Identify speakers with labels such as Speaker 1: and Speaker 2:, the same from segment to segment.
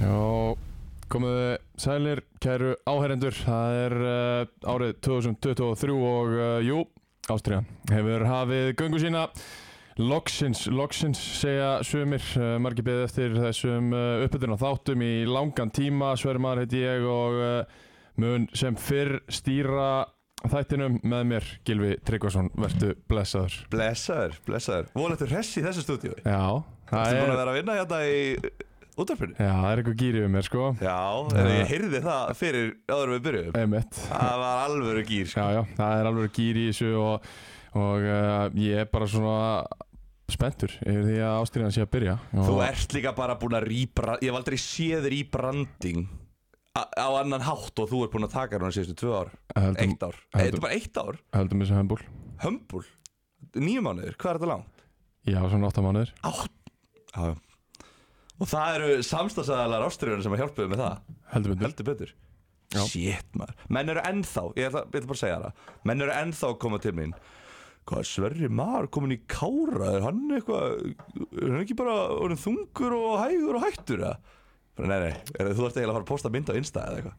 Speaker 1: Já, komuðu sælir, kæru áherendur Það er uh, árið 2023 og uh, jú, Ástriðan hefur hafið göngu sína Loksins, loksins segja sumir uh, Margi beðið eftir þessum uh, uppbytun og þáttum í langan tíma Svermar heiti ég og uh, mun sem fyrr stýra þættinum með mér Gilvi Tryggvason, vertu blessaður
Speaker 2: Blessaður, blessaður Vonættur hress í þessu stúdíu Þú
Speaker 1: Já, það
Speaker 2: búin að
Speaker 1: er,
Speaker 2: vera að vinna hérna í útvarpinu
Speaker 1: já, það er eitthvað gýrið um mér sko
Speaker 2: Já,
Speaker 1: Já.
Speaker 2: en ég heyrði það fyrir áður en við byrjuðum
Speaker 1: Einmitt
Speaker 2: Það var alvöru gýr sko.
Speaker 1: Já, já, það er alveg gýr í þessu og, og uh, ég er bara svona spenntur yfir því að ástýrjan sé að byrja og,
Speaker 2: Þú ert líka bara búin að rýbra Ég hef aldrei séð þér í branding á á annan hátt og þú ert búin að taka hérna síðustu tvö ár
Speaker 1: höldum,
Speaker 2: Eitt ár
Speaker 1: heldum-
Speaker 2: Þetta er bara eitt ár
Speaker 1: höldum þessu hömbúl
Speaker 2: Hömbul Nýju mánuður, hvað er þetta langt?
Speaker 1: Já, svona 8 mánuðir
Speaker 2: Átt Já, já Og það eru samstagsæðalar ástriðunar sem að hjálpuðu með það
Speaker 1: Heldur betur
Speaker 2: heldur betur
Speaker 1: Já.
Speaker 2: Shit maður, menn eru ennþá ég ætla, ég ætla bara að segja það menn eru ennþá að koma til mín hvað sverri maður komin í kára er hann eitthvað, er hann ekki bara orðinn þungur og hægur og hættur eða? bara, nei nei, er, þú ert eiginlega að fara að posta mynd á Insta eða eitthvað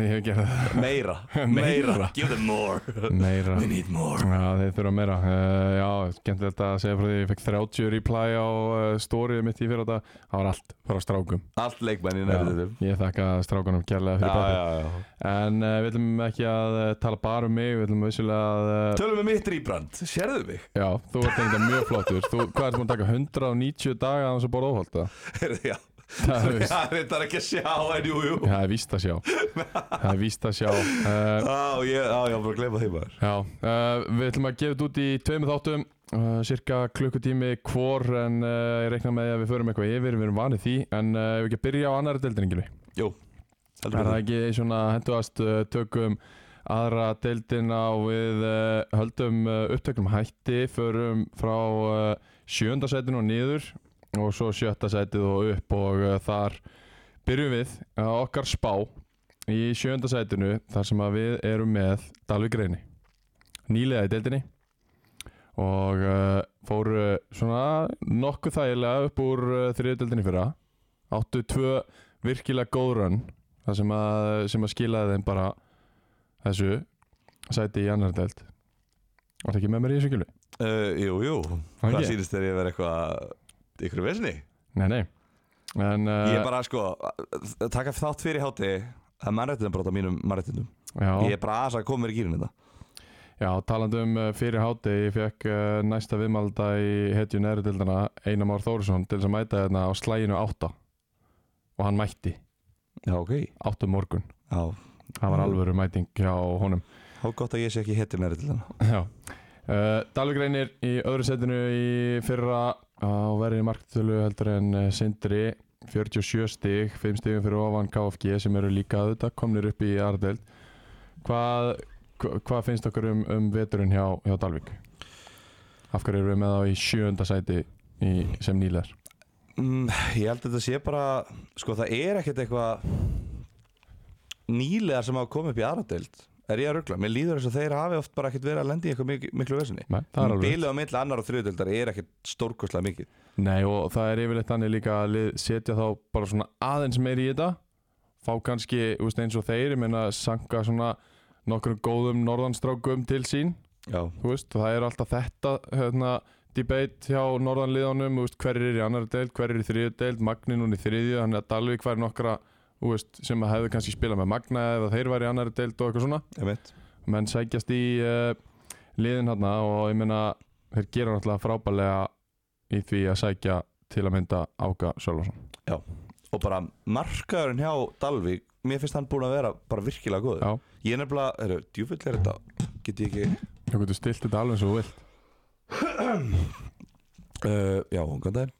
Speaker 1: Ég hef gerð það
Speaker 2: meira,
Speaker 1: Meira.
Speaker 2: meira, give them more
Speaker 1: Meira
Speaker 2: we need more
Speaker 1: Já, þeir þurfa meira uh, Já, skemmtilegt að segja frá því Ég fekk 30 reply á uh, storyðu mitt í fyrir þetta Það var allt frá strákum
Speaker 2: allt leikmenn í
Speaker 1: Já,
Speaker 2: nefnum
Speaker 1: Ég þakka strákunum kærlega fyrir pappi En uh, við ætlum ekki að uh, tala bara um mig Við ætlum vissulega að uh,
Speaker 2: tölum við mitt rýbrand, sérðu mig
Speaker 1: Já, þú ert þetta mjög flottur Þú, hvað ert búin að taka 190 daga að hans að borða óholt það?
Speaker 2: já,
Speaker 1: Það er víst,
Speaker 2: það er ekki að sjá en jú, jú
Speaker 1: það er víst að sjá Það er víst að sjá uh,
Speaker 2: á, ég, á, ég var bara að gleyma því maður
Speaker 1: Já, uh, við ætlum að gefa þetta út í tveimur þáttum uh, Cirka klukkutími hvor En uh, ég reikna með því að við förum eitthvað yfir Við erum vanið því En uh, ef við ekki að byrja á annari deildininginu
Speaker 2: jú,
Speaker 1: Er
Speaker 2: heldur betur.
Speaker 1: það ekki svona henduast uh, tökum aðra deildina og við uh, höldum uh, upptökum hætti, förum frá uh, sjönda sætinu og niður og svo sjötta sætið og upp og uh, þar byrjum við að okkar spá í sjönda sætinu þar sem að við erum með Dalvik Reyni nýlega í deildinni og uh, fóru svona nokkuð þægilega upp úr uh, þriðdeldinni fyrra áttu tvö virkilega góð rönn það sem að, sem að skilaði þeim bara þessu sæti í annar delt Var það ekki með mér í þessu gjölu?
Speaker 2: Uh, jú, jú,
Speaker 1: Það
Speaker 2: hvað
Speaker 1: ekki?
Speaker 2: sýnist þér ég verið eitthvað ykkur vesni?
Speaker 1: Nei, nei En, uh,
Speaker 2: ég er bara sko, að taka þátt fyrir hátti það er mannrættinum brot á mínum mannrættinum
Speaker 1: já,
Speaker 2: ég er bara aðeins að koma mér í hérna. gýrin þetta
Speaker 1: já, talandi um uh, fyrir háti Ég fekk uh, næsta viðmalda í hetju næri deildana Einar Már Þórsson til þess að mæta þarna á slæginu átta og hann mætti
Speaker 2: Já, ok
Speaker 1: átta um morgun
Speaker 2: Já,
Speaker 1: Það var alvöru mæting hjá honum
Speaker 2: þá gott að ég sé ekki hettir mannrættinum
Speaker 1: Já Uh, Dalvik reynir í öðru setinu í fyrra á verðinni marktölu heldur en eh, Sindri 47 stig, 5 stigum fyrir ofan KFG sem eru líka auðvitað komnir upp í Ardeld hvað, hva, hvað finnst okkur um, um veturinn hjá, hjá Dalvik? Af hverju erum við með þá í sjöunda sæti í, sem nýlar?
Speaker 2: mm, Ég held að þetta sé bara sko, það er ekkert eitthvað nýlegar sem hafa komið upp í aðradeild er ég að ruggla, mér líður þess að þeir hafi oft bara ekkert verið að lendi í eitthvað miklu, miklu vesni
Speaker 1: Nei, það er alveg
Speaker 2: Bilið á milli annar og þriðudeldar er ekkert stórkostlega mikið
Speaker 1: Nei og það er yfirleitt þannig líka að lið setja þá bara svona aðeins meiri í þetta fá kannski þú veist, eins og þeir ég meina sanga svona nokkrum góðum norðanstrákum til sín
Speaker 2: Já,
Speaker 1: þú veist, og það er alltaf þetta hérna, debate hjá norðanliðanum þú veist, hver er í annari deild, hver er í þriðju deild Magni núna í þriðju, þannig að Dalvik væri nokkra þú veist, sem að hefðu kannski spilað með Magna eða þeir væri í annari deild og eitthvað svona
Speaker 2: ég veit
Speaker 1: menn sækjast í uh, liðin hérna og ég meina þeir gera náttúrulega frábælega í því að sækja til að mynda Áka Sölvason
Speaker 2: og bara markaðurinn hjá Dalvík mér finnst hann búin að vera bara virkilega góður
Speaker 1: Já.
Speaker 2: ég er nefnilega, herru, djúvill er þetta get ég ekki
Speaker 1: Þú getur stilt þetta alveg eins og þú vilt
Speaker 2: uh, já, hvað það er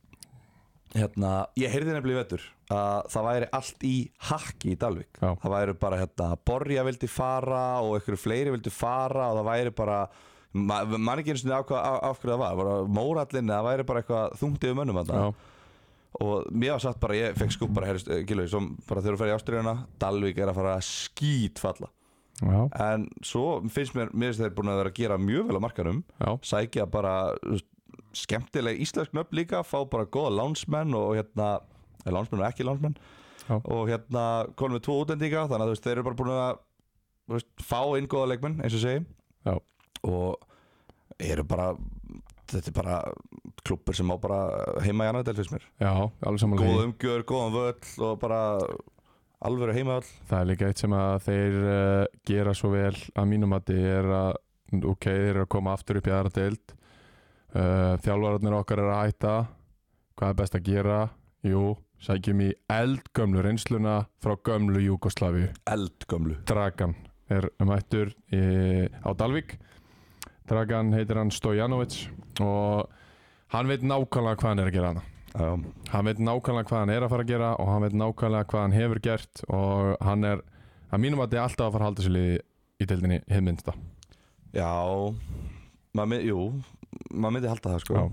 Speaker 2: hérna, ég heyrði nefnilega í vettur að það væri allt í hakki í Dalvík
Speaker 1: Já.
Speaker 2: það væri bara hérna, Borja vildi fara og einhverju fleiri vildi fara og það væri bara Ma, man ekki einu sinni af, hvað- af, af hverju það var, var Mórallinni, það væri bara eitthvað þungt yfir mönnum þarna.
Speaker 1: Já,
Speaker 2: og mér var satt bara, ég fekk skúp bara, heyrst, Gilvi, som eh, bara þegar þú ferði í Ástriðuna Dalvík er að fara að skýt falla
Speaker 1: já,
Speaker 2: en svo finnst mér, mér finnst þeir búin að vera að gera mjög vel á markanum
Speaker 1: já,
Speaker 2: sækja bara þú veist, skemmtileg íslensk nöfn líka, fá bara góða lánsmenn og hérna eh, lánsmenn og ekki lánsmenn
Speaker 1: Já.
Speaker 2: og hérna konum við tvo útlendinga þannig að þú veist, þeir eru bara búin að þú veist, fá inn góða leikmenn eins og segi
Speaker 1: Já.
Speaker 2: og eru bara þetta er bara klubbur sem á bara heima í annar del fyrst mér
Speaker 1: já, alveg samanlega
Speaker 2: góð umgjör, góðan völl og bara alvöru heimavöll
Speaker 1: Það er líka eitt sem að þeir uh, gera svo vel að mínum að þið er að ok, þeir eru að koma aftur upp í aðra deild uh, þjálfararnir okkar er að hætta hvað er best að gera jú, sækjum í eldgömlu reynsluna frá gömlu Júkoslavi
Speaker 2: eldgömlu
Speaker 1: Dragan er mættur í, á Dalvík Dragan heitir hann Stojanovic og hann veit nákvæmlega hvað hann er að gera hana
Speaker 2: Já.
Speaker 1: hann veit nákvæmlega hvað hann er að fara að gera og hann veit nákvæmlega hvað hann hefur gert og hann er, að mínum að þetta er alltaf að fara að halda sér liði í deildinni hið minnsta
Speaker 2: Já maður, mynd- Jú, maður myndi halda það sko
Speaker 1: Já.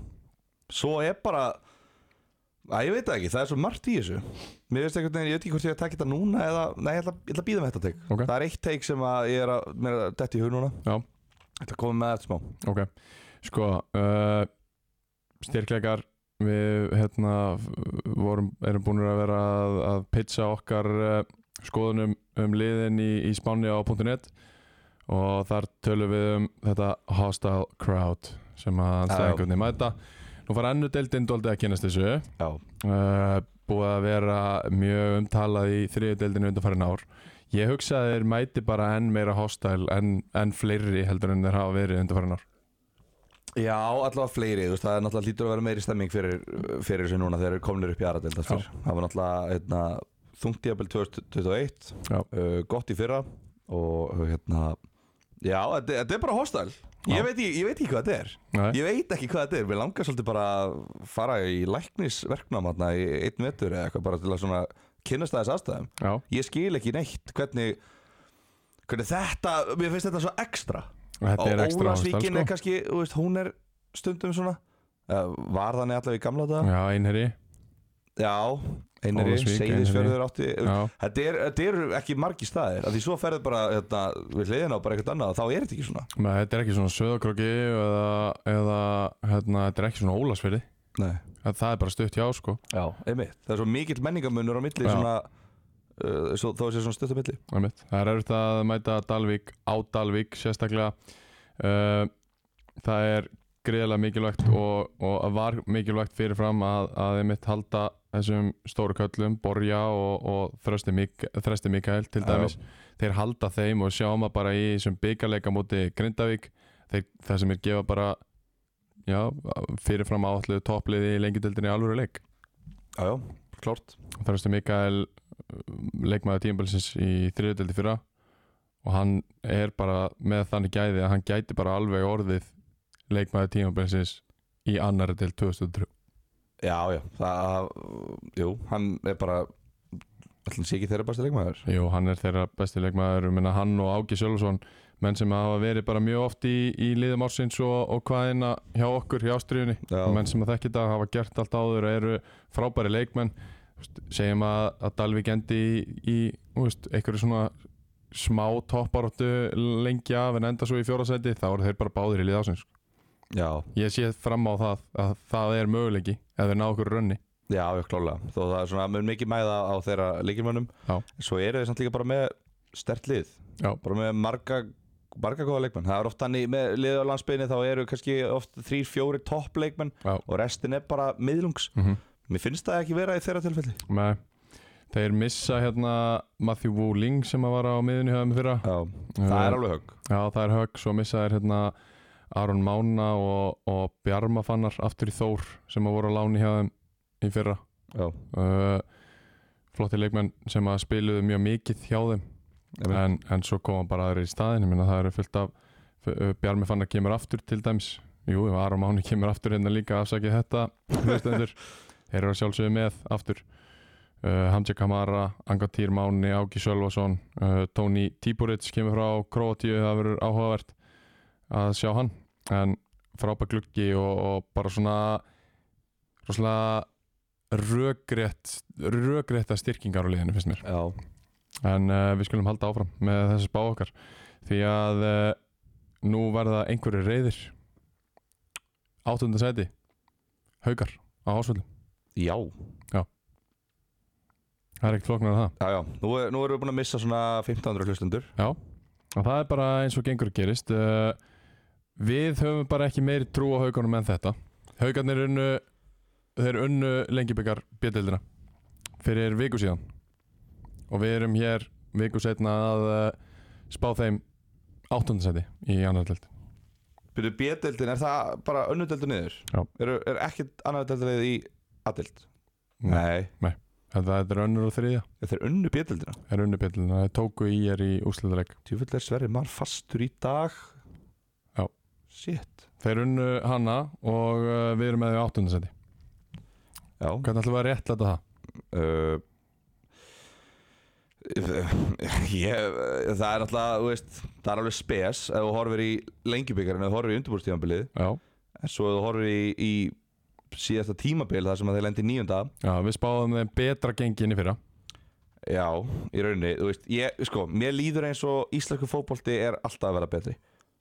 Speaker 2: Svo er bara Æ, ég veit það ekki, það er svo margt í þessu Mér veist einhvern veginn, ég veit ekki hvort ég er að taka þetta núna eða, Nei, ég ætla, ég ætla að býða með þetta teik
Speaker 1: Ok.
Speaker 2: Það er eitt teik sem að ég er að, mér er að detti í hug núna
Speaker 1: Já.
Speaker 2: Ég ætla að koma með þetta smá
Speaker 1: ok, sko uh, styrkleikar við hérna f- vorum, erum búin að vera að, að pitcha okkar uh, skoðunum um liðin í, í Spáni á .net og þar tölum við um þetta hostile crowd sem að anstæðingunni mæta nú fara ennu deildin dóldi að kynast þessu
Speaker 2: Já,
Speaker 1: uh, búið að vera mjög umtalað í þriðudeldinu undanfærin ár ég hugsa að þeir mæti bara enn meira hostile enn, enn fleiri heldur en þeir hafa verið undanfærin ár
Speaker 2: Já allavega fleiri, þú veist, það er náttúrulega lítur að vera meiri stemming fyrir, fyrir þessu núna þegar þeir eru komnir upp í aðra delta aftur. Það var náttúrulega hérna, þungt í apel 2021
Speaker 1: Já.
Speaker 2: uh, gott í fyrra og hérna Já, þetta, þetta er bara hostile
Speaker 1: Já.
Speaker 2: ég veit, ekki, ég veit ekki hvað þetta er
Speaker 1: Nei,
Speaker 2: Ég veit ekki hvað þetta er, við langar svolítið bara að fara í læknisverknám hérna í einn vetur eða eitthvað bara til að svona kynnast aðeins aðstæðum
Speaker 1: já,
Speaker 2: Ég skil ekki neitt hvernig, hvernig þetta, mér finnst þetta svo ekstra
Speaker 1: þetta er
Speaker 2: Og
Speaker 1: ekstra hostile
Speaker 2: Ólafsvíkin
Speaker 1: sko.
Speaker 2: er kannski, þú veist, hún er stundum svona uh, Var þannig allavega í gamla þetta
Speaker 1: Já, einherri
Speaker 2: Já, einari,
Speaker 1: Ólafsvík,
Speaker 2: seyðisfjörður átti
Speaker 1: Já,
Speaker 2: Þetta er- þetta eru ekki margi staðir af Því svo ferðu bara þetta, við hliðina á bara eitthvað annað og Þá er þetta ekki svona
Speaker 1: Nei, þetta er ekki svona söðakroki eða, eða hérna, þetta er ekki svona ólasfyrði
Speaker 2: Nei.
Speaker 1: Það er bara stutt hjá sko
Speaker 2: Já, einmitt Það er svo mikill menningamunur á milli
Speaker 1: Já.
Speaker 2: svona, uh, svo, Þó sé svona stutt á milli
Speaker 1: Einmitt. Það er erfitt að mæta Dalvík á Dalvík sérstaklega uh, Það er greiðlega mikilvægt og, og var mikilvægt fyrirfram að, að einmitt halda þessum stóru köllum, Borja og, og Þrösti, Mik Þrösti Mikael til
Speaker 2: Já.
Speaker 1: dæmis þeir halda þeim og sjáum að bara í þessum byggarleika móti Grindavík þeir, það sem er gefa bara já, fyrirfram áallu toppliði í lengjadöldinni alvöru leik
Speaker 2: Já, já, klárt
Speaker 1: Þarstu Mikael um, leikmaður tímabilsins í þriðuteldi fyrra og hann er bara með þannig gæði að hann gæti bara alveg orðið leikmaður tímabilsins í annari til 2003
Speaker 2: Já, já, það, jú, hann er bara Ætlum sé ekki þeirra bæsta leikmaður
Speaker 1: Jú, hann er þeirra besti leikmaður minna, hann og Áki Sjölusson menn sem hafa verið bara mjög oft í, í liðum ársins og, og hvaðina hjá okkur hjá ástriðunni
Speaker 2: Já,
Speaker 1: menn sem að þekki þetta hafa gert allt áður og eru frábæri leikmenn Þú veist, segjum að, að Dalvik endi í, í þú veist, einhverju svona smá topparóttu lengi af en enda svo í fjórasæti þá eru þeir bara báðir í lið ásins
Speaker 2: já,
Speaker 1: ég sé fram á það að það er möguleiki ef þeir ná okkur rönni
Speaker 2: já, já, klálega Þó það er svona, mun mikið mæða á þeirra leikimönnum
Speaker 1: Já.
Speaker 2: Svo eru þeir samt líka bara með stert lið
Speaker 1: Já.
Speaker 2: Bara með marga, marga góða leikmenn Það er oft þannig með lið á landsbyrni Þá eru kannski oft þrír, fjóri topp leikmenn
Speaker 1: Já.
Speaker 2: Og restin er bara miðlungs
Speaker 1: mm
Speaker 2: Mér finnst það ekki vera í þeirra tilfelli
Speaker 1: -hmm. þeir missa hérna Matthew Wu Ling sem að var á miðunni höfum fyrra
Speaker 2: Já, það er alveg högg
Speaker 1: Já, það er högg, svo missa þeir hérna Aron Mána og, og Bjarma Fannar aftur í Þór sem að voru á láni hjá þeim í fyrra
Speaker 2: Já,
Speaker 1: uh, flotti leikmenn sem að spiluðu mjög mikið hjá þeim
Speaker 2: einmitt.
Speaker 1: en, en svo koma bara aðri í staðin ég minna það eru fullt af f- uh, Bjarmi Fannar kemur aftur til dæmis jú, ef Aron Máni kemur aftur hérna líka afsakið þetta hlustendur. þeir eru að sjálfsögðu með aftur uh, Hamza Kamara, Angatýr Máni Áki Sölvason, uh, Tony Tíburic kemur frá Kroatíu, það verður áhugavert að sjá hann en frábær gluggi og, og bara svona rosalega rökrétt rökrétta styrkingar á liðinu finnst mér
Speaker 2: Já,
Speaker 1: en uh, við skulum halda áfram með þessi spá okkar því að uh, nú verða einhverju reyðir áttunda sæti haukar á ásvöldum
Speaker 2: já,
Speaker 1: það er ekkert flóknar að það
Speaker 2: já, já. Nú, er, nú erum við búin að missa svona 1500 hlustundur
Speaker 1: og það er bara eins og gengur og gerist uh, við höfum bara ekki meiri trú á haugunum en þetta haugarnir unnu þeir unnu lengjubikar bjöldildina fyrir viku síðan og við erum hér viku setna að uh, spá þeim áttundasæti í annardild
Speaker 2: Byrju B-deldin, er það bara önnudeldin niður?
Speaker 1: Já.
Speaker 2: Er, er ekkert annað deldin í A-deld?
Speaker 1: Nei.
Speaker 2: Nei.
Speaker 1: þetta er önnur og þriðja
Speaker 2: Þetta er unnu B-deldina
Speaker 1: er unnu bjöldildina, þeir tóku í er í úslitaðleik
Speaker 2: Tjúfell er Sverri Mar fastur í dag
Speaker 1: Já.
Speaker 2: Shit
Speaker 1: þeir unnu hanna og uh, við erum með þeim áttundasæti
Speaker 2: Já
Speaker 1: hvernig ætlum við að réttlæta það?
Speaker 2: uh, ég, Það er alltaf, þú veist Það er alveg spes ef þú horfir í lengjubikarinn ef þú horfir í undirbúrstíðanbilið
Speaker 1: Já,
Speaker 2: en svo ef þú horfir í, í síðasta tímabil þar sem að þeir lendi níunda
Speaker 1: Já við spáðum þeim betra genginni fyrra
Speaker 2: Já, í rauninni, þú veist ég, sko, mér líður eins og íslensku fótbolti er alltaf að vera betri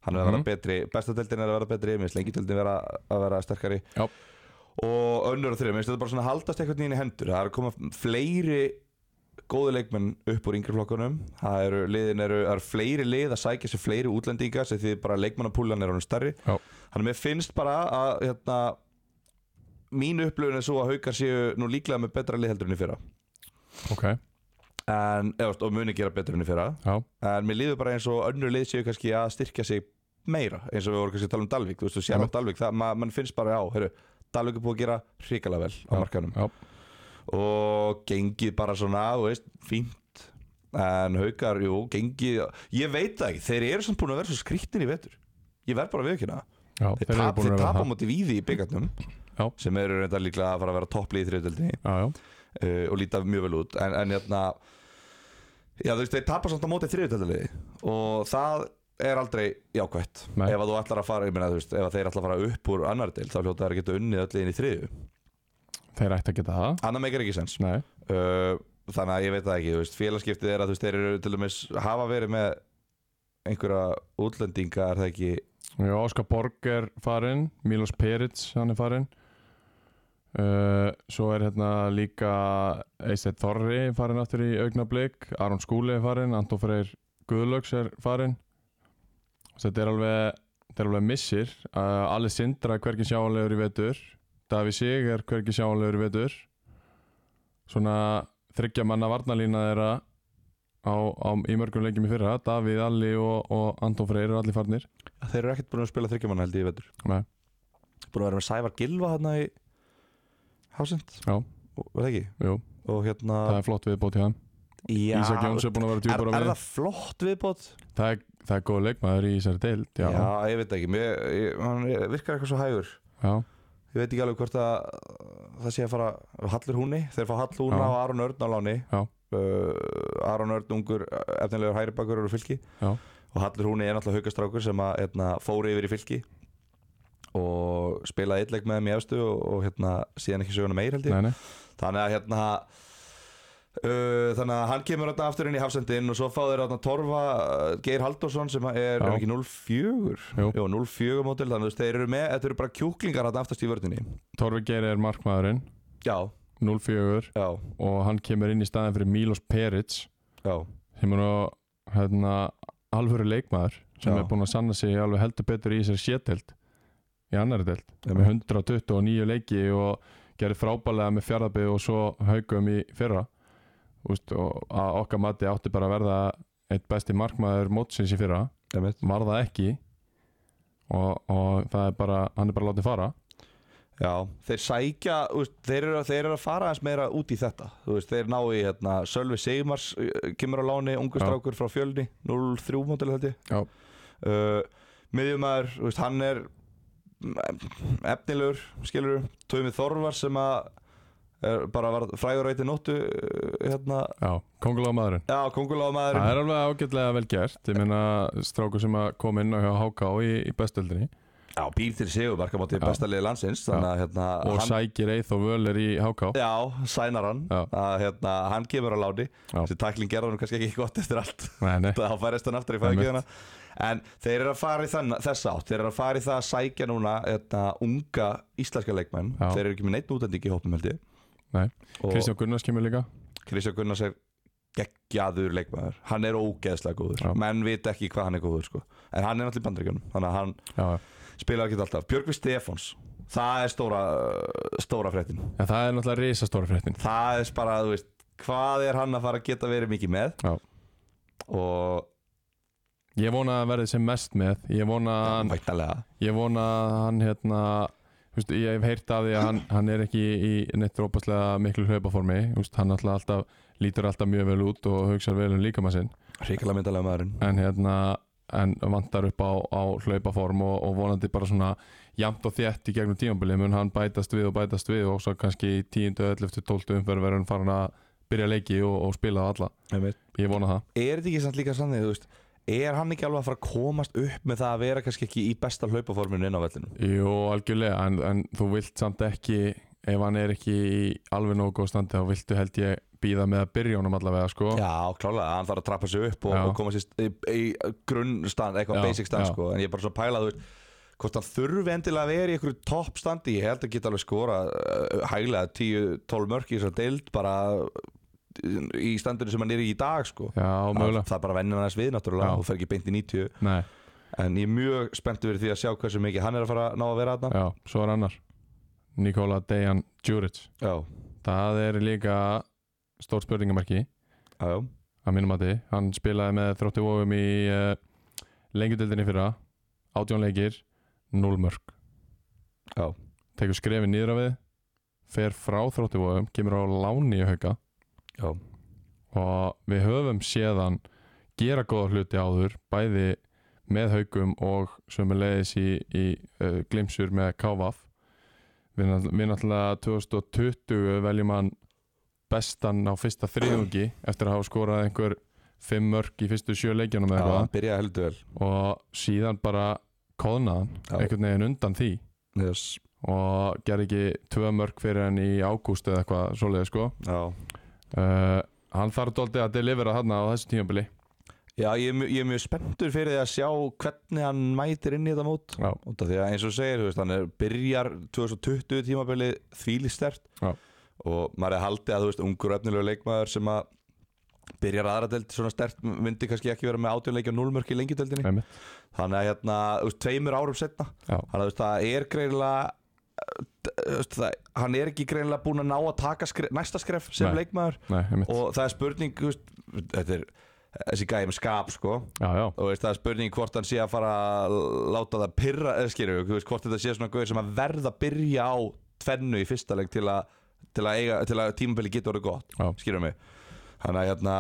Speaker 2: hann er að vera
Speaker 1: Mhm.
Speaker 2: betri, bestadeldin er að vera betri minnst lengjudeldin vera að vera sterkari
Speaker 1: Já.
Speaker 2: og önnur og þrið, minnst þetta bara svona haldast eitthvað nýjum í hendur, það er að koma fleiri góðu leikmenn upp úr yngri flokkunum það eru, liðin eru, það eru fleiri lið að sækja sér fleiri útlendinga sem því bara leikmannapúlan er honum stærri
Speaker 1: Já.
Speaker 2: hann mér finnst bara að hérna, mín upplöfun er svo að haukar séu nú líklega með betra lið heldur enn í fyrra
Speaker 1: ok,
Speaker 2: en, eða, veist, og muni gera betur enn í fyrra
Speaker 1: já
Speaker 2: en mér líður bara eins og önnur lið séu kannski að styrkja sig meira eins og við vorum kannski að tala um Dalvik þú veist, þú sér á
Speaker 1: Einmitt.
Speaker 2: Dalvik, það, ma mann finnst bara á heru, Dalvik er búið að gera hrikalega vel á
Speaker 1: Já,
Speaker 2: markanum
Speaker 1: já.
Speaker 2: og gengið bara svona, þú veist, fínt en haukar, jú, gengið ég veit það ekki, þeir eru samt búin að vera svo skrýttin í vetur, ég verð bara að viðkynna það.
Speaker 1: Já,
Speaker 2: þeir,
Speaker 1: eru
Speaker 2: tap,
Speaker 1: búnir að
Speaker 2: þeir
Speaker 1: vera
Speaker 2: tapa á
Speaker 1: það.
Speaker 2: móti víði í byggarnum
Speaker 1: Já.
Speaker 2: sem eru reynda líklega að fara að vera topplið í þriðdeldinni
Speaker 1: Já, já,
Speaker 2: uh, og líta mjög vel út en, en hérna já þú veist þeir tapar samt á móti þriðutöldaliði og það er aldrei jákvætt
Speaker 1: Nei.
Speaker 2: ef að þú ætlar að fara, ég meina þú veist ef að þeir ætlar að fara upp úr annar deil þá hljóta þeir að geta unnið öll inn í þriðju
Speaker 1: þeir ætti að geta það
Speaker 2: annar meikar ekki sens
Speaker 1: Nei,
Speaker 2: uh, þannig að ég veit það ekki, þú veist félagskiptið er að þú veist þeir eru til dæmis hafa verið með einhverja útlendinga er það ekki
Speaker 1: já, Óskar Borg er farinn Milos Peric, hann er farinn uh, Svo er hérna líka Eistedd Þorri farinn aftur í augnablík Aron Skúli er farinn, Anton Freyr Guðlöks er farinn Þetta er alveg, þetta er alveg missir uh, Alli Sindra er hvergi sjáanlegur í vetur Daví Sig er hvergi sjáanlegur í vetur Svona þryggja manna varnalína þeirra á, á, í mörgum leikjum í fyrra Davíð, Alli og, og Anton Freyr eru allir farnir
Speaker 2: þeir eru ekkert búin að spila þryggjumann held ég í vetur
Speaker 1: Nei.
Speaker 2: búin að vera með Sævar Gilva hérna í Hásend
Speaker 1: Já.
Speaker 2: var það ekki
Speaker 1: Jú,
Speaker 2: og hérna
Speaker 1: það er flott viðbót hjá þeim
Speaker 2: Já,
Speaker 1: Ísak Jóns er búin að vera
Speaker 2: er,
Speaker 1: djúpar á
Speaker 2: er
Speaker 1: við
Speaker 2: það flott viðbót?
Speaker 1: það er, það er góð leikmaður í þessari deild Já, já,
Speaker 2: ég veit ekki, mér, ég, hann virkar eitthvað svo hægur
Speaker 1: já,
Speaker 2: Ég veit ekki alveg hvort að það sé að fara Hallur Húni, þeir fá Hall Húna
Speaker 1: Já.
Speaker 2: og Aron Örn á láni
Speaker 1: Já.
Speaker 2: Uh, Aron Örn ungur, efnilegur hægri bakur eru fylki
Speaker 1: Já.
Speaker 2: og Hallur Húni er náttúrulega haugastrákur sem að hérna, fóri yfir í fylki og spilaði eitthvað með þeim í efstu og, og hérna, síðan ekki söguna meir held ég
Speaker 1: nei, nei
Speaker 2: Þannig að hérna uh, Þannig að hann kemur hérna aftur inn í hafsendin Og svo fá þeir hérna Torfa uh, Geir Halldórsson sem er, er
Speaker 1: Já.
Speaker 2: ekki 04
Speaker 1: Jú.
Speaker 2: Jó, 04 mótil Þannig að þú veist, þeir eru með, þetta eru bara kjúklingar hérna aftast í vördinni
Speaker 1: Torfi Geir er markmaðurinn,
Speaker 2: Já,
Speaker 1: 0-4
Speaker 2: já,
Speaker 1: og hann kemur inn í staðin fyrir Milos Peric
Speaker 2: já
Speaker 1: sem er nú, hérna, alvöru leikmaður sem
Speaker 2: Já.
Speaker 1: er búin að sanna sig alveg heldur betur í þessari sétdeild í annari deild með 129 leiki og gerði frábælega með fjárðabíð og svo haugum í fyrra Úst, og að okkar mati átti bara að verða eitt besti markmaður mótsins í fyrra
Speaker 2: einmitt.
Speaker 1: var það ekki og, og það er bara hann er bara látið fara
Speaker 2: Já, þeir sækja, þú veist, þeir, eru, þeir eru að fara aðeins meira út í þetta Þú veist, Þeir ná í hérna, Sölvi Sigmars uh, kemur á láni, ungu
Speaker 1: Já.
Speaker 2: strákur frá fjölni 03 mótil held ég
Speaker 1: Já.
Speaker 2: uh, Miðjumæður, þú veist, hann er mm, efnilegur, skilur Tómi Þorvar sem að er bara var frægur reyti nóttu uh, hérna,
Speaker 1: já, kongulega maðurinn
Speaker 2: já, kongulámaður
Speaker 1: það er alveg ágætlega vel gert ég meina strákur sem að kom inn á hjá HK í, í bestöldinni
Speaker 2: já, býr til sigur markamátti besta liði landsins þannig að hérna,
Speaker 1: og sækir Eithor Völer í HK
Speaker 2: já, sænar hann
Speaker 1: Já.
Speaker 2: að hérna, hann kemur á láni
Speaker 1: Já.
Speaker 2: þessi tækling gerði hann kannski ekki gott eftir allt
Speaker 1: Nei, nei,
Speaker 2: þá færist hann aftur í fæðingiðana en þeir eru að fara í þann, þess átt þeir eru að fara í það að sækja núna hérna, unga íslenska leikmenn
Speaker 1: Já.
Speaker 2: þeir eru ekki með neitt útendingi í hópum held ég
Speaker 1: nei.
Speaker 2: og
Speaker 1: Kristján Gunnars kemur líka
Speaker 2: Kristján Gunnars er geggjaður leikmæður hann er ógeðslega góður,
Speaker 1: Já.
Speaker 2: menn vita ekki hvað hann er góður sko. en hann er náttúrulega í bandaríkjunum þannig að hann
Speaker 1: Já,
Speaker 2: spilaði ekki alltaf Björgvi Stefáns, það er stóra stóra fréttin,
Speaker 1: já, það er náttúrulega risastóra fréttin
Speaker 2: það er bara þú veist, hvað er hann að fara að geta verið mikið með
Speaker 1: Já.
Speaker 2: og
Speaker 1: Ég vona að hann verði sem mest með Ég vona að hann,
Speaker 2: væntanlega
Speaker 1: ég vona að hann hérna þú veist, Ég hef heyrt af því að hann, hann er ekki í neitt rópaslega miklu hlaupaformi Þú veist, Hann náttúrulega alltaf, lítur alltaf mjög vel út og hugsar vel um líkama sinn
Speaker 2: hrikalega myndalega maðurinn
Speaker 1: en hérna en vantar upp á, á hlaupaform og, og vonandi bara svona jamt og þétt í gegnum tímabilið mun hann bætast við og bætast við og svo kannski í 10. 11. 12. umferð verður hann farin að byrja leiki og, og spila á alla
Speaker 2: Einmitt.
Speaker 1: ég vona það
Speaker 2: er þetta ekki samt líka sannig, þú veist er hann ekki alveg að fara að komast upp með það að vera kannski ekki í besta hlaupaforminu inn á vellinu
Speaker 1: Jú, algjörlega, en, en þú vilt samt ekki ef hann er ekki í alveg nógu góð standi þá viltu held ég býða með að byrja honum allavega sko
Speaker 2: Já, klálega, hann þarf að trappa sig upp og,
Speaker 1: Já.
Speaker 2: og koma sér st- í, í grunnstand, eitthvað
Speaker 1: Já,
Speaker 2: basic stand
Speaker 1: já.
Speaker 2: sko. en ég er bara svo að pæla, þú veist hvort hann þurfi endilega að vera í einhverju topp standi ég held að geta alveg skora uh, hæglega 10-12 mörk í þessar deild bara uh, í standinu sem hann er í í dag sko.
Speaker 1: Já,
Speaker 2: það,
Speaker 1: mögulega
Speaker 2: það bara vennir hann aðeins við náttúrulega
Speaker 1: Já.
Speaker 2: og fer ekki beint í 90
Speaker 1: Nei,
Speaker 2: en ég er mjög spenntu verið því að sjá hversu mikið hann er að fara að ná að vera þarna
Speaker 1: já, svo er annar Nikola Dejan Djuric
Speaker 2: Já,
Speaker 1: Það er líka stórt spurningamarki
Speaker 2: já, já
Speaker 1: að mínum að þið, hann spilaði með þrótti vóðum í uh, lengjudeldinni í fyrra, átjón leikir 0 mörg
Speaker 2: Já.
Speaker 1: tekur skrefin nýður af við fer frá þrótti vóðum kemur á láni í hauka
Speaker 2: Já.
Speaker 1: og við höfum séðan gera góða hluti áður bæði með haukum og sömulegis í, í uh, glimsur með KVAF við, náttúrulega- við náttúrulega 2020 veljum hann bestan á fyrsta þriðungi eftir að hafa skorað einhver fimm mörk í fyrstu sjö leikjanum
Speaker 2: Já,
Speaker 1: eða
Speaker 2: hann
Speaker 1: eitthvað
Speaker 2: byrjaði heldur vel
Speaker 1: og síðan bara kóðnaðan
Speaker 2: Já.
Speaker 1: einhvern veginn undan því
Speaker 2: yes.
Speaker 1: og gerði ekki tvö mörk fyrir hann í ágúst eða eitthvað svoleiði sko
Speaker 2: Já,
Speaker 1: uh, hann þarf doldið að delivera þarna á þessu tímabili
Speaker 2: Já ég, er mjög- ég er mjög spenntur fyrir því að sjá hvernig hann mætir inn í þetta mót
Speaker 1: Já.
Speaker 2: Út af því að eins og þú segir, þú veist, hann er, byrjar 2020 tímabilið þvílistert
Speaker 1: Já.
Speaker 2: og maður er haldið að þú veist, ungur og efnilegu leikmaður sem að byrjar aðra delt svona stert myndi kannski ekki vera með átjónleikja og núlmörk í lengjudeldinni
Speaker 1: Einmitt.
Speaker 2: þannig að hérna, þú veist, tveimur árum setna
Speaker 1: Já.
Speaker 2: þannig að þú veist, það er greinilega eh, þú veist, það, hann er ekki greinilega búin að ná að taka skref, næsta skref sem
Speaker 1: Nei.
Speaker 2: leikmaður
Speaker 1: Nei, einmitt.
Speaker 2: og það er spurning þú veist, þetta er þessi gæði með skap sko
Speaker 1: já, já,
Speaker 2: og veist, það er spurning hvort hann sé að fara að láta það pyrra, eða skilur við, hvort þetta sé svona gauð sem að verða að byrja á tvennu í fyrsta leik til að, til að, eiga- til að tímabili getur orðið gott,
Speaker 1: Já.
Speaker 2: skilur mig þannig að hérna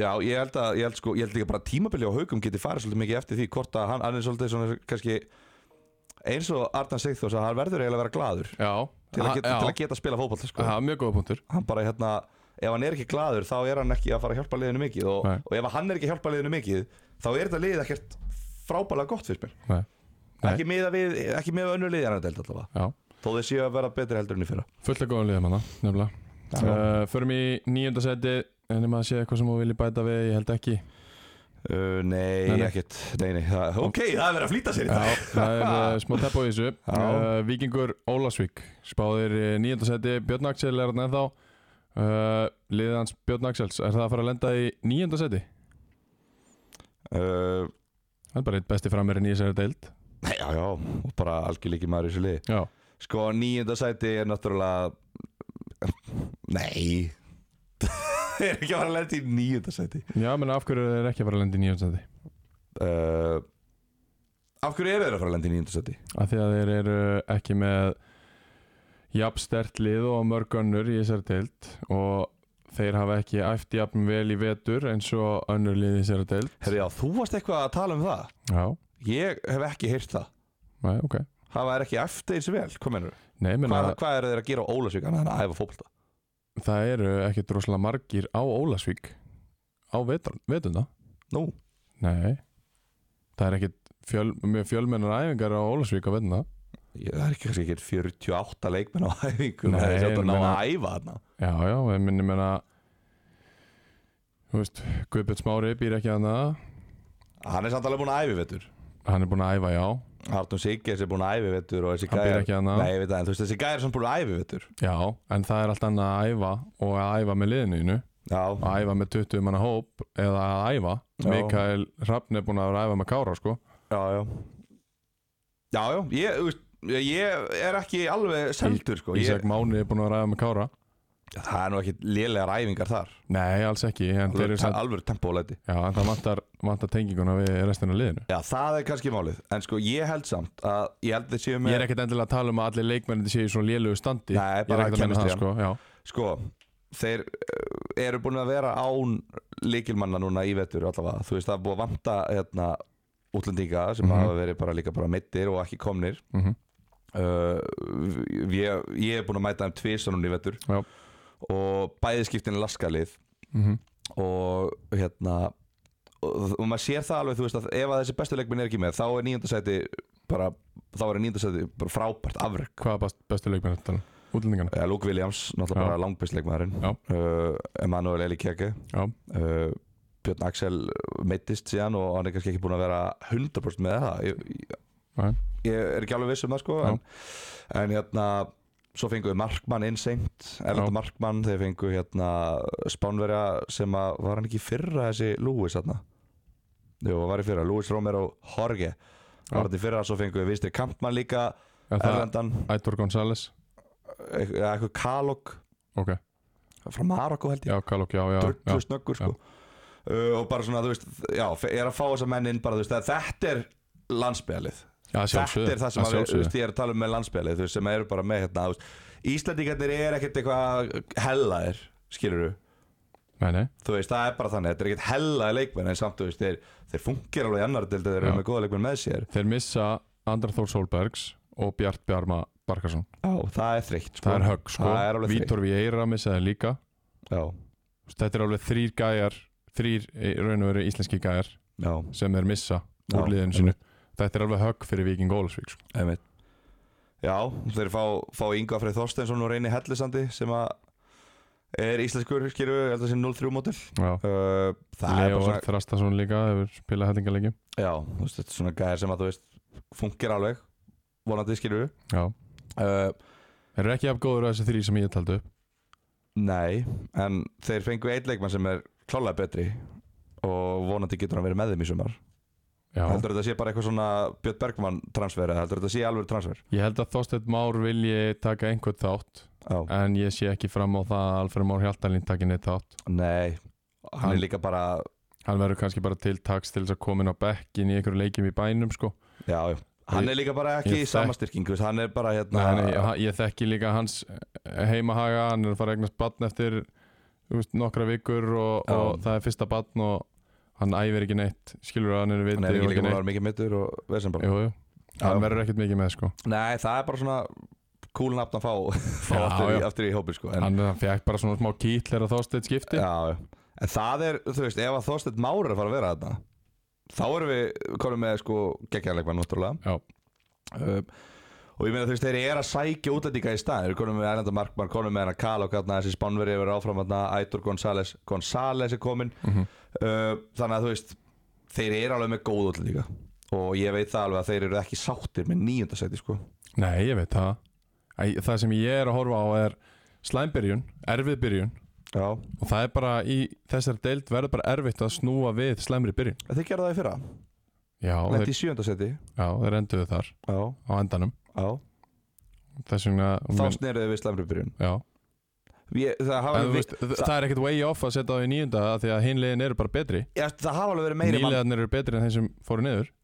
Speaker 2: Já, ég held að, ég held sko, ég held líka bara að tímabili á haugum geti farið svolítið mikið eftir því hvort að hann, hann er svolítið svona kannski eins og Arnar Sigþós að hann verður eiginlega að vera glaður
Speaker 1: já.
Speaker 2: til að
Speaker 1: Ha-
Speaker 2: geta,
Speaker 1: já.
Speaker 2: til að geta að spila fótball sko
Speaker 1: það er mjög góða punktur
Speaker 2: hann bara hérna ef hann er ekki glaður þá er hann ekki að fara að hjálpa liðinu mikið og,
Speaker 1: Nei.
Speaker 2: og ef hann er ekki að hjálpa liðinu mikið þá er þetta lið ekkert frábælega gott fyrir mér
Speaker 1: Nei. Nei.
Speaker 2: ekki miða við, ekki miða við önnur liðið hann að delta allavega
Speaker 1: já.
Speaker 2: þó þið séu að vera betri heldur enn í fyrra
Speaker 1: fullt að góðan liðum hana, nefnilega uh, förum í nýjönda seti en ef maður sé eitthvað sem þú vilji bæta við, ég held ekki
Speaker 2: uh, nei,
Speaker 1: Nei, nei.
Speaker 2: ekkert, nei, nei það, ok, það er verið að flýta sér í dag
Speaker 1: Já, það er uh, smá tepp á þessu
Speaker 2: Já.
Speaker 1: uh, Víkingur Ólasvík spáðir uh, nýjönda seti, Björn Axel er hann ennþá uh, liðið hans Björn Axels er það að fara að lenda í nýjönda seti?
Speaker 2: uh,
Speaker 1: hann er bara eitt besti framherinn í þessari deild
Speaker 2: nei, já, já, og bara algjörleiki maður í þessu lið
Speaker 1: já,
Speaker 2: sko, nýjönda sæti er náttúrulega nei er ekki að fara að lenda í nýjönda sæti
Speaker 1: já menn af hverju er ekki að fara að lenda í nýjönda seti?
Speaker 2: uh, af hverju eru þeir að fara að lenda í nýjönda sæti
Speaker 1: af því að þeir eru ekki með jafnstert lið og mörg önnur í þessari deild og þeir hafa ekki æft jafn vel í vetur eins og önnur lið í þessari deild
Speaker 2: Herri, já, þú varst eitthvað að tala um það
Speaker 1: Já,
Speaker 2: Ég hef ekki heyrt það
Speaker 1: nei, ok
Speaker 2: Það var ekki eftir þessu vel, hvað mennur
Speaker 1: Nei, menna,
Speaker 2: hvað, hvað eru þeir að gera á Ólasvík annað en að æfa fótbolta?
Speaker 1: það eru ekki droslega margir á Ólasvík á vetur, vetunda
Speaker 2: Nú,
Speaker 1: Nei, það er ekki fjöl, mjög fjölmennar æfingar á Ólasvík að vinna
Speaker 2: Ég, það er ekki kannski ekki 48 leikmenn á æfingu
Speaker 1: Nei,
Speaker 2: það er sjátt
Speaker 1: ég
Speaker 2: að ná
Speaker 1: meina-
Speaker 2: að æfa þarna
Speaker 1: Já, já, ég minni menna Þú veist, Guðbjörn Smári býr ekki að
Speaker 2: Hann er samt alveg búin að æfi vettur
Speaker 1: Hann er búinn að æfa, já
Speaker 2: Arnum Sigges er búin að æfi vettur og þessi
Speaker 1: Hann býr
Speaker 2: gæjar
Speaker 1: ekki þarna.
Speaker 2: Nei, ég veit það, en þú veist þessi gæjar er samt búin að æfi vettur
Speaker 1: Já, en það er allt annað að æfa og að æfa með liðinu þínu.
Speaker 2: Já,
Speaker 1: að æfa með 20 manna hóp eða að æfa
Speaker 2: Já.
Speaker 1: Mikael Hrafn er búinn að vera að æfa með Kára sko
Speaker 2: já, já Já, já, ég, þú veist, ég er ekki alveg seldur sko ég,
Speaker 1: Ísak Máni er búinn að vera að æfa með Kára
Speaker 2: Það er nú ekki lélegar æfingar þar
Speaker 1: Nei, alls ekki, en þeir
Speaker 2: Alveg,
Speaker 1: eru samt
Speaker 2: alveg tempóleiti
Speaker 1: Já, en það vantar, vantar tenginguna við restina af liðinu
Speaker 2: Já, það er kannski málið En sko, ég held samt að Ég held þið séu
Speaker 1: Ég
Speaker 2: með
Speaker 1: er ekkert endilega að tala um að allir leikmennir séu í svona lélugu standi
Speaker 2: Nei,
Speaker 1: Ég er
Speaker 2: bara
Speaker 1: ekkert að menna það
Speaker 2: kemistrían.
Speaker 1: sko, já
Speaker 2: Sko, þeir eh, eru búin að vera án líkilmanna núna í vetur allavega Þú veist, það er búið að vanta hérna, útlendinga sem
Speaker 1: Mhm.
Speaker 2: hafa verið bara líka bara meittir og ekki komnir
Speaker 1: mm
Speaker 2: uh, ég, ég er búin að mæta þeim tvisanum í vetur
Speaker 1: Já.
Speaker 2: Og bæði skiptin laskalið
Speaker 1: Mhm.
Speaker 2: og hérna og, og maður sér það alveg, þú veist að ef að þessi bestu leikminn er ekki með þá er nýjöndasæti bara, þá er nýjöndasæti bara frábært afreg
Speaker 1: Hvað er best- bestu leikmenn þetta? Útlendingana?
Speaker 2: Eh, Luke Williams, náttúrulega
Speaker 1: Já.
Speaker 2: bara langbest leikmæðurinn
Speaker 1: Já.
Speaker 2: uh, Emanuel Eli Kjæke
Speaker 1: Já,
Speaker 2: uh, Björn Axel meittist síðan og hann er kannski ekki búin að vera 100% með það ég, ég-
Speaker 1: Nei.
Speaker 2: ég er ekki alveg viss um það sko
Speaker 1: Já.
Speaker 2: en, en hérna svo fenguðu Markmann innsengt Erlanda
Speaker 1: Já.
Speaker 2: Markmann, þeir fengu hérna Spánverja sem að var hann ekki í fyrra þessi Lewis hérna Jú, hann var í fyrra, Lewis Romero Jorge
Speaker 1: Já.
Speaker 2: var þetta í fyrra, svo fenguðu Vistri Kampmann líka
Speaker 1: er það
Speaker 2: Erlendan,
Speaker 1: Ætor González?
Speaker 2: eitthvað eitthvað Kalok
Speaker 1: Ok,
Speaker 2: frá Marokko held ég
Speaker 1: já, Kalok, já, já, já.
Speaker 2: drullu snöggur sko. uh, og bara svona, þú veist, já, fe- er að fá þessa menn inn bara, þú veist, að þetta er landsbyggalið,
Speaker 1: já
Speaker 2: þetta
Speaker 1: sjálfsögðu,
Speaker 2: er það sem að, þú
Speaker 1: sjálfsögðu.
Speaker 2: veist, ég er að tala um með landsbyggalið, þú veist, sem eru bara með hérna, þú veist, Íslandingarnir er ekkert eitthvað hellaðir, skilur þú
Speaker 1: Nei, nei,
Speaker 2: þú veist, það er bara þannig, þetta er ekkert hellaði leikmenn en samt, þú veist, þeir, þeir fungir alveg í annar til þeir eru
Speaker 1: Já.
Speaker 2: með góða leikmenn með sér
Speaker 1: þeir missa Andra Þór Solbergs og Bjart Bjarma Barkarsson
Speaker 2: já, það er þreytt, sko
Speaker 1: Það er högg sko,
Speaker 2: það er alveg þreytt,
Speaker 1: Vítor Vieira missaði líka
Speaker 2: já,
Speaker 1: Þú veist, Þetta er alveg þrýr gæjar þrýr í raun og veru íslenski gæjar
Speaker 2: já,
Speaker 1: sem þeir missa
Speaker 2: Já,
Speaker 1: úr liðinu sínu Þetta er alveg högg fyrir Viking Ólesvík sko.
Speaker 2: einmitt já, þeir fá, fá Inga Freyð Þorsteinsson og reyni Hellisandi sem að er íslenskur, skilur við, held að sé 0-3 mótil
Speaker 1: Já.
Speaker 2: Uh, það er
Speaker 1: Leo
Speaker 2: bara svona,
Speaker 1: Þrastason líka hefur spilað hellingarleiki
Speaker 2: já, þú veist, þetta er svona gæðir sem að þú veist fungir alveg, vonandi skilur við
Speaker 1: Já,
Speaker 2: uh,
Speaker 1: þeir eru ekki jafn góður að þessi þrý sem ég taldi upp
Speaker 2: Nei, en þeir fengu einn leikmann sem er klálega betri og vonandi getur hann verið með þeim í sumar
Speaker 1: Já.
Speaker 2: heldur þetta sé bara eitthvað svona Björn Bergmann transfer eða heldur þetta sé alveg transfer
Speaker 1: Ég held að Þorsteinn Már vilji taka einhvern þátt
Speaker 2: já.
Speaker 1: en ég sé ekki fram á það að Alfred Már Hjaltalín taki neitt þátt
Speaker 2: Nei, hann,
Speaker 1: Hann-
Speaker 2: er líka bara
Speaker 1: Hann verður kannski bara til taks til þess að koma inn á bekkin í einhverju leikjum í bænum sko.
Speaker 2: já, já, hann er líka bara
Speaker 1: Ég
Speaker 2: ekki í
Speaker 1: þekk-
Speaker 2: samastyrking þú veist, hann er bara hérna
Speaker 1: Nei, nei, ha- ég þekki líka hans heimahaga, hann er að fara að eignast barn eftir þú veist, nokkra vikur og,
Speaker 2: Já.
Speaker 1: og það er fyrsta barn og hann æfir ekki neitt, skilur að hann er viti
Speaker 2: hann er
Speaker 1: og
Speaker 2: ekki
Speaker 1: ekki
Speaker 2: líka
Speaker 1: neitt
Speaker 2: bara mikið mittur og vesen bara
Speaker 1: jú, jú. hann
Speaker 2: Já.
Speaker 1: verður ekkert mikið með sko.
Speaker 2: Nei, það er bara svona cool nafn að fá, fá
Speaker 1: Já,
Speaker 2: aftur, Í,
Speaker 1: já.
Speaker 2: aftur í hópi sko. en,
Speaker 1: hann, hann fekk bara svona smá kýtl er að þóstið skipti
Speaker 2: já, já. en það er, þú veist, ef að Þorsteinn Már er að fara að vera þarna þá erum við konum með sko geggjarleikmann náttúrulega
Speaker 1: Já.
Speaker 2: um, og ég meina þú veist, þeir eru að sækja útlendinga í stað, þeir eru konum með Erlenda Markmann konum með hana Kala og gætna þessi Spánveri hefur áfram þarna, Ætur González, González er komin
Speaker 1: Mhm.
Speaker 2: uh, þannig að þú veist þeir eru alveg með góð útlendinga og ég veit það alveg að þeir eru ekki sáttir með nýjöndasæti sko
Speaker 1: nei, ég veit það Æ, það sem ég er að horfa á er slæmbyrjun, erfið byrjun
Speaker 2: Já,
Speaker 1: og það er bara í þessari deild verður bara erfitt að snúa við slæmri byrjun
Speaker 2: þeir gerðu það í fyrra
Speaker 1: já, þeir,
Speaker 2: Lendi í sjöndasetti
Speaker 1: já, þeir enduðu þar
Speaker 2: Já,
Speaker 1: á endanum
Speaker 2: já
Speaker 1: þess vegna
Speaker 2: Þá snerðuðu við slæmri byrjun
Speaker 1: já
Speaker 2: Ég, það, hafa
Speaker 1: En, þú
Speaker 2: alveg,
Speaker 1: veist, það, það er ekkert way off að setja það í nýjunda af því að hinn liðin eru bara betri
Speaker 2: ja, það hafa alveg verið meiri mann
Speaker 1: nýliðarnir eru betri en þeim sem fóru niður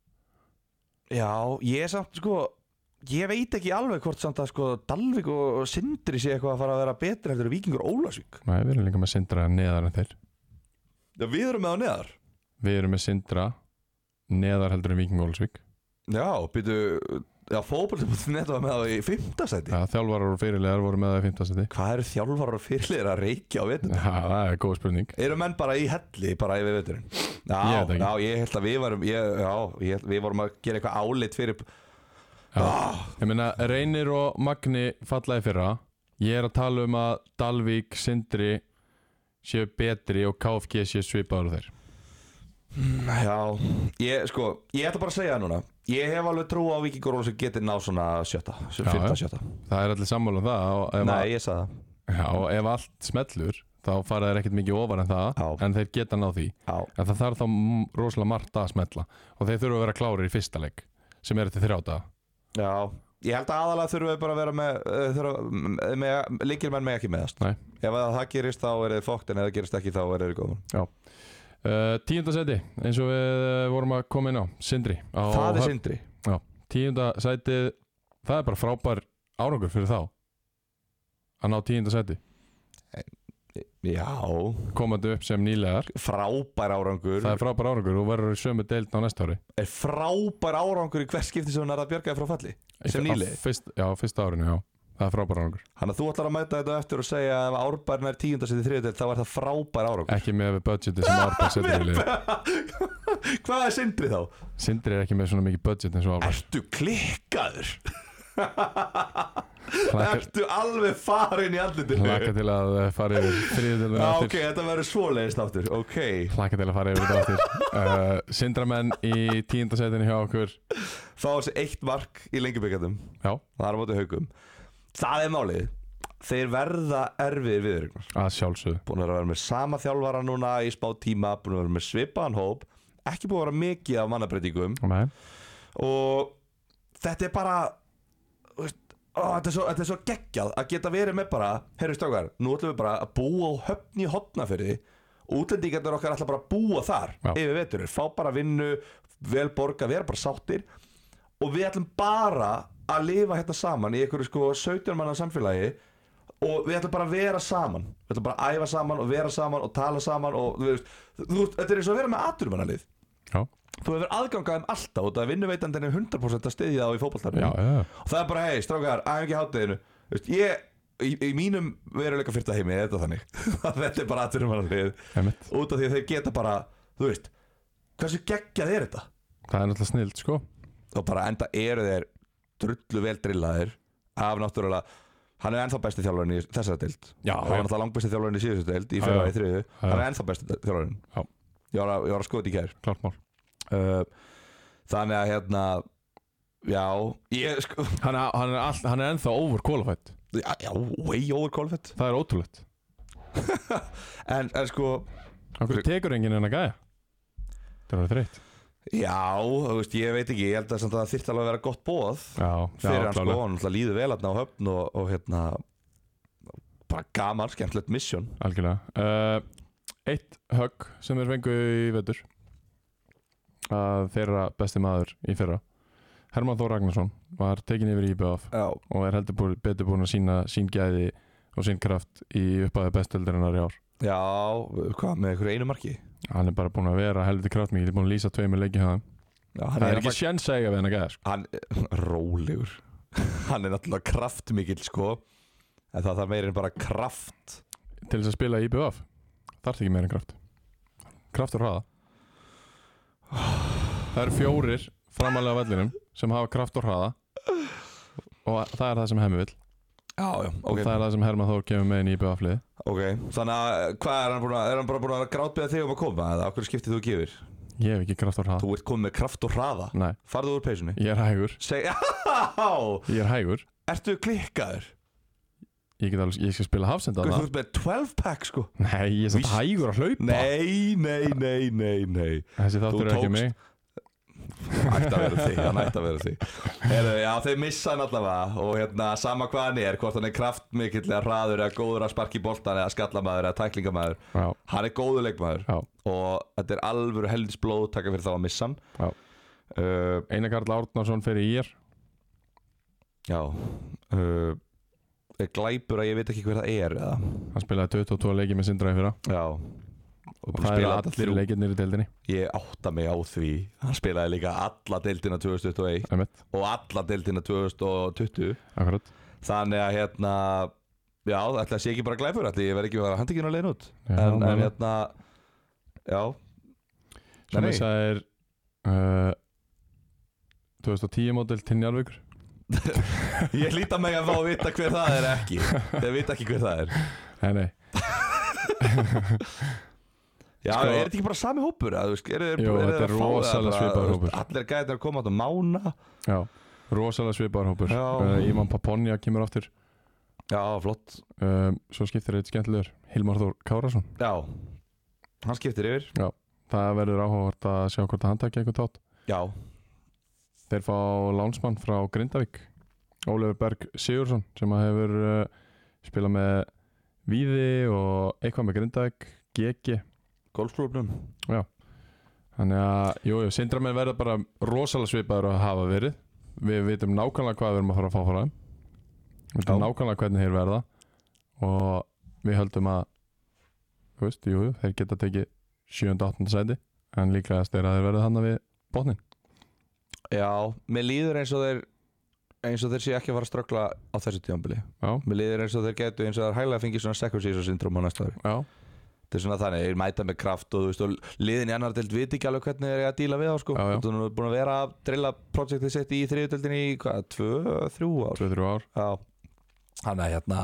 Speaker 2: Já, ég samt sko Ég veit ekki alveg hvort samt að sko Dalvik og og Sindri sé eitthvað að fara að vera betri heldur en Víkingur og Ólafsvík
Speaker 1: Nei, við erum líka með Sindra neðar en þeir
Speaker 2: Já, við erum með á neðar
Speaker 1: Við erum með Sindra neðar heldur en Viking Ólsvík
Speaker 2: Já, býtu Já, fótbolti.net var með á í fimmtasæti
Speaker 1: ja, Þjálfarar og fyrirlegar voru með það í 15 seti
Speaker 2: Hvað eru þjálfarar og fyrirleir að reykja á vetur?
Speaker 1: ja, Það er góð spurning
Speaker 2: Eru menn bara í helli bara yfir veturinn? Já,
Speaker 1: Ég veit ekki.
Speaker 2: já, ég held að við varum ég, Já, ég, held- við vorum að gera eitthvað álit fyrir
Speaker 1: Ég meina, Reynir og Magni fallaði fyrra Ég er að tala um að Dalvík, Sindri séu betri og KFG séu svipaður og þeir
Speaker 2: Já, ég, sko, ég ætla bara að segja það núna Ég hef alveg trú á Víkingur sem getur náð svona sjötta
Speaker 1: Já,
Speaker 2: Fyrta
Speaker 1: já.
Speaker 2: sjötta
Speaker 1: Það er allir sammála um það og ef,
Speaker 2: Nei, ég sagði
Speaker 1: að,
Speaker 2: það
Speaker 1: já, og ef allt smellur þá fara þeir ekkert mikið ofar en það
Speaker 2: Já.
Speaker 1: en þeir geta náð því
Speaker 2: Já,
Speaker 1: en það þarf þá m- rosalega margt að smella og þeir þurfa að vera klárir í fyrsta leik sem er eftir þrjáta
Speaker 2: já Ég held að aðalega þurfum við bara að vera með, uh, þurfum, með Lengilmenn með ekki meðast
Speaker 1: Nei.
Speaker 2: Ef að það gerist þá er þið fókt En ef það gerist ekki þá er þið góðum
Speaker 1: uh, Tíunda seti, eins og við uh, vorum að koma inn á Sindri á
Speaker 2: Það er
Speaker 1: Höfn.
Speaker 2: sindri
Speaker 1: tíunda sætið það er bara frábær árangur fyrir þá að ná tíunda sæti
Speaker 2: Já,
Speaker 1: komandi upp sem nýlegar
Speaker 2: frábær árangur
Speaker 1: það er frábær árangur og verður í sömu deild á næsta ári
Speaker 2: er frábær árangur í hver skipti sem hann er að bjargaði frá falli Sem
Speaker 1: Á
Speaker 2: nýliði?
Speaker 1: fyrst, já, fyrsta árinu, já það er frábær árangur
Speaker 2: Þannig að þú ætlar að mæta þetta á eftir og segja að ef árbærna er tíundarsett í þriðutel þá er það frábær árangur
Speaker 1: ekki með budgeti sem Árbæk setur í lið
Speaker 2: Hvað er sindri þá?
Speaker 1: Sindri er ekki með svona mikið budget eins og Árbæk
Speaker 2: Ertu klikkaður?
Speaker 1: hlaka,
Speaker 2: Ertu alveg farin í andlutinu?
Speaker 1: hlaka til að eh, fara yfir þriðutöldinu
Speaker 2: Já, ok,
Speaker 1: aftur
Speaker 2: þetta verður svoleiðist aftur Ok
Speaker 1: hlaka til að fara yfir þetta aftur uh, Sindramenn í tíunda sætinu hjá okkur
Speaker 2: Fá þessi eitt mark í lengjubikarnum
Speaker 1: já,
Speaker 2: Það er á móti haugum Það er málið Þeir verða erfiðir viður
Speaker 1: að sjálfsögðu
Speaker 2: búin að vera með sama þjálfara núna í spá tíma, búin að vera með svipaðan hóp ekki búin að vera mikið af mannabreitingum
Speaker 1: Nei.
Speaker 2: og þetta er bara þú veist, ó, þetta, er svo, þetta er svo geggjað að geta verið með bara, herri strákar, nú ætlum við bara að búa á höfni í hotnafyrði útlendingarnir okkar ætla bara að búa þar
Speaker 1: Já.
Speaker 2: yfir veturinn, fá bara vinnu vel borga, vera bara sáttir og við ætlum bara að lifa hérna saman í einhverju sko 17 manna samfélagi og við ætlum bara að vera saman við ætlum bara að æfa saman og vera saman og tala saman og þú veist, þú, þú, þetta er eins og að vera með aturmannalið
Speaker 1: já,
Speaker 2: þú hefur aðgangað um alltaf og það er vinnuveitandinn er 100% að styðja þá í
Speaker 1: já,
Speaker 2: fótballtarfinu
Speaker 1: já, já.
Speaker 2: og það er bara, hei, strákar, aðeins ekki háteginu Vist, ég, í, í mínum veruleika fyrta heimi er þetta þannig að þetta er bara aðturumannalið
Speaker 1: einmitt
Speaker 2: út af því að þeir geta bara, þú veist hversu geggjað er þetta?
Speaker 1: Það er náttúrulega snild sko
Speaker 2: og bara enda eru þeir drullu vel drillaðir af náttúrulega hann er ennþá besti þjálfarinn í þessari deild
Speaker 1: Já,
Speaker 2: hann
Speaker 1: já.
Speaker 2: var náttúrulega langbesti þjálfarinn í síðustu deild
Speaker 1: Já,
Speaker 2: í fyrra
Speaker 1: já.
Speaker 2: og í þriðu
Speaker 1: Já.
Speaker 2: hann er ennþá besti þjálfarinn
Speaker 1: Já.
Speaker 2: ég var að, ég var að skoða þetta í kær
Speaker 1: Klart mál
Speaker 2: uh, þannig að hérna já ég sko
Speaker 1: Hann, er- hann, er, all, hann er ennþá over qualified
Speaker 2: já, já way over qualified
Speaker 1: Það er ótrúlegt
Speaker 2: en, en sko
Speaker 1: Hann hverju tekur enginn en að gæja Það er þreitt
Speaker 2: já þú veist ég veit ekki ég held að samt að það þyrfti alveg að vera gott bóð
Speaker 1: Já,
Speaker 2: fyrir hann sko
Speaker 1: klálega.
Speaker 2: hann náttúrulega líður vel hérna á höfn og, og hérna bara gaman skemmtilegt mission
Speaker 1: Algjörlega uh, Eitt högg sem er fengu í vetur að þeirra besti maður í fyrra Herman Þór Ragnarsson var tekin yfir í IBF
Speaker 2: já
Speaker 1: og er heldur búið, betur búin að sína sín gæði og sín kraft í uppæði besteldarinnar í ár
Speaker 2: Já, hvað með einhverju einu marki?
Speaker 1: Hann er bara búin að vera heldur kraftmikið búin að lýsa tveimur leikið hann
Speaker 2: Já,
Speaker 1: Það er ekki sjens að eiga við hann að gæja sko.
Speaker 2: hann, Rólegur Hann er náttúrulega kraftmikill sko En það þarf meira en bara kraft
Speaker 1: til þess að spila í IBF þarf ekki meira en kraft kraft og hraða það eru fjórir framalega vellinum sem hafa kraft og hraða og það er það sem hemmi vill
Speaker 2: Já, já,
Speaker 1: og
Speaker 2: ok,
Speaker 1: það er það sem Herman Þór kemur með inn í IBF lið
Speaker 2: ok Þannig að eh, hvað er hann búin að, er hann bara búin að grátbeða þig um að koma? Eða okkur skiptið þú gefur?
Speaker 1: ég hef ekki kraft og hraða
Speaker 2: Þú ert komið með kraft og hraða
Speaker 1: Nei,
Speaker 2: Farðu úr peysunni
Speaker 1: ég er hægur
Speaker 2: Seg, já,
Speaker 1: ég er hægur
Speaker 2: ertu klikkaður?
Speaker 1: ég, get alveg, ég skal spila hafsenda
Speaker 2: Guð, Þú
Speaker 1: það
Speaker 2: ert með 12 pack sko
Speaker 1: nei, ég er samt
Speaker 2: Víst.
Speaker 1: hægur að hlaupa
Speaker 2: Nei, nei, nei, nei, nei
Speaker 1: þessi þáttur er
Speaker 2: tókst-
Speaker 1: ekki um mig
Speaker 2: ætti að vera því, hann ætti að vera því Heru, Já, þeir missa hann allavega og hérna, sama hvað hann er, hvort hann er kraftmikill eða hraður eða góður að sparki boltan eða skallamaður eða tæklingamaður
Speaker 1: já,
Speaker 2: hann er góður leikmaður
Speaker 1: já,
Speaker 2: og þetta er alvöru helvins blóð taka fyrir þá að missa hann
Speaker 1: já
Speaker 2: uh,
Speaker 1: Einar Karl Árnarsson fyrir í er
Speaker 2: Já uh, er glæpur að ég veit ekki hver það er eða.
Speaker 1: hann spilaði 22 leiki með Sindra í fyrra
Speaker 2: Já og
Speaker 1: og
Speaker 2: búin
Speaker 1: það
Speaker 2: að
Speaker 1: eru
Speaker 2: spila alla
Speaker 1: allir
Speaker 2: þrjú
Speaker 1: leikirnir í deildinni
Speaker 2: Ég átta mig á því Hann spilaði líka alla deildina 2021
Speaker 1: Emmett,
Speaker 2: og alla deildina 2020
Speaker 1: akkurat
Speaker 2: Þannig að hérna Já, ætla að sé ekki bara hérna, glæfur Ætla ég verð ekki að vera handtekinn að leiðin út
Speaker 1: Já,
Speaker 2: En,
Speaker 1: nei,
Speaker 2: en
Speaker 1: nei.
Speaker 2: hérna Já
Speaker 1: sem
Speaker 2: Nei.
Speaker 1: þess að er uh, 2010 mótil til Njarvíkur
Speaker 2: Ég líta mig að fá að vita hver það er ekki Þeir vita ekki hver það er
Speaker 1: Nei, nei,
Speaker 2: Já,
Speaker 1: Sko-
Speaker 2: er þetta ekki bara sami hópur? að, þú veist, eru þeir-
Speaker 1: Jú,
Speaker 2: eru
Speaker 1: þetta
Speaker 2: þeir
Speaker 1: er
Speaker 2: að fá það
Speaker 1: rosalega
Speaker 2: bara,
Speaker 1: svipaður
Speaker 2: þú
Speaker 1: hópur.
Speaker 2: veist, Allir gæðir að koma átt að mána
Speaker 1: já Rosalega svipaðar hópur
Speaker 2: Já.
Speaker 1: uh, Íman Paponja kemur aftur
Speaker 2: Já, flott
Speaker 1: um, Svo skiptir eitt skemmtilegur Hilmar Þór Kárasson
Speaker 2: Já, hann skiptir yfir
Speaker 1: Það verður áhugavert að sjá hvort að hann takja einhvern tát
Speaker 2: Já,
Speaker 1: Þeir fá lánsmann frá Grindavík Ólefur Berg Sigursson sem að hefur uh, spilað með Víði og eitthvað með Grindavík GG
Speaker 2: golfklubnum
Speaker 1: Þannig að, jú, jú, sindramenn verða bara rosalega svipaður að hafa verið Við vitum nákvæmlega hvað við erum að fara að fá frá þeim Við vitum
Speaker 2: Já.
Speaker 1: nákvæmlega hvernig þeir verða Og við höldum að, þú veist, jú, jú, þeir geta tekið 7. 8. sæti En líklegast er að þeir verða þannig við botnin
Speaker 2: Já, mér líður eins og þeir eins og þeir séu ekki að fara að ströggla á þessu tíðanbili
Speaker 1: Já,
Speaker 2: Mér líður eins og þeir getu eins og þeir hæglega fengið svona second season syndrom á næsta ári
Speaker 1: já,
Speaker 2: Þetta er svona þannig, þeir mæta með kraft og þú veist og liðin í annar deild viti ekki alveg hvernig þeir eru að díla við þá sko
Speaker 1: Já, já.
Speaker 2: Þú er búin að vera að drilla projektið sitt í þriðu deildinni í hvað, tvö, þrjú ár
Speaker 1: 2-3 ár
Speaker 2: Já, þannig að hérna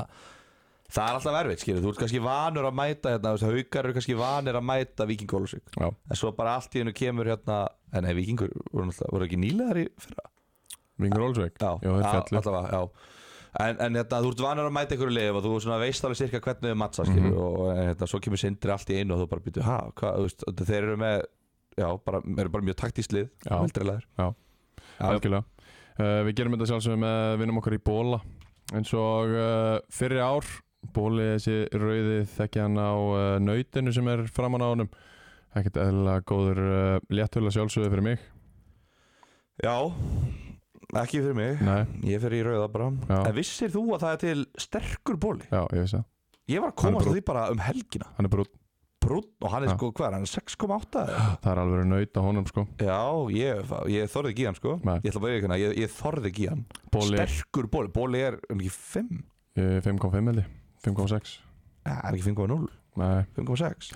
Speaker 2: Það er alltaf erfitt, skilur, þú ert kannski vanur að mæta hérna, þú veist, haukar eru kannski vanir að mæta vikingólusvík,
Speaker 1: Já,
Speaker 2: en svo bara allt í hennu kemur hérna, en nei, vikingur voru, náttúrulega- voru ekki nýlegar í fyrra
Speaker 1: Vingur Olsveig
Speaker 2: Já,
Speaker 1: Jú, þeir
Speaker 2: já,
Speaker 1: fjallu
Speaker 2: allavega, já En, en hérna, þú ert vanur að mæta einhverju lið og þú svona veist alveg cirka hvernig þau mattsa mm
Speaker 1: Mhm.
Speaker 2: og en, hérna, svo kemur sindri allt í einu og þú bara býtu, ha, hvað, þú veist, þetta- þeir eru með já, bara, eru bara mjög taktíslið lið
Speaker 1: Já.
Speaker 2: veldreilaðir.
Speaker 1: Já.
Speaker 2: Já,
Speaker 1: Algjörlega uh, Við gerum þetta sjálfsögum með vinnum okkar í bóla eins og uh, fyrri ár bóli þessi rauði þekkja hann á uh, nautinu sem er framan á honum ekkert eðlilega góður uh, léttöla sjálfsögðu fyrir mig
Speaker 2: já, ekki fyrir mig
Speaker 1: Nei,
Speaker 2: ég fyrir í rauða bara
Speaker 1: Já.
Speaker 2: En vissir þú að það er til sterkur bóli?
Speaker 1: já, ég vissi það
Speaker 2: Ég
Speaker 1: Hann
Speaker 2: var að
Speaker 1: er
Speaker 2: komast að
Speaker 1: brúnn.
Speaker 2: því bara um helgina
Speaker 1: Hann er brútt,
Speaker 2: Brún, og hann er
Speaker 1: Já.
Speaker 2: sko, hvað er hann, 6,8 eða?
Speaker 1: það er alveg naut á honum sko
Speaker 2: Já, ég, ég þorði ekki í hann sko
Speaker 1: Nei.
Speaker 2: Ég ætla bara að ekki ég, ég þorði ekki í hann
Speaker 1: Bóli uh,
Speaker 2: Sterkur bóli, bóli er um ekki 5
Speaker 1: 5.5 held ég 5.6
Speaker 2: Nei, það er ekki 5.0,
Speaker 1: Nei,
Speaker 2: 5.6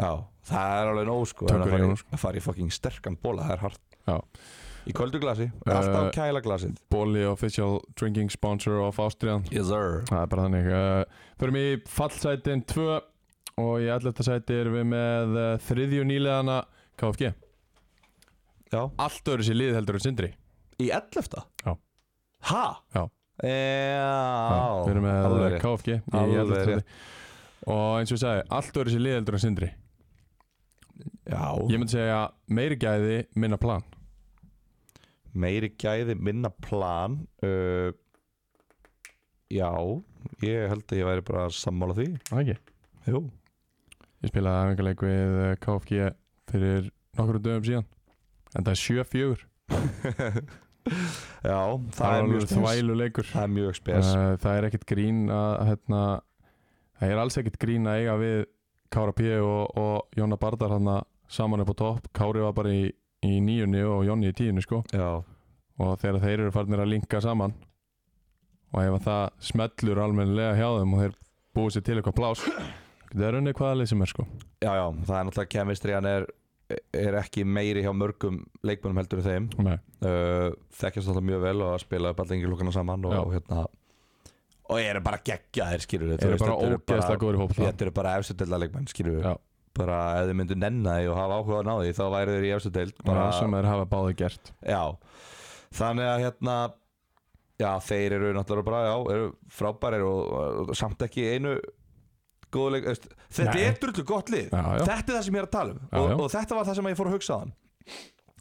Speaker 2: Já, það er alveg nóg sko
Speaker 1: Tökur
Speaker 2: en að
Speaker 1: í
Speaker 2: fara
Speaker 1: honum,
Speaker 2: Að fara í fucking sterkan bóla, það er hart
Speaker 1: Já.
Speaker 2: Í köldu glasi, alltaf
Speaker 1: Eh,
Speaker 2: kæla glasið
Speaker 1: Bóli official drinking sponsor of Austrian
Speaker 2: Yes sir
Speaker 1: Það er bara þannig uh, Förum í fallsætin 2 og í 11. sæti erum við með uh, þriðju nýlegana KFG
Speaker 2: Já,
Speaker 1: Allt öðru sér lið heldur en Sindri
Speaker 2: í 11
Speaker 1: Já.
Speaker 2: Ha?
Speaker 1: Já.
Speaker 2: Já,
Speaker 1: Já, Við erum með eh,
Speaker 2: alveg
Speaker 1: alveg,
Speaker 2: rétt.
Speaker 1: KFG í
Speaker 2: Alveg
Speaker 1: 11.
Speaker 2: rétt.
Speaker 1: sæti Og eins og ég sagði, allt öðru sér lið heldur en Sindri
Speaker 2: Já,
Speaker 1: Ég myndi segja meiri gæði, minna plan
Speaker 2: meiri gæði, minna plan uh, Já, ég held að ég væri bara sammála því
Speaker 1: Það ekki
Speaker 2: Jú
Speaker 1: Ég spilaði aðeins við uh, KFG fyrir nokkru dögum síðan En það er 7-4
Speaker 2: Já, það,
Speaker 1: Það
Speaker 2: er
Speaker 1: er
Speaker 2: mjög
Speaker 1: alveg
Speaker 2: spes
Speaker 1: þvælu leikur
Speaker 2: Það er mjög
Speaker 1: Uh,
Speaker 2: spes
Speaker 1: það er ekkert grín að hérna, það er alls ekkert grín að eiga við Kára P. og, og Jóna Bardar hann saman upp á topp Kári var bara í, í níunni og Jónni í tíunni sko
Speaker 2: Já,
Speaker 1: og þegar þeir eru farnir að linka saman og ef að það smellur almennilega hjá þeim og þeir búið sér til eitthvað plás það er unni hvaða lið sem er sko
Speaker 2: Já, já, það er náttúrulega kemistri hann er, er ekki meiri hjá mörgum leikmönnum heldur en þeim
Speaker 1: Nei.
Speaker 2: uh, þekkjast náttúrulega mjög vel og að spila upp allir yngri lukkana saman og,
Speaker 1: Já.
Speaker 2: og hérna og eru bara geggjaðir skilur
Speaker 1: þeir eru bara ógeðslega góður í hópa
Speaker 2: Þetta eru bara efstuddelda leikmenn skilur
Speaker 1: Já.
Speaker 2: bara ef þið myndu nenna því og hafa áhuga á náði þá væri þeir í efstuddeld bara,
Speaker 1: sem þeir hafa báði gert
Speaker 2: já, þannig að hérna já, þeir eru náttúrulega bara já, eru frábærir og, og samt ekki einu góðleik veist, þetta
Speaker 1: Nei.
Speaker 2: er drullu gott lið
Speaker 1: já, já.
Speaker 2: Þetta er það sem ég er að tala um
Speaker 1: Já,
Speaker 2: og,
Speaker 1: já.
Speaker 2: og þetta var það sem ég fór að hugsa þann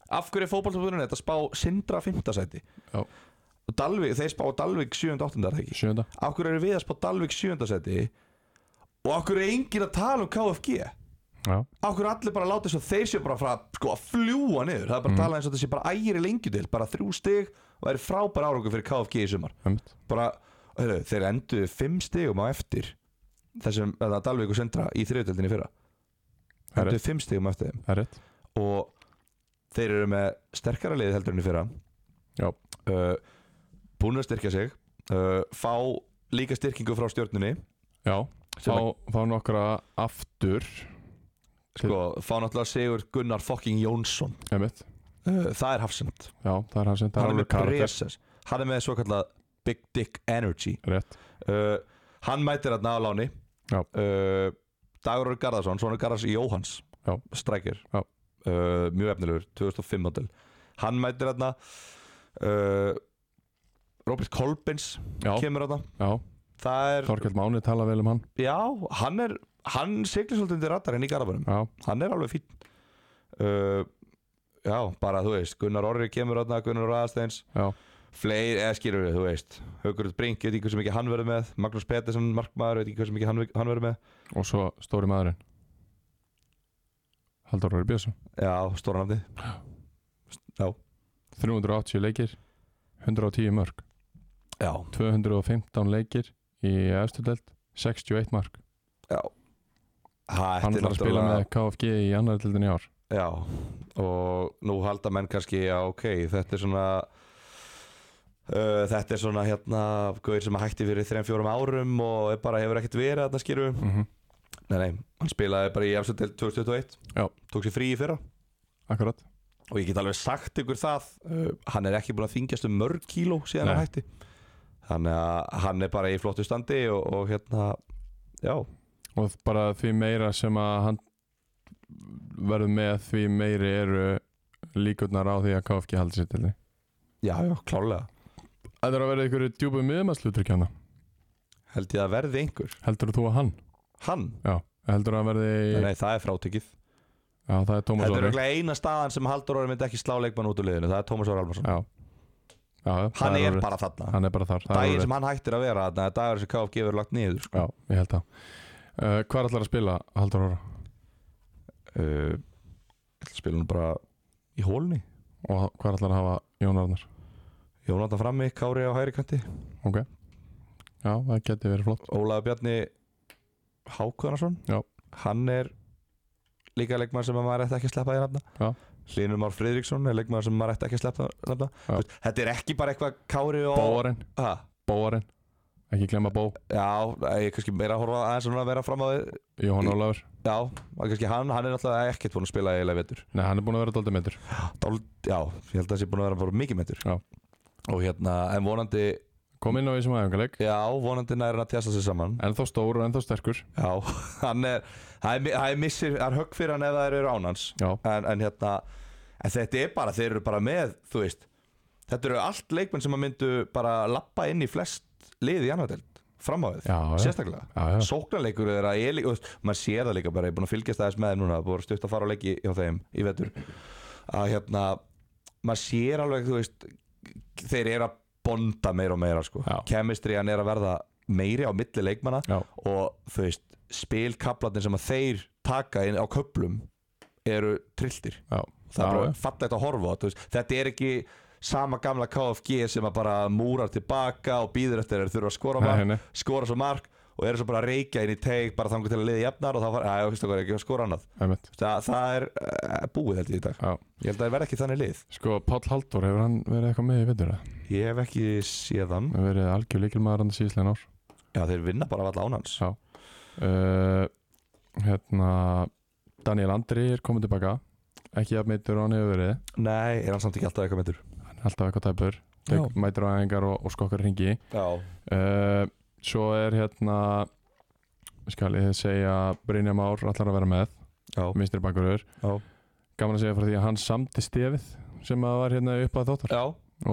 Speaker 2: Af hverju er fótballtöfunni þetta spá Sindra 5. sæti
Speaker 1: Já.
Speaker 2: og Dalvik, þeir spá Dalvik 7. og 8. er það ekki
Speaker 1: sjönda
Speaker 2: Af hverju eru við að spá Dalvik 7. sæti og af hverju er engin að tala um KFG
Speaker 1: já.
Speaker 2: Af hverju allir bara láta þess að þeir séu bara frá, sko, að fljúa niður Það er bara
Speaker 1: Mm.
Speaker 2: að tala eins og þetta sé bara ægir í lengjudil bara þrjú stig og það er frábær árangur fyrir KFG í sumar
Speaker 1: einmitt.
Speaker 2: bara, heyrðu, þeir endu fimm stigum á eftir þessum, eða Dalvik og Sindra í þriðutöldinni fyrra
Speaker 1: Það er
Speaker 2: endu fimm stigum á eftir þeim
Speaker 1: það er rétt
Speaker 2: og þeir eru með sterkara liðið heldur enn í fyrra
Speaker 1: Já.
Speaker 2: uh, búin að styrkja sig uh, fá líka styrkingu frá stjórnunni
Speaker 1: já,
Speaker 2: sem
Speaker 1: fá, fá nokkra aftur
Speaker 2: sko, þá náttúrulega Sigur Gunnar fucking Jónsson
Speaker 1: einmitt
Speaker 2: uh, það er hafsend
Speaker 1: Já, það er hann sem, það er
Speaker 2: hann er með
Speaker 1: alveg karakter
Speaker 2: presens hann er með svo kallað Big Dick Energy
Speaker 1: Rétt,
Speaker 2: uh, hann mætir þarna á láni
Speaker 1: Já.
Speaker 2: uh, Dagur Örn Garðarsson sonur Garðars Jóhans
Speaker 1: Já.
Speaker 2: strækir
Speaker 1: Já.
Speaker 2: uh, mjög efnilegur 2005 model hann mætir þarna uh, Robert Kolbins
Speaker 1: já,
Speaker 2: kemur þarna
Speaker 1: já
Speaker 2: það er
Speaker 1: Þorkjöld Máni tala vel um hann
Speaker 2: já hann er hann siglir svolítið undir radarinn í Garðabænum
Speaker 1: Já,
Speaker 2: hann er alveg fín uh, já bara þú veist Gunnar Orri kemur þarna Gunnar Raðasteins
Speaker 1: já,
Speaker 2: fleiri, eða skilur við, þú veist Haukurud Brink, ég veit ekki hversu mikið hann verður með Magnús Pettersson, markmaður, ég veit ekki hversu mikið hann, hann verður með
Speaker 1: og svo stóri maðurinn Halldór Róri Björnsson
Speaker 2: já, stóra nafni
Speaker 1: 380 leikir 110 mörg
Speaker 2: já,
Speaker 1: 215 leikir í eftirdelt 61 mark
Speaker 2: já ha,
Speaker 1: Hann ætlar að spila með KFG í annar dildin í ár
Speaker 2: já, og nú halda menn kannski, já, ok, þetta er svona uh, þetta er svona hérna, gauðir sem hætti fyrir 3-4 árum og er bara hefur ekkert verið þarna skilur við,
Speaker 1: mm
Speaker 2: nei, nei, hann spilaði bara í efstu til 2021,
Speaker 1: Já.
Speaker 2: tók sér frí í fyrra
Speaker 1: Akkurat
Speaker 2: og ég get alveg sagt ykkur það uh, hann er ekki búin að þingjast um mörg kíló síðan
Speaker 1: Nei.
Speaker 2: hann hætti þannig að hann er bara í flottu standi og, og hérna já,
Speaker 1: Og bara því meira sem að hann verður með því meiri eru líkurnar á því að KFG haldi sér til því
Speaker 2: já, já, klálega
Speaker 1: Það er að vera einhverju djúbu miðumarslutur ekki hana
Speaker 2: held ég að verði einhver,
Speaker 1: Heldur þú að hann?
Speaker 2: hann
Speaker 1: Já Heldur að hann verði
Speaker 2: nei, það er frátekið,
Speaker 1: Já, það er Tómas
Speaker 2: þetta er
Speaker 1: Orri
Speaker 2: örugglega eina staðan sem Haldur Orri myndi ekki slá leikmann út úr liðinu það er Tómas Orri Almarsson,
Speaker 1: Já Já, já það
Speaker 2: hann er,
Speaker 1: alveg-
Speaker 2: bara þarna
Speaker 1: Hann er bara þar það er
Speaker 2: daginn
Speaker 1: alveg-
Speaker 2: sem hann hættir að vera þarna, er dagur sem KFG verður lagt niður sko.
Speaker 1: Já, ég held það uh, Hvað ætlar að spila, Haldur Orra? Eh,
Speaker 2: uh, spilum bara í hólni,
Speaker 1: Og hvað ætlar að hafa Jón Arnar?
Speaker 2: Jónatan frammi Kári á hægri kanti
Speaker 1: Já, það geti verið flott
Speaker 2: Ólaður Bjarni Hákonarsson
Speaker 1: Já.
Speaker 2: Hann er líka leikmann sem að maður ætti ekki að sleppa því að
Speaker 1: Já.
Speaker 2: nafna Hlynur Már Friðriksson er leikmann sem maður ætti ekki að sleppa að nafna
Speaker 1: Já.
Speaker 2: Þú veist, Þetta er ekki bara eitthvað Kári og
Speaker 1: Bóarinn,
Speaker 2: ha,
Speaker 1: bóarinn Ekki glemma bó,
Speaker 2: Já, ég er kannski meira að horfa aðeins svona að vera fram á því
Speaker 1: Jóhann
Speaker 2: Í-
Speaker 1: Ólafur
Speaker 2: Já, og kannski hann, hann er náttúrulega ekkert búinn að spila eiginlega vettur
Speaker 1: Nei, hann er búin að vera daldið myndur
Speaker 2: Dál, Já, ég held að það sé búinn að vera bara mikið vettur
Speaker 1: Já.
Speaker 2: Og hérna, en vonandi
Speaker 1: Kom inn á því sem aðeins
Speaker 2: Já, vonandi nær hann að tjasta sig saman
Speaker 1: Ennþá stór og ennþá sterkur
Speaker 2: Já, hann er Það er, mi- það er missir, það er högg fyrir hann ef það eru án hans
Speaker 1: Já,
Speaker 2: en, en hérna en þetta er bara, þeir eru bara með þú veist, þetta eru allt leikmenn sem að myndu bara lappa inn í flest lið í annardelt, fram á við
Speaker 1: já, já,
Speaker 2: sérstaklega,
Speaker 1: já, já.
Speaker 2: sóknarleikur þeirra er líka, þú veist, maður sér það líka bara, ég er búin að fylgjast aðeins með þeim núna, búin stutt að fara á leiki hjá þeim í vetur að hérna, maður sér alveg þú veist, þeir eru að bonda meira og meira sko,
Speaker 1: Já.
Speaker 2: kemistriðan er að verða meiri á milli leikmanna
Speaker 1: Já.
Speaker 2: og þú veist, spilkaplarnir sem að þeir taka inn á köplum eru trilltir
Speaker 1: Já.
Speaker 2: það er
Speaker 1: Já,
Speaker 2: bara
Speaker 1: já.
Speaker 2: fallegt að horfa á, þú veist, þetta er ekki sama gamla KFG sem að bara múrar tilbaka og býður eftir þeir þurfa að skora
Speaker 1: Nei,
Speaker 2: mark,
Speaker 1: nei,
Speaker 2: skora svo mark og eru svo bara að reykja inn í teig bara þangur til að liði jafnar og þá fara, að ég veist okkur ekki að skora annað
Speaker 1: einmitt
Speaker 2: það, það er uh, búið held ég í dag
Speaker 1: Já.
Speaker 2: ég held að það verð ekki þannig lið
Speaker 1: Sko, Páll Haldur, hefur hann verið eitthvað með í vindur?
Speaker 2: ég hef ekki séð hann
Speaker 1: Hefur verið algjör líkilmaður hann síðslegin ár
Speaker 2: já þeir vinna bara valla án hans
Speaker 1: Já. uh, Hérna Daniel Andri er komið tilbaka Ekki að meitur og hann hefur verið
Speaker 2: nei, er hann samt ekki alltaf eitthvað meittur
Speaker 1: Hann er alltaf eitthvað tæpur Tek- Mætir á aðingar og, og skokkar hringi
Speaker 2: já,
Speaker 1: uh, Svo er hérna skal ég segja Brynja Már allar að vera með
Speaker 2: já,
Speaker 1: vinstri bakurur
Speaker 2: já,
Speaker 1: gaman að segja frá því að hann samti stefið sem að var hérna upp að þóttar
Speaker 2: já.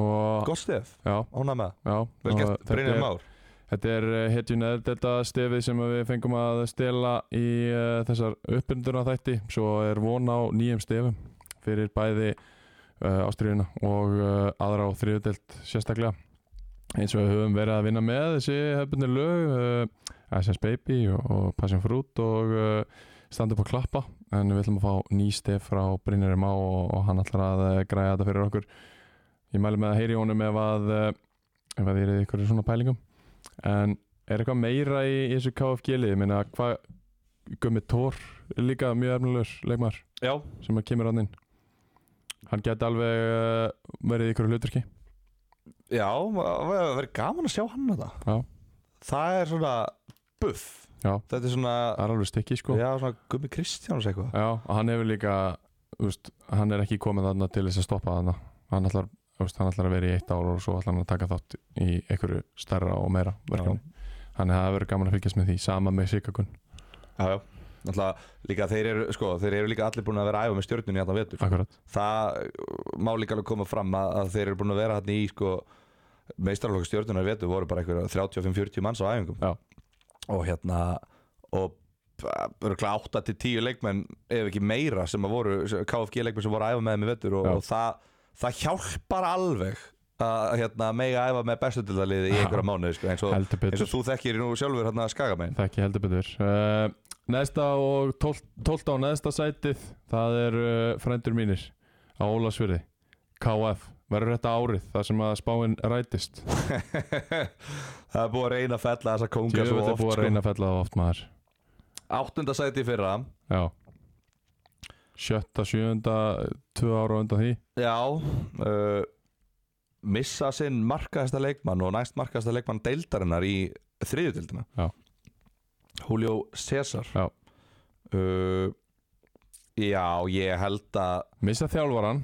Speaker 1: og
Speaker 2: gott stef,
Speaker 1: já,
Speaker 2: ána með
Speaker 1: já,
Speaker 2: það vel
Speaker 1: og
Speaker 2: gert, Brynjar
Speaker 1: er,
Speaker 2: Már
Speaker 1: þetta er hetjun eða þetta stefið sem að við fengum að stela í uh, þessar uppbyndurna þætti svo er von á nýjum stefum fyrir bæði uh, ástriðuna og uh, aðra á þriðudelt sérstaklega eins og við höfum verið að vinna með þessi hefðbundir lög uh, SS Baby og, og Passion Fruit og uh, standa upp og klappa en við ætlum að fá ný stef frá Brynjari Má og, og hann ætlar að uh, græja þetta fyrir okkur ég mæli með að heyri honum ef að uh, ef að þið eru ykkur í svona pælingum en er eitthvað meira í, í þessu KFG liði, minna hvað Gummi Tór er líka mjög efnilegur leikmar
Speaker 2: já,
Speaker 1: sem að kemur hann inn hann geti alveg uh, verið í ykkur hlutverki
Speaker 2: já, það verður gaman að sjá hann þetta
Speaker 1: Já.
Speaker 2: það er svona buff
Speaker 1: Já.
Speaker 2: Þetta er svona,
Speaker 1: það er alveg stikki sko
Speaker 2: já, svona Gummi Kristjáns eitthvað
Speaker 1: Já, og hann hefur líka úst, hann er ekki komið þarna til þess að stoppa þarna hann ætlar, úst, hann ætlar að vera í eitt ár og svo ætlar hann að taka þátt í einhverju stærra og meira verkefni hann hefur verið gaman að fylgjast með því, sama með Sigakun
Speaker 2: Já, já Náttúrulega líka þeir eru, sko, þeir eru líka allir búin að vera að æfa með stjórnunni hérna vetur
Speaker 1: akkurat,
Speaker 2: Það uh, má líka alveg koma fram að, að þeir eru búin að vera hérna í sko, meistaralokk stjórnunni vetur voru bara einhverja 35-40 manns á æfingum
Speaker 1: Já.
Speaker 2: Og hérna og örgulega 8-10 leikmenn ef ekki meira sem að voru KFG leikmenn sem voru að æfa með þeim í vetur og,
Speaker 1: Já.
Speaker 2: og það, það hjálpar alveg að hérna, mega æfa með bestutildaliði í
Speaker 1: Já.
Speaker 2: einhverja mánuði sko, eins, og,
Speaker 1: heldur
Speaker 2: eins
Speaker 1: betur
Speaker 2: og þú þekkir nú sjálfur hérna skagamein
Speaker 1: þekki heldur betur uh, neðsta og 12 á neðsta sætið það er uh, frændur mínir á Ólasfyrði KF, verður þetta árið þar sem að spáin rætist
Speaker 2: það er búið að reyna að fella þessa konga
Speaker 1: Djöfull
Speaker 2: svo
Speaker 1: er
Speaker 2: oft
Speaker 1: búið að
Speaker 2: sko.
Speaker 1: reyna að fella það oft maður
Speaker 2: áttunda sæti í fyrra
Speaker 1: já sjötta, sjöunda, tvö ára undan því
Speaker 2: já uh, missa sinn markaðasta leikmann og næst markaðasta leikmann deildarinnar í þriðjutildina
Speaker 1: Já.
Speaker 2: Julio César
Speaker 1: Já.
Speaker 2: uh, já ég held að
Speaker 1: missa þjálfaran,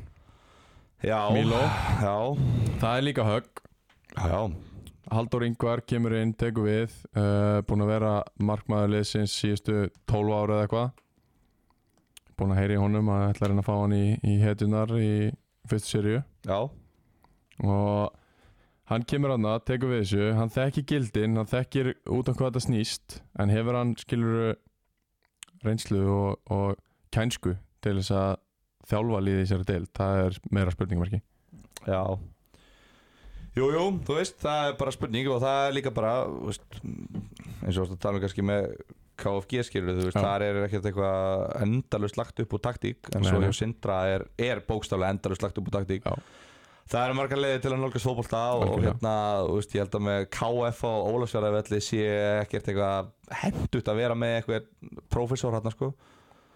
Speaker 2: já,
Speaker 1: Milo.
Speaker 2: já,
Speaker 1: það er líka högg
Speaker 2: já,
Speaker 1: Haldur Ingvar kemur inn, tekur við uh, búin að vera markmaður liðsins síðustu 12 ára eða eitthvað búin að heyri honum að ætla að reyna að fá hann í, í hetjunar í fyrstu sériu
Speaker 2: já.
Speaker 1: og hann kemur hann að tekur við þessu, hann þekkir gildin hann þekkir út af hvað þetta snýst en hefur hann skilur reynslu og, og kænsku til þess að þjálfa liðið í sér deild, það er meira spurningmarki
Speaker 2: Já Jú, jú, þú veist, það er bara spurning og það er líka bara þú veist, eins og þú varst að tala um kannski með KFG skilur, þú veist,
Speaker 1: Já.
Speaker 2: þar er ekkert eitthvað endalust lagt upp úr taktík en
Speaker 1: Nei,
Speaker 2: svo
Speaker 1: nei.
Speaker 2: hjá Sindra er, er bókstaflega endalust lagt upp úr taktík
Speaker 1: Já.
Speaker 2: Það eru margar leiðir til að nálgast fótbolta og
Speaker 1: Algjörlega.
Speaker 2: hérna, þú veist, ég held að með KF og Ólafsfjörðarvelli sé ekkert eitthvað hendt út að vera með eitthvað prófessor hérna, sko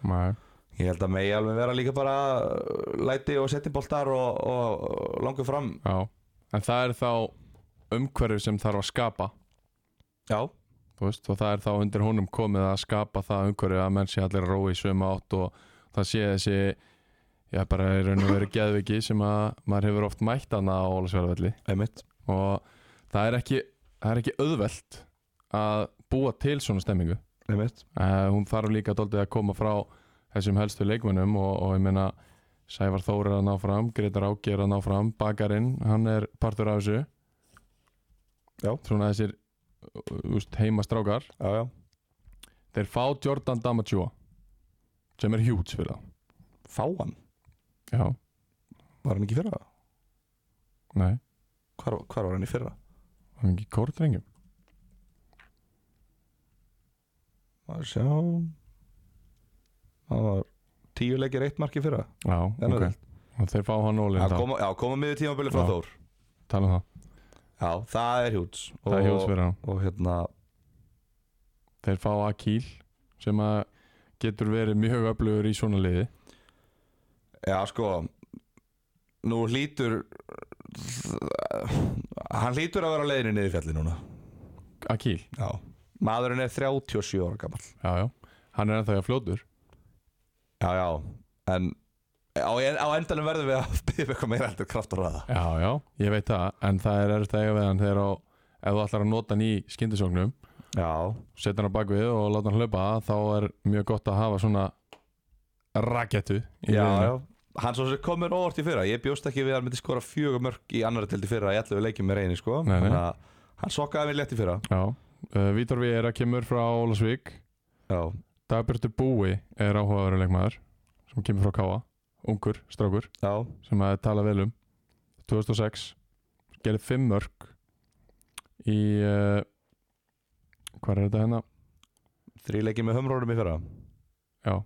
Speaker 1: Nei.
Speaker 2: Ég held að megi alveg vera líka bara uh, læti og setjumboltar og, og, og langur fram
Speaker 1: Já, en það er þá umhverfið sem þarf að skapa
Speaker 2: Já,
Speaker 1: þú veist, og það er þá undir honum komið að skapa það umhverfið að menn sé allir að róa í sömu átt og það sé þessi já, bara í raun og verið geðviki sem að maður hefur oft mætt hana á Ólasverðvelli
Speaker 2: einmitt
Speaker 1: og það er ekki, það er ekki auðvelt að búa til svona stemmingu
Speaker 2: Einmitt.
Speaker 1: uh, hún þarf líka doldið að koma frá þessum helstu leikmönnum og, og ég meina Sævar Þór er að ná fram, Gretar Áki er að ná fram Bakarinn, hann er partur af þessu
Speaker 2: Já.
Speaker 1: svona þessir úst, heimastrákar
Speaker 2: Já, já.
Speaker 1: þeir fá Jordan Damatjúa sem er hjúts fyrir þá
Speaker 2: Fá hann?
Speaker 1: já,
Speaker 2: Var hann ekki í fyrra?
Speaker 1: nei,
Speaker 2: Hvar, hvar var hann í fyrra?
Speaker 1: hann er ekki kórdrengjum
Speaker 2: Að sjá Hann var tíu leikir eitt mark í fyrra
Speaker 1: já,
Speaker 2: En
Speaker 1: ok, og þeir fá hann
Speaker 2: Já,
Speaker 1: ólið þá,
Speaker 2: koma, já, koma miður tímabili frá
Speaker 1: Já.
Speaker 2: Þór
Speaker 1: tala um það,
Speaker 2: Já, það er hjúts
Speaker 1: það er hjúts
Speaker 2: og,
Speaker 1: fyrir hann
Speaker 2: og hérna
Speaker 1: þeir fá Akil sem að getur verið mjög öflugur í svona liði
Speaker 2: Já, sko Nú hlýtur Hann hlýtur að vera á leiðinu niður í fjalli núna
Speaker 1: Akil,
Speaker 2: Já Maðurinn er 37 ára gammal
Speaker 1: já, já, hann er ennþá fljótur
Speaker 2: Já, já En á, á endanum verðum við að byrja eitthvað meira heldur kraft og ræða
Speaker 1: Já, já, ég veit það, en það er erfitt að eiga við hann þegar á, ef þú ætlar að nota hann í skyndisóknum,
Speaker 2: Já,
Speaker 1: setja hann á bakvið og láta hann hlaupa, þá er mjög gott að hafa svona rakettu í
Speaker 2: já,
Speaker 1: liðinu.
Speaker 2: já Hann svo sem komur óvart í fyrra Ég bjóst ekki við að hann myndi skora fjögur mörg í annara tildi fyrra Ég ætla við leikjum með reyni sko
Speaker 1: Nei, nei.
Speaker 2: Þannig að Hann sokkaði mér létt í fyrra
Speaker 1: já. Uh, Vítor Viera kemur frá Ólasvík,
Speaker 2: Já,
Speaker 1: Dagbjörtur Búi er áhugaverið leikmaður sem kemur frá Káa, ungur, strákur,
Speaker 2: já,
Speaker 1: sem að tala vel um, 2006, gerði fimm mörg í, uh, hvað er þetta hérna?
Speaker 2: þrý leikjum með hömrónum í fyrra
Speaker 1: Já,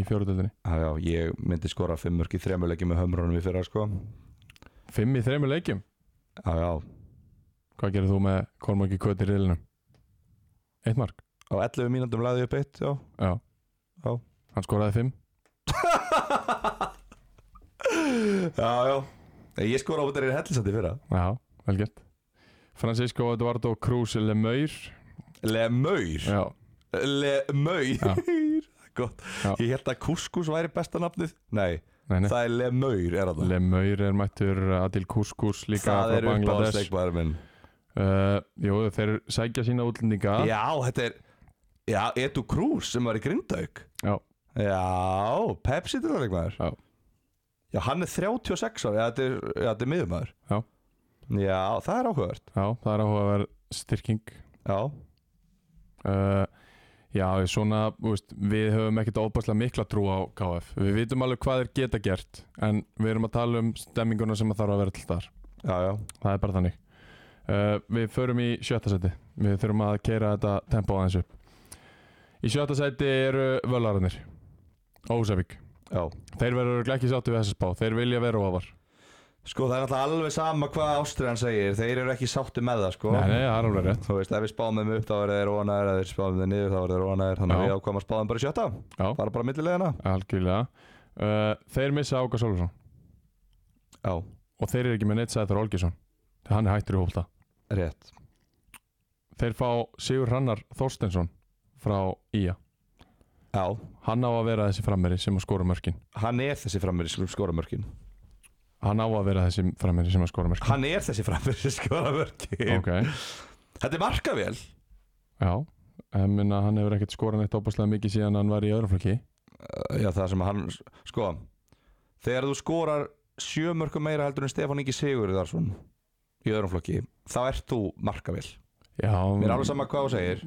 Speaker 1: í fjóruðöldinni.
Speaker 2: Já, já, ég myndi skora fimm mörg í þremur leikjum með hömrónum í fyrra sko
Speaker 1: Fimm í þreimur leikjum.
Speaker 2: Já, já,
Speaker 1: Hvað gerir þú með Kormáki Köt í riðlunum? Eitt mark?
Speaker 2: á 11 mínúndum laði upp eitt, já
Speaker 1: Já.
Speaker 2: Já.
Speaker 1: Hann skoraði fimm?
Speaker 2: Já, já Ég skora á þetta reyni hellisandi í fyrra
Speaker 1: Já, vel gert. Francisco Eduardo Cruz Lemaur
Speaker 2: Lemaur
Speaker 1: já, Já.
Speaker 2: Lemaur Gott
Speaker 1: Já.
Speaker 2: Ég held að Kuskus væri besta nafnið Nei,
Speaker 1: nei, nei
Speaker 2: það er Lemaur er það
Speaker 1: Lemaur er mættur Adil Kuskus líka
Speaker 2: Það
Speaker 1: frá
Speaker 2: er
Speaker 1: Bangladesh
Speaker 2: uppáðsleikmaður minn
Speaker 1: uh, Jú, þeir sækja sína útlendinga
Speaker 2: Já, þetta er Já, Edu Cruz sem var í Grindauk
Speaker 1: Já.
Speaker 2: Já, Pepsi dýrleikmaður
Speaker 1: Já.
Speaker 2: Já, hann er 36 ára Já, þetta er, já, þetta er miðumæður
Speaker 1: Já.
Speaker 2: Já, það er áhugavert
Speaker 1: Já, það er áhuga að vera styrking
Speaker 2: Já,
Speaker 1: uh, Já, svona, þú veist, við höfum ekkert óbærslega mikla trú á KF Við vitum alveg hvað þeir geta gert En við erum að tala um stemminguna sem að þarf að vera til þar
Speaker 2: já, já
Speaker 1: Það er bara þannig uh, Við förum í sjötta sæti Við þurfum að keira þetta tempo aðeins upp Í sjötta sæti eru völararnir Ósefík
Speaker 2: Já
Speaker 1: Þeir verður örugglega ekki sáttu við þessa spá Þeir vilja vera ofar
Speaker 2: Sko það er náttúrulega alveg sama hvað Ástriðan segir Þeir eru ekki sátti með það sko
Speaker 1: Nei, nei, það er alveg rétt
Speaker 2: Þú veist, ef við spáum þeim upp þá eru þeir ónæðir Ef við spáum þeim niður þá eru þeir ónæðir Þannig
Speaker 1: Já.
Speaker 2: að við ákvæm að spáum bara í sjötta
Speaker 1: Já.
Speaker 2: Bara bara millilegina
Speaker 1: Algjörlega uh, Þeir missa Áka Sólfsson
Speaker 2: Já,
Speaker 1: Og þeir eru ekki með neitt Sæður Olgjesson Þegar hann er hættur í hólta
Speaker 2: rétt
Speaker 1: Þeir fá Sigur Hrannar Þorstensson Frá Ía
Speaker 2: Já,
Speaker 1: Hann á að vera þessi frammeri sem að skora mörkin
Speaker 2: hann er þessi framverði sem skora mörkin
Speaker 1: Hann á að vera þessi frammeri sem að skora mörkin
Speaker 2: Hann er þessi framverði sem skora mörkin
Speaker 1: Ok,
Speaker 2: Þetta er markavél
Speaker 1: já En minna hann hefur ekkert skorað neitt opaslega mikið síðan hann var í öðrum flokki
Speaker 2: Já, það sem hann, sko Þegar þú skorar sjö mörkum meira heldur en Stefán Ingi Sigurðarsson Í öðrum flokki Þá ert þú markavél
Speaker 1: Já
Speaker 2: Mér er alveg sama hvað þú segir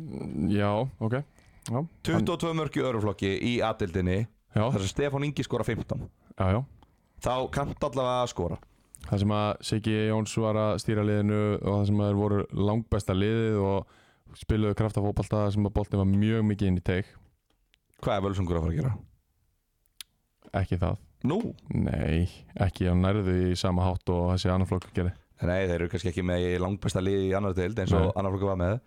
Speaker 1: Já, ok Já,
Speaker 2: 22 mörk í öðrum flokki í aðildinni
Speaker 1: já,
Speaker 2: þar sem Stefán Ingi skora 15
Speaker 1: já, já
Speaker 2: þá kannt allavega að skora
Speaker 1: Það sem að Siggi Jóns var að stýra liðinu og það sem að þeir voru langbesta liðið og spiluðu kraftafóbalta sem að boltin var mjög mikið inn í teik
Speaker 2: hvað er Völsungur að fara að gera?
Speaker 1: Ekki það,
Speaker 2: Nú,
Speaker 1: nei, ekki á nærðu í sama hátt og þessi annar flokk gerði
Speaker 2: nei þeir eru kannski ekki með í langbæsta liði í annar deild eins og
Speaker 1: Nei.
Speaker 2: annar flokku var með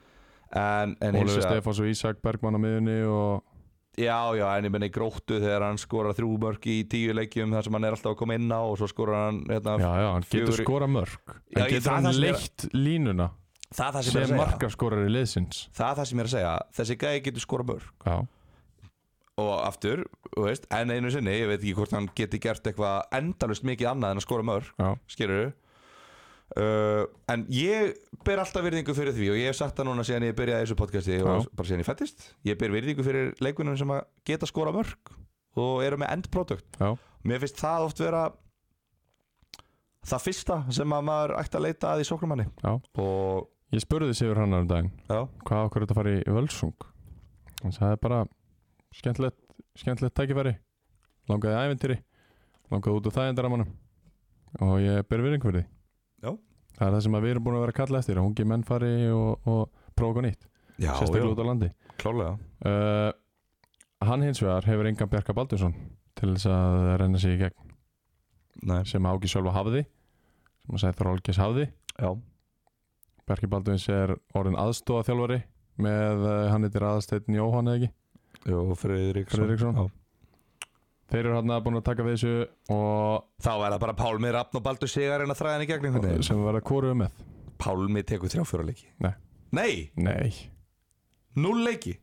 Speaker 2: en, en hins
Speaker 1: Ólefur
Speaker 2: vegar,
Speaker 1: Stefáns og Ísak Bergmann á miðunni og
Speaker 2: já já en ég menni gróttu þegar hann skorar þrjú mörk í tíu leikjum þar sem hann er alltaf að koma inn á og svo skorar hann hérna,
Speaker 1: já, já, hann getur
Speaker 2: fjögur-
Speaker 1: skorað mörg
Speaker 2: Já,
Speaker 1: en
Speaker 2: ég-
Speaker 1: getur
Speaker 2: það er
Speaker 1: hann
Speaker 2: það sem ég-
Speaker 1: leitt línuna
Speaker 2: það er það sem ég er
Speaker 1: sem
Speaker 2: að segja
Speaker 1: markaskorari liðsins
Speaker 2: það er það sem ég er að segja, þessi gæði getur skora mörk
Speaker 1: Já,
Speaker 2: og aftur, þú veist, en einu sinni ég veit ekki hvort hann geti gert eitthvað endalust mikið annað en að skora mörk
Speaker 1: já,
Speaker 2: skilur uh, en ég ber alltaf virðingu fyrir því og ég hef sagt það núna síðan ég byrjaði í þessu podcasti og
Speaker 1: Já.
Speaker 2: bara síðan ég fættist ég ber virðingu fyrir leikunum sem að geta skora mörg og eru með endprodukt
Speaker 1: Já.
Speaker 2: mér finnst það oft vera það fyrsta sem að maður ætti að leita að í sóknumanni
Speaker 1: Já.
Speaker 2: og
Speaker 1: ég spurði Sigur Hannar um daginn
Speaker 2: já,
Speaker 1: hvað okkur þetta að fara í völsung hann sagði bara skemmtilegt, skemmtilegt tækifæri langaði í æventýri langaði út úr þægindaramanum og ég ber virðing fyrir því
Speaker 2: Já.
Speaker 1: það er það sem að við erum búin að vera að kalla eftir að ungi menn fari og, og prófa eitthvað nýtt
Speaker 2: já,
Speaker 1: sérstaklega út á landi
Speaker 2: klálega
Speaker 1: uh, hann hins vegar hefur engan Bjarka Baldursson til þess að renna sig í gegn
Speaker 2: Nei.
Speaker 1: sem Áki sjálfa hafði sem að segja Þrólkis hafði
Speaker 2: já,
Speaker 1: Bjarki Baldurins er orðin aðstóða þjálfari með, uh, hann heitir aðasteitin Jóhann eða ekki
Speaker 2: Jó, Friðriksson,
Speaker 1: Friðriksson.
Speaker 2: Já.
Speaker 1: Þeir eru hann búin að taka við þessu og
Speaker 2: þá er það bara Pálmi Rappn og Baldur Sigar en að þræða henni í gegn einhvern veginn
Speaker 1: sem var að kóruðu með
Speaker 2: Pálmi tekur þrjá fjóra leiki
Speaker 1: Nei.
Speaker 2: Nei,
Speaker 1: Nei,
Speaker 2: núll leiki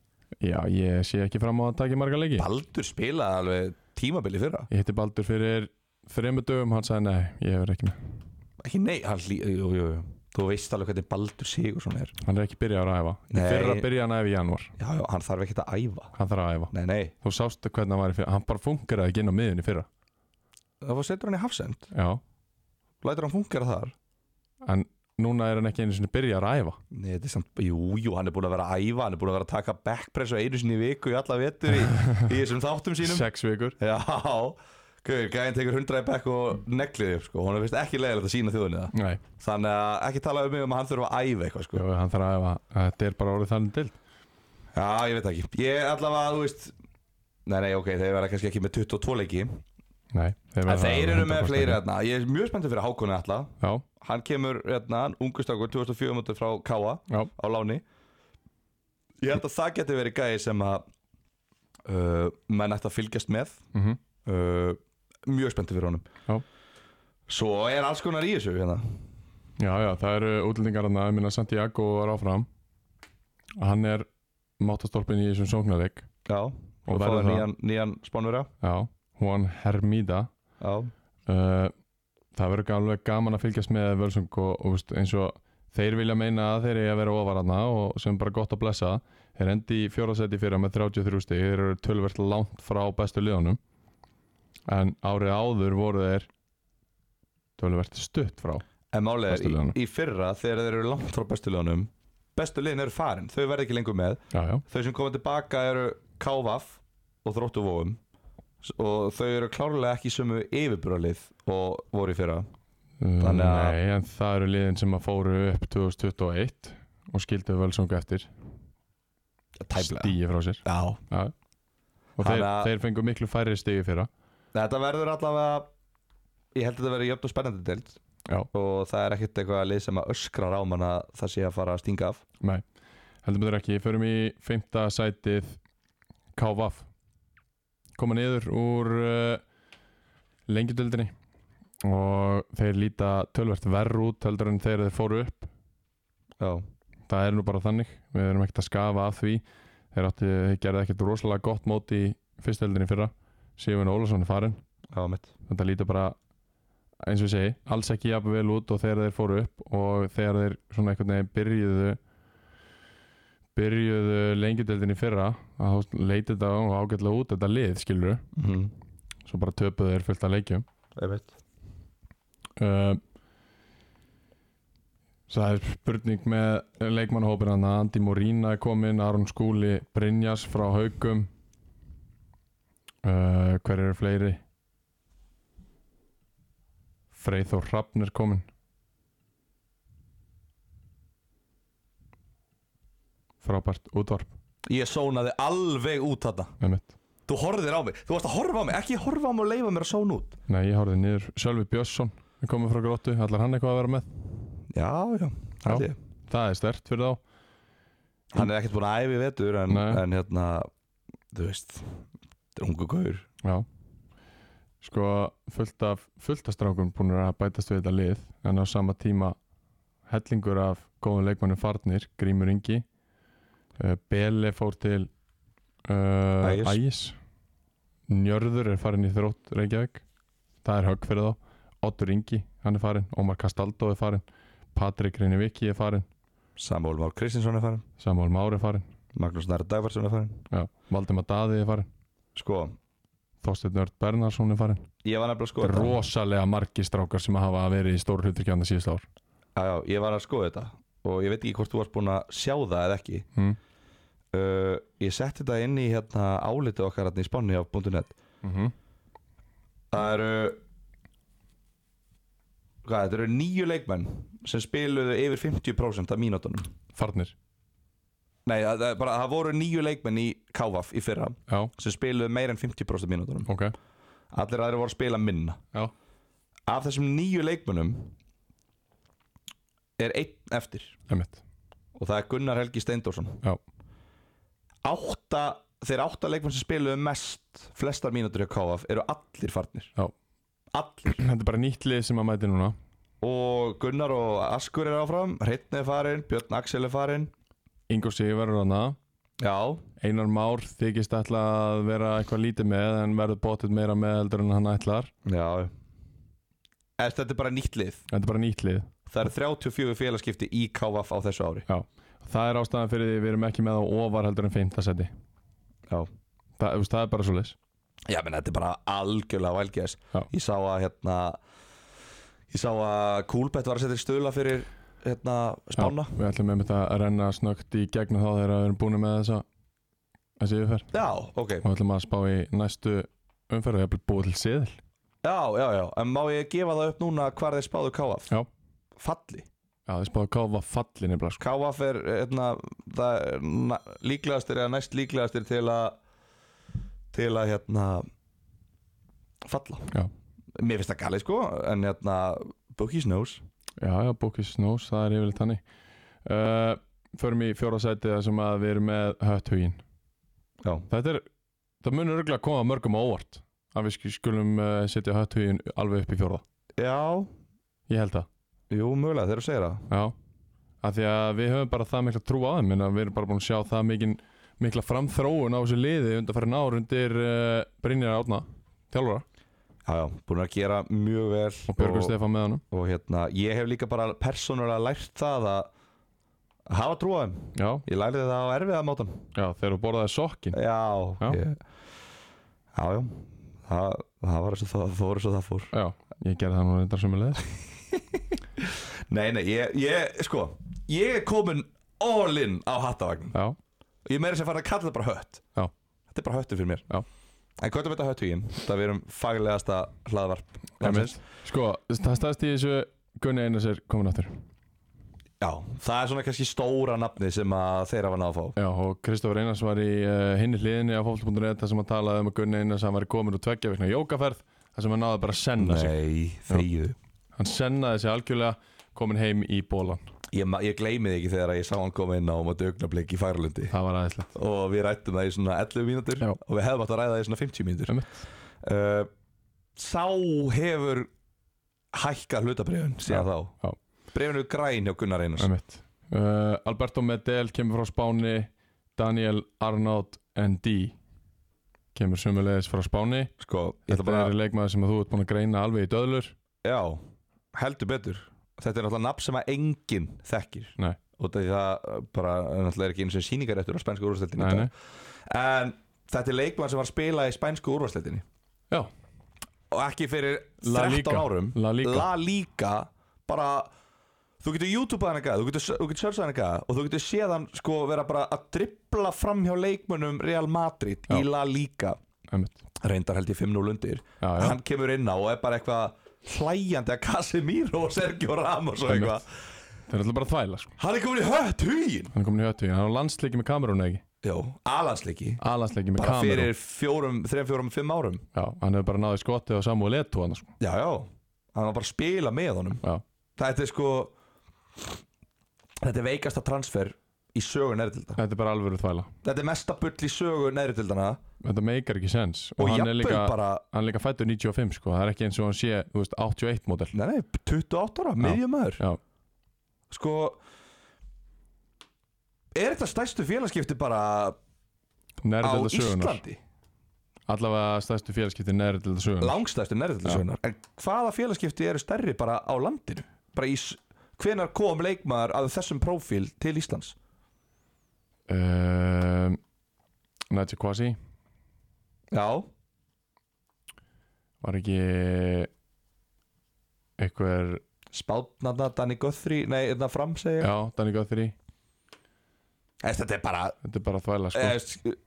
Speaker 1: já ég sé ekki fram á að taka í marga leiki
Speaker 2: Baldur spilaði alveg tímabili fyrra
Speaker 1: Ég hitti Baldur fyrir þreymur dögum, hann sagði nei, ég er ekki með
Speaker 2: ekki nei, hann lí, jú, jú, jú. þú veist alveg hvernig Baldur Sigursson er
Speaker 1: Hann er ekki byrjað að æfa Í
Speaker 2: Nei.
Speaker 1: fyrra byrjaði hann að æfa í janúar,
Speaker 2: já, já, hann þarf ekkert að æfa
Speaker 1: hann þarf að æfa
Speaker 2: nei, nei,
Speaker 1: Þú sástu hvernig hann var í fyrra, hann bara fungeraði ekki inn á miðunni í fyrra
Speaker 2: þá var setur hann í hafsend
Speaker 1: Já,
Speaker 2: lætur hann fungera þar
Speaker 1: en núna er hann ekki einu sinni byrjað að æfa
Speaker 2: nei, þetta er samt, jú, jú, hann er búin að vera að æfa hann er búin að vera að taka backpress á einu sinni í viku í alla vetur í, í þessum þáttum sínum
Speaker 1: Sex vikur
Speaker 2: já, gauður, gæðin tekur hundra í back og negliði, upp, sko, hún er vist ekki leiðilegt að sína þjóðinni það,
Speaker 1: Nei,
Speaker 2: þannig að ekki tala um mig um að hann þurfa að æfa eitthvað, sko
Speaker 1: jú, hann þarf að æfa, þetta er bara orðið þannig til
Speaker 2: Já, ég veit það ekki Ég allavega, þú veist Nei, nei, ok, þeir verða kannski ekki með 22 leiki
Speaker 1: Nei, þeir,
Speaker 2: En
Speaker 1: verða
Speaker 2: þeir eru með
Speaker 1: 100%
Speaker 2: fleiri
Speaker 1: ekki.
Speaker 2: hérna Ég er mjög spenntur fyrir Hákoni alla
Speaker 1: Já,
Speaker 2: Hann kemur hérna, ungustakur 2004 mútur frá Káa
Speaker 1: já,
Speaker 2: á láni Ég held að það geti verið gæði sem að uh, menn ætti að fylgjast með
Speaker 1: mhm
Speaker 2: uh, Mjög spenntur fyrir honum
Speaker 1: Já.
Speaker 2: Svo er alls konar í þessu hérna
Speaker 1: Já, já, það eru útlendingar hann að minna Santiago var áfram Hann er mátastólpin í þessum sóknarleik
Speaker 2: Já,
Speaker 1: Og
Speaker 2: og
Speaker 1: verður
Speaker 2: fáið
Speaker 1: það.
Speaker 2: nýjan, nýjan spánverja
Speaker 1: Já, hún Hermída
Speaker 2: Já,
Speaker 1: uh, Það verður alveg gaman að fylgjast með Völsung og, og veist, eins og þeir vilja meina að þeir eru að vera ofar hana og sem er bara gott að blessa þeir endi í fjórðasæti fyrir með 33 stig þeir eru tölvert langt frá bestu liðunum en árið áður voru þeir tölvert stutt frá
Speaker 2: en málega
Speaker 1: Bestu
Speaker 2: í,
Speaker 1: liðunum.
Speaker 2: í fyrra þegar þeir eru langt frá bestu liðanum Bestu liðin eru farin, þau verða ekki lengur með
Speaker 1: Já, já,
Speaker 2: Þau sem koma tilbaka eru Kávaf og Þróttuvóum Og þau eru klárlega ekki sömu yfirburalið og voru í fyrra
Speaker 1: Uh,
Speaker 2: Þannig að-
Speaker 1: Nei, en það eru liðin sem að fóru upp 2021 og skildu Völsung eftir stíi frá sér
Speaker 2: Já,
Speaker 1: og
Speaker 2: Þannig
Speaker 1: þeir,
Speaker 2: að-
Speaker 1: þeir fengu miklu færri stíi fyrra
Speaker 2: Þetta verður allavega Ég held að þetta verður jöfn og spennandi deild
Speaker 1: Já.
Speaker 2: Og það er ekkert eitthvað lið sem að öskrar á mann að það sé að fara að stinga af
Speaker 1: Nei, heldur betur ekki Förum í fymta sætið KVAF Koma niður úr uh, lengjudöldinni og þeir líta tölvert verr út heldur en þegar þeir fóru upp
Speaker 2: Já,
Speaker 1: það er nú bara þannig, við erum ekkert að skafa af því þeir, átti, þeir gerði ekkert rosalega gott mót í fyrstöldinni fyrra Sifun Ólafsson er farinn
Speaker 2: já mitt
Speaker 1: þetta lítur bara eins og ég segi, alls ekki jafn vel út og þegar þeir fóru upp og þegar þeir svona einhvern veginn byrjuðu byrjuðu lengjudeldin í fyrra að þá leiti þetta og ágætlega út þetta lið skilur,
Speaker 2: mm.
Speaker 1: svo bara töpuðu þeir fullt að leikjum
Speaker 2: Einmitt.
Speaker 1: uh, það er spurning með leikmannhópin hann Andi Morína er komin, Aron Skúli Brynjas frá Haugum uh, hver eru fleiri Freyþór Hrafn er komin frábært útvarp
Speaker 2: Ég sónaði alveg út þarna
Speaker 1: með mitt
Speaker 2: Þú horfðir á mig, þú varst að horfa á mig Ekki horfa á mig og leifa mér að sóna út
Speaker 1: Nei, ég horfði niður Sölvi Björnsson er komin frá gróttu, allar hann eitthvað að vera með
Speaker 2: Já, já, held ég.
Speaker 1: það er stert fyrir þá
Speaker 2: Hann er ekkert búin að æfi vetur en,
Speaker 1: Nei.
Speaker 2: en hérna, þú veist Þetta er ungu gaur
Speaker 1: Já Sko fullt af, fullt af strákum búin að bætast við þetta lið en á sama tíma hellingur af góðum leikmannum farnir Grímur Ingi uh, Bele fór til uh,
Speaker 2: Ægis.
Speaker 1: Ægis Njörður er farin í þrótt Reykjavík það er högg fyrir þá Oddur Ingi, hann er farin Ómar Kastaldó er farin Patrik Reyniviki er farin
Speaker 2: Samúl Már Kristinsson er farin
Speaker 1: Samuel Már er farin
Speaker 2: Magnús Næra Dagvarsson er farin
Speaker 1: Já. Valdimar Daði er farin
Speaker 2: Sko,
Speaker 1: Þorsteinn Örd Bernarsson er farin
Speaker 2: ég var nefnilega að skoða
Speaker 1: Þetta er
Speaker 2: þetta.
Speaker 1: Sko, rosalega margir strákar sem hafa verið í stóru hlutverkjanda síðust ár
Speaker 2: Já, já, ég var að skoða þetta og ég veit ekki hvort þú varst búin að sjá það eða ekki
Speaker 1: mm.
Speaker 2: uh, Ég setti þetta inn í hérna álitið okkar hérna í spánni á .net
Speaker 1: Mhm.
Speaker 2: Það eru hvað, þetta eru nýju leikmenn sem spiluðu yfir 50% af mínútonum
Speaker 1: Farnir,
Speaker 2: Nei, það, það, er bara, það voru nýju leikmenn í Kávaf í fyrra
Speaker 1: já,
Speaker 2: sem spiluðu meir en 50% af mínútonum
Speaker 1: ok
Speaker 2: Allir aðrir voru að spila minna
Speaker 1: Já,
Speaker 2: Af þessum nýju leikmennum er einn eftir
Speaker 1: emitt,
Speaker 2: og það er Gunnar Helgi Steindórsson
Speaker 1: Já.
Speaker 2: átta, þeir átta leikmenn sem spiluðu mest flestar mínútur hjá KF eru allir farnir
Speaker 1: Já.
Speaker 2: allir
Speaker 1: þetta er bara nýtt lið sem að mæti núna
Speaker 2: og Gunnar og Askur er áfram Hreitn er farinn, Björn Axel er farinn
Speaker 1: Ingo Sigur verður hana
Speaker 2: já,
Speaker 1: Einar Már þykist ætla að vera eitthvað lítið með en verður bótið meira með heldur en hann ætlar
Speaker 2: já Eftir, þetta er bara nýtt lið
Speaker 1: Þetta er bara nýtt lið
Speaker 2: það eru 34 félagskipti í KF á þessu ári
Speaker 1: Það er ástæðan fyrir því við erum ekki með á ofar heldur en 5. seti
Speaker 2: Já.
Speaker 1: Það, þú veist, það er bara svo leis
Speaker 2: Já, menn, þetta er bara algjörlega vælgæðis
Speaker 1: Já.
Speaker 2: Ég sá að hérna Ég sá að Kúlbett var að setja í stöðla fyrir hérna spána
Speaker 1: Við ætlum með þetta að renna snöggt í gegnum þá þegar við erum búin með þessa þessi yfirferð
Speaker 2: Já, ok
Speaker 1: og ætlum að spá í næstu umferð og ég er búið til siðil
Speaker 2: Já, já, já, en má ég gefa það upp núna hvar þeir spáðu KF?
Speaker 1: Já.
Speaker 2: Falli.
Speaker 1: Já, þið spáðu káfa falli nefnilega sko.
Speaker 2: KF er, hérna, það er na- líklegastir eða næst líklegastir til að, til að, hérna, falla.
Speaker 1: Já.
Speaker 2: Mér finnst það galið, sko, en, hérna, Bookies knows.
Speaker 1: Já, já, Bookies Knows, það er yfirleitt hannig uh, Förum í fjóra sæti þar sem að við erum með hött hugin
Speaker 2: Já.
Speaker 1: Þetta er, það munur örgulega að koma mörgum á óvart að við sk- skulum uh, setja hött hugin alveg upp í fjóra
Speaker 2: Já,
Speaker 1: Ég held það,
Speaker 2: jú, mögulega, þeir eru að segja það.
Speaker 1: já af því að við höfum bara það mikla trú á þeim en við erum bara búin að sjá það mikin, mikla framþróun á þessu liði undanfærin ár undir uh, Brynjar Átna þjálfara
Speaker 2: Já, já, búin að gera mjög vel
Speaker 1: og Björgur Stefán með honum
Speaker 2: og hérna, ég hef líka bara persónulega lært það að hafa trú á þeim
Speaker 1: já,
Speaker 2: Ég lærði það á erfiða mátan
Speaker 1: já, þegar þú borðaði sokkin
Speaker 2: Já,
Speaker 1: Já.
Speaker 2: ég, já, já. Það, það var eins og það, það var eins og það fór
Speaker 1: já, ég gerði það nú reyndar sömulegis
Speaker 2: Nei, nei, ég, ég sko Ég er komin all in á hattavagn
Speaker 1: já,
Speaker 2: Ég meira sem fara að kalla það bara hött
Speaker 1: Já.
Speaker 2: Þetta er bara höttur fyrir mér
Speaker 1: Já.
Speaker 2: En hvað er þetta höttuginn? Það við erum faglegasta hlaðvarp landsins.
Speaker 1: einmitt sko, það staðst í þessu Gunni Einars er komin áttur
Speaker 2: Já, það er svona kannski stóra nafni sem að þeir hafa náð að fá
Speaker 1: já, og Kristófur Einars var í uh, hinni hliðinni á fólk.net þar sem hann talaði um að Gunni Einars hann var komin úr tveggja vikna jókaferð þar sem hann náði bara að senna sig
Speaker 2: Nei, þegiðu
Speaker 1: hann sennaði sig algjörlega komin heim í bólan
Speaker 2: Ég, ma- ég gleymi þig ekki þegar að ég sá hann koma inn á móti augnablik í Færlundi
Speaker 1: það var aðeinslega
Speaker 2: og við rættum það í svona 11 mínútur
Speaker 1: Já.
Speaker 2: og við hefðum átt að ræða það í svona 50 mínútur
Speaker 1: Einmitt.
Speaker 2: uh, Sá hefur hækkað hlutabrifun
Speaker 1: Já,
Speaker 2: síðan
Speaker 1: já.
Speaker 2: þá Brifun eru græn hjá Gunnar Einars
Speaker 1: Einmitt. Uh, Alberto Medel kemur frá Spáni Daniel Arnaud ND kemur sömulegis frá Spáni
Speaker 2: Sko, ég
Speaker 1: Þetta
Speaker 2: ætla bara
Speaker 1: er leikmaður sem að þú ert búin að greina alveg í döðlur
Speaker 2: Já, heldur betur Þetta er náttúrulega nafn sem að enginn þekkir
Speaker 1: Nei.
Speaker 2: Og það, það bara, náttúrulega er ekki einu sem sýningaréttur á spænsku úrvarsleitinni
Speaker 1: Nei, nei.
Speaker 2: En þetta er leikmann sem var að spila í spænsku úrvarsleitinni
Speaker 1: Já,
Speaker 2: Og ekki fyrir
Speaker 1: La
Speaker 2: 13
Speaker 1: Liga.
Speaker 2: árum
Speaker 1: La Liga.
Speaker 2: La Liga Bara, þú getur YouTube hann eitthvað Þú getur, þú getur searchað hann eitthvað Og þú getur séð hann sko vera bara að dribbla fram hjá leikmönnum Real Madrid
Speaker 1: Já.
Speaker 2: Í La Liga
Speaker 1: einmitt
Speaker 2: Reyndar held ég 5-0 undir
Speaker 1: Já, já,
Speaker 2: hann kemur inn á og er bara eitthvað hlæjandi að Casemiro og Sergio Ramos og
Speaker 1: Einmitt.
Speaker 2: eitthvað
Speaker 1: það er alltaf bara að þvæla sko.
Speaker 2: hann er komin í hött hugin
Speaker 1: Hann er komin í höttu, hann er á landsleiki með Kamerún eða ekki
Speaker 2: já, alansleiki
Speaker 1: Alansleiki með
Speaker 2: bara
Speaker 1: Kamerún
Speaker 2: fyrir fjórum, þrejum, fjórum, fimm árum
Speaker 1: Já, hann hefur bara náði skotið á Samuel Eto'o hann sko.
Speaker 2: já, já, hann var bara að spila með honum
Speaker 1: Já,
Speaker 2: þetta er sko þetta er veikasta transfer í sögu næritilda
Speaker 1: þetta er bara alvöru þvæla
Speaker 2: þetta er mesta bull í sögu næritildana
Speaker 1: Þetta meikar ekki sens
Speaker 2: og
Speaker 1: hann er
Speaker 2: jafnvel
Speaker 1: líka,
Speaker 2: bara
Speaker 1: hann er líka fættur 95 sko. það er ekki eins og hann sé, þú veist, 81 módel
Speaker 2: nei, nei, 28 ára, miðjumöður
Speaker 1: Já,
Speaker 2: sko er þetta stærstu félagskipti bara á
Speaker 1: nærið þetta sögunar
Speaker 2: Íslandi
Speaker 1: Allavega stærstu félagskipti nærið þetta sögunar
Speaker 2: langstæðstu nærðildasögunar en hvaða félagskipti eru stærri bara á landinu bara í s- hvenær kom leikmaður að þessum prófíl til Íslands
Speaker 1: um, Nadia Kwasi
Speaker 2: já,
Speaker 1: var ekki einhver
Speaker 2: spátnarna Danny Guthrie, nei, þetta fram segja
Speaker 1: já, Danny Guthrie,
Speaker 2: Eða, þetta er bara
Speaker 1: þetta er bara þvæla sko.
Speaker 2: eða, sk-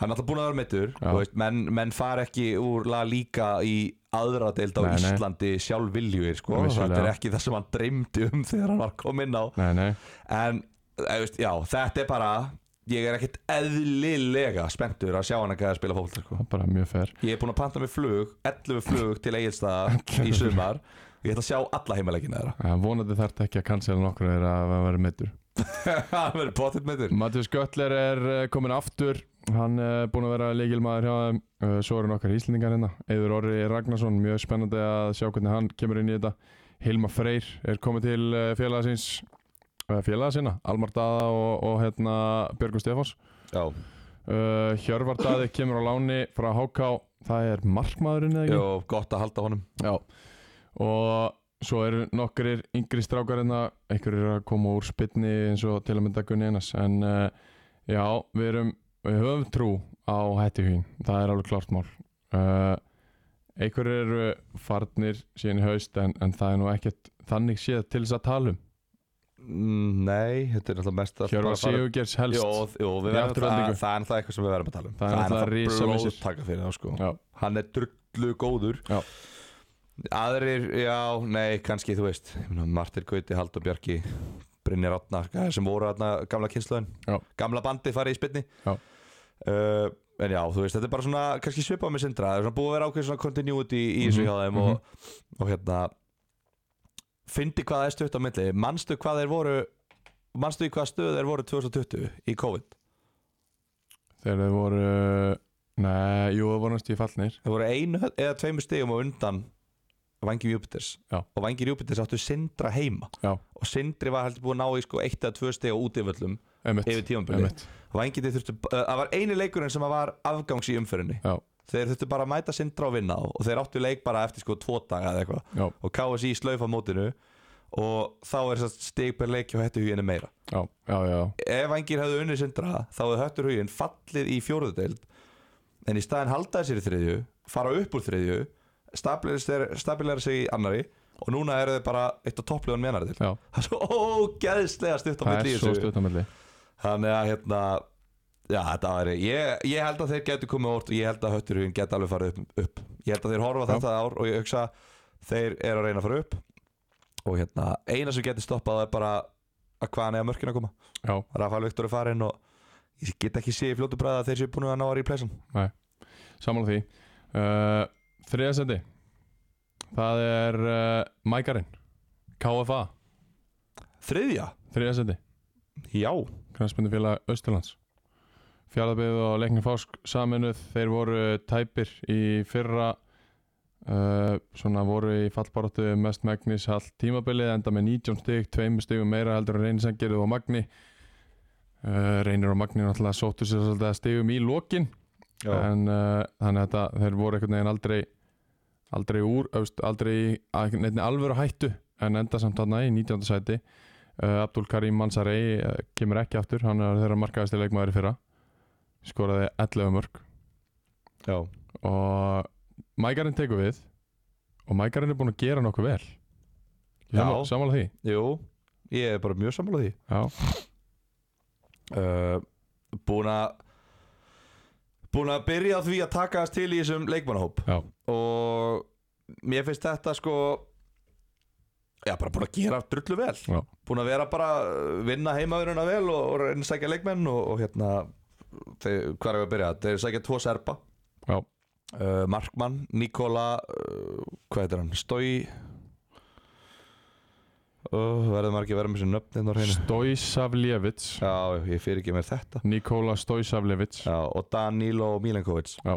Speaker 2: hann er alltaf búin að vera meittur
Speaker 1: Já.
Speaker 2: veist, menn, menn fara ekki úr La Liga í aðra deild á
Speaker 1: Nei, nei.
Speaker 2: Íslandi sjálf viljur sko,
Speaker 1: Nei, vissulega.
Speaker 2: þetta er ekki það sem hann dreymdi um þegar hann var kominn á
Speaker 1: nei, nei,
Speaker 2: En, eða, veist, já, þetta er bara Ég er ekkert eðlilega spenntur að sjá hann ekki að spila fólk sko.
Speaker 1: það er bara mjög fer
Speaker 2: Ég er búinn að panta mig flug 11 flug til Egilstaða í sumar og ég ætla að sjá alla heimaleikina þeirra
Speaker 1: Eh, vonandi þarf ekki að cancela nokkru þegar að vera meittur
Speaker 2: Það verður potið með þér
Speaker 1: Mattias Götler er eh, kominn aftur hann er búin að vera leikilmaður hjá þeim Eh, svo eru nokkar íslendingar hérna Eður Orri Ragnarsson, mjög spennandi að sjá hvernig hann kemur inn í þetta Hilma Freyr er komið til eh, félagasins eh, félagasina, Almar Daða og, og hérna Björgur Stefáns
Speaker 2: Já,
Speaker 1: Uh, Hjörvar Daði kemur á láni frá HK það er markmaðurinn eða
Speaker 2: Jó, gott að halda honum
Speaker 1: ekki Já. og svo eru nokkurir yngri strákarinn að einhverjir eru að koma úr spytni eins og til að mynda Gunni Einars en uh, já, við erum við höfum trú á hættihugin það er alveg klart mál uh, einhverjir eru farnir síðan í haust en, en það er nú ekkert þannig séð til þess að tala um
Speaker 2: Mm, Nei, þetta er náttúrulega mest að
Speaker 1: Hjörvar Sigurgers helst
Speaker 2: Jó, jó, við
Speaker 1: Í
Speaker 2: verðum það,
Speaker 1: afturhaldingu.
Speaker 2: það er náttúrulega eitthvað sem við verðum að tala um
Speaker 1: Það er náttúrulega risamissir.
Speaker 2: blóðtaka fyrir þá sko
Speaker 1: Já.
Speaker 2: Hann er drullu góður
Speaker 1: Já.
Speaker 2: Aðrir, já, nei, kannski þú veist Ég meina, Martir Gauti, Haldur Bjarki Brynjar Átna, sem voru atna, gamla kynnslöðin
Speaker 1: Já.
Speaker 2: Gamla bandi farið í spynni
Speaker 1: Já.
Speaker 2: Uh, En já, þú veist, þetta er bara svona kannski svipað með sindra, það er svona búið að vera ákveð svona continuity í þessu
Speaker 1: Mhm,
Speaker 2: hjá þeim og, og hérna fyndi hvað það er stutt á milli, manstu hvað þeir voru manstu í hvað stöð þeir voru 2020 í COVID?
Speaker 1: þegar þau voru nei, jú, það voru næstu í fallnir
Speaker 2: Þeir voru einu eða tveimur stigum á undan vangjum Júpiters
Speaker 1: Já.
Speaker 2: og vangir Júpiters áttu Sindra heima
Speaker 1: Já,
Speaker 2: og Sindri var heldur búin að ná í sko eitt eða tvö steg á útiföllum
Speaker 1: emitt
Speaker 2: yfir tímanbili Vangirni þurftu, uh, það var eini leikurinn sem að var afgangs í umfyrinni
Speaker 1: Já,
Speaker 2: þeir þurftu bara að mæta Sindra og vinna á og þeir áttu leik bara eftir sko tvo daga eða eitthvað
Speaker 1: já,
Speaker 2: og KSI slaufa mótinu og þá er þess að stig per leik hjá hættu huginu meira
Speaker 1: já, já, já,
Speaker 2: ef vangir hefðu unnið sindra þá hefðu höttur hugin fallið í fjóruðu deild en í staðin haldaði sér í þriðju fara upp úr þriðju stabilera sig í annari og núna eru þau bara eitt á toppliðan með annari deild
Speaker 1: já.
Speaker 2: það er svo ógeðslega stutt á
Speaker 1: Það
Speaker 2: milli
Speaker 1: er
Speaker 2: í
Speaker 1: svo
Speaker 2: þessu.
Speaker 1: stutt á milli
Speaker 2: þannig að hérna já þetta var ég, ég held að þeir getur komið órt og ég held að höttur hugin geta alveg farið upp, upp ég held að þeir horfa
Speaker 1: Já.
Speaker 2: þetta ár og ég hugsa þeir eru að reyna að fara upp og hérna eina sem getur stoppað er bara að hvaðan eða mörkin að koma
Speaker 1: Já,
Speaker 2: Rafael Viktor er farinn og ég get ekki séð í fljótu bræða að þeir séu búin að ná að replacea hann
Speaker 1: samanlega því uh, Þriða sendi Það er uh, Mækarinn KFA,
Speaker 2: Þriðja?
Speaker 1: þriða sendi
Speaker 2: Já
Speaker 1: Kransmyndufélag Östurlands Fjárðabyggð og leikni fásk saminuð Þeir voru tæpir í fyrra uh, Svona voru í fallbaráttu mest megnis Hall tímabilið enda með 19 stig Tveimur stigum meira heldur en reynisengjörðu og Magni uh, Reynir og Magni náttúrulega sóttu sér svolítið að stigum í lokin en uh, þannig að þetta, þeir voru einhvern veginn aldrei aldrei úr, öfst, aldrei í að- neinni alvöru hættu en enda samt þarna í 19. sæti uh, Abdul Karim Mansarei uh, kemur ekki aftur, hann er þeirra markaðasti leikmaður í fyrra skoraði 11 mörg
Speaker 2: Já
Speaker 1: og Mækarinn tekur við og Mækarinn er búinn að gera nokkuð vel Sammála-
Speaker 2: Já.
Speaker 1: sammála því
Speaker 2: Jú Ég er bara mjög sammála því
Speaker 1: já,
Speaker 2: uh, Búin að Búin að byrja á því að taka þess til í þessum leikmannahóp
Speaker 1: já,
Speaker 2: Og Mér finnst þetta sko Já, bara búin að gera drullu vel
Speaker 1: já,
Speaker 2: búin að vera bara uh, vinna heimavinnuna vel og, og reyna að sækja leikmenn og, og hérna þeir, hvað er við að byrja? Þeir sækja tvo serpa
Speaker 1: Já.
Speaker 2: Uh, Markmann, Nikola uh, hvað heitir hann? Stói uh, verður maður ekki að vera með sér nöfn hérna á hreinu
Speaker 1: Stojsavljevits
Speaker 2: Já, ég fyrir ekki mér þetta
Speaker 1: Nikola Stojsavljevits
Speaker 2: Já, og Danilo Milenkovic
Speaker 1: Já.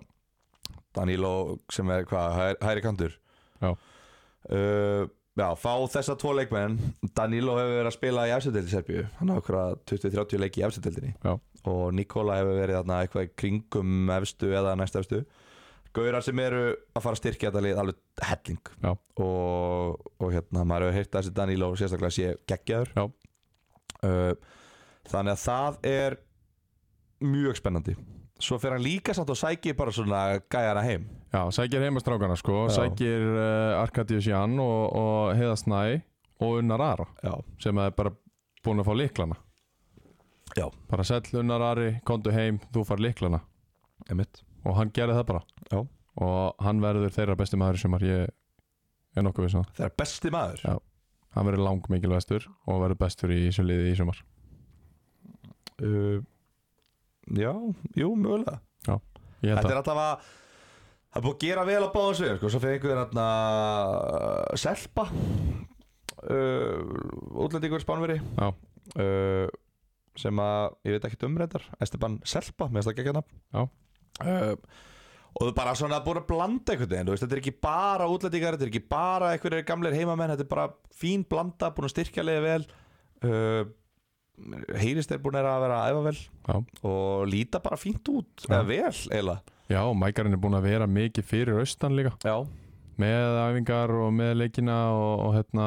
Speaker 2: Danilo sem er hvað, hæ- hægri kantur
Speaker 1: Já.
Speaker 2: uh, Já, fá þessa tvo leikmenn Danilo hefur verið að spila í afsettildi Serbíu Hann á okkur 20-30 leiki í afsettildinni
Speaker 1: Já.
Speaker 2: Og Nikola hefur verið þarna eitthvað í kringum efstu eða næst efstu Gauðar sem eru að fara að styrkja þetta lið alveg helling
Speaker 1: Já.
Speaker 2: og, og hérna, maður hefur heyrt að þessi Danilo sérstaklega sé geggjaður
Speaker 1: Já.
Speaker 2: uh, Þannig að það er mjög spennandi Svo fer hann líka samt og sækir bara svona gæjana heim
Speaker 1: Já, sækir heimastrákana sko,
Speaker 2: Já.
Speaker 1: sækir uh, Arkadius Jan og, og Heiða Snæ og Unnar Ara
Speaker 2: Já,
Speaker 1: sem er bara búin að fá liklana
Speaker 2: Já.
Speaker 1: Bara sæll Unnar Ari, komdu heim, þú far liklana
Speaker 2: emitt
Speaker 1: og hann gerði það bara
Speaker 2: Já.
Speaker 1: og hann verður þeirra besti maður sem ég er nokkuð við það.
Speaker 2: Það er besti maður
Speaker 1: Já. hann verður lang mikilvægstur og verður bestur í þessu liði í sumar
Speaker 2: uh, Já, jú, mögulega
Speaker 1: Ég held
Speaker 2: Þetta
Speaker 1: að,
Speaker 2: er alltaf að Það er búið að gera vel á báðum sviðum sko. Svo fyrir einhverjum hérna Selpa uh, Útlendingur spánveri
Speaker 1: Já.
Speaker 2: uh, Sem að Ég veit ekkert umreyndar Esteban Selpa, mér finnst það ekki að
Speaker 1: Já.
Speaker 2: uh, Og bara svona búin að blanda einhvern veginn þú veist, Þetta er ekki bara útlendingar Þetta er ekki bara einhverjir gamlir heimamenn Þetta er bara fín blanda, búin að styrkja leiði vel uh, Heyrist er búin að vera að æfa vel
Speaker 1: Já.
Speaker 2: Og líta bara fínt út
Speaker 1: Já.
Speaker 2: Eða vel, eiginlega
Speaker 1: já, Mækarinn er búin að vera mikið fyrir austan líka
Speaker 2: Já,
Speaker 1: með æfingar og með leikina og, og hérna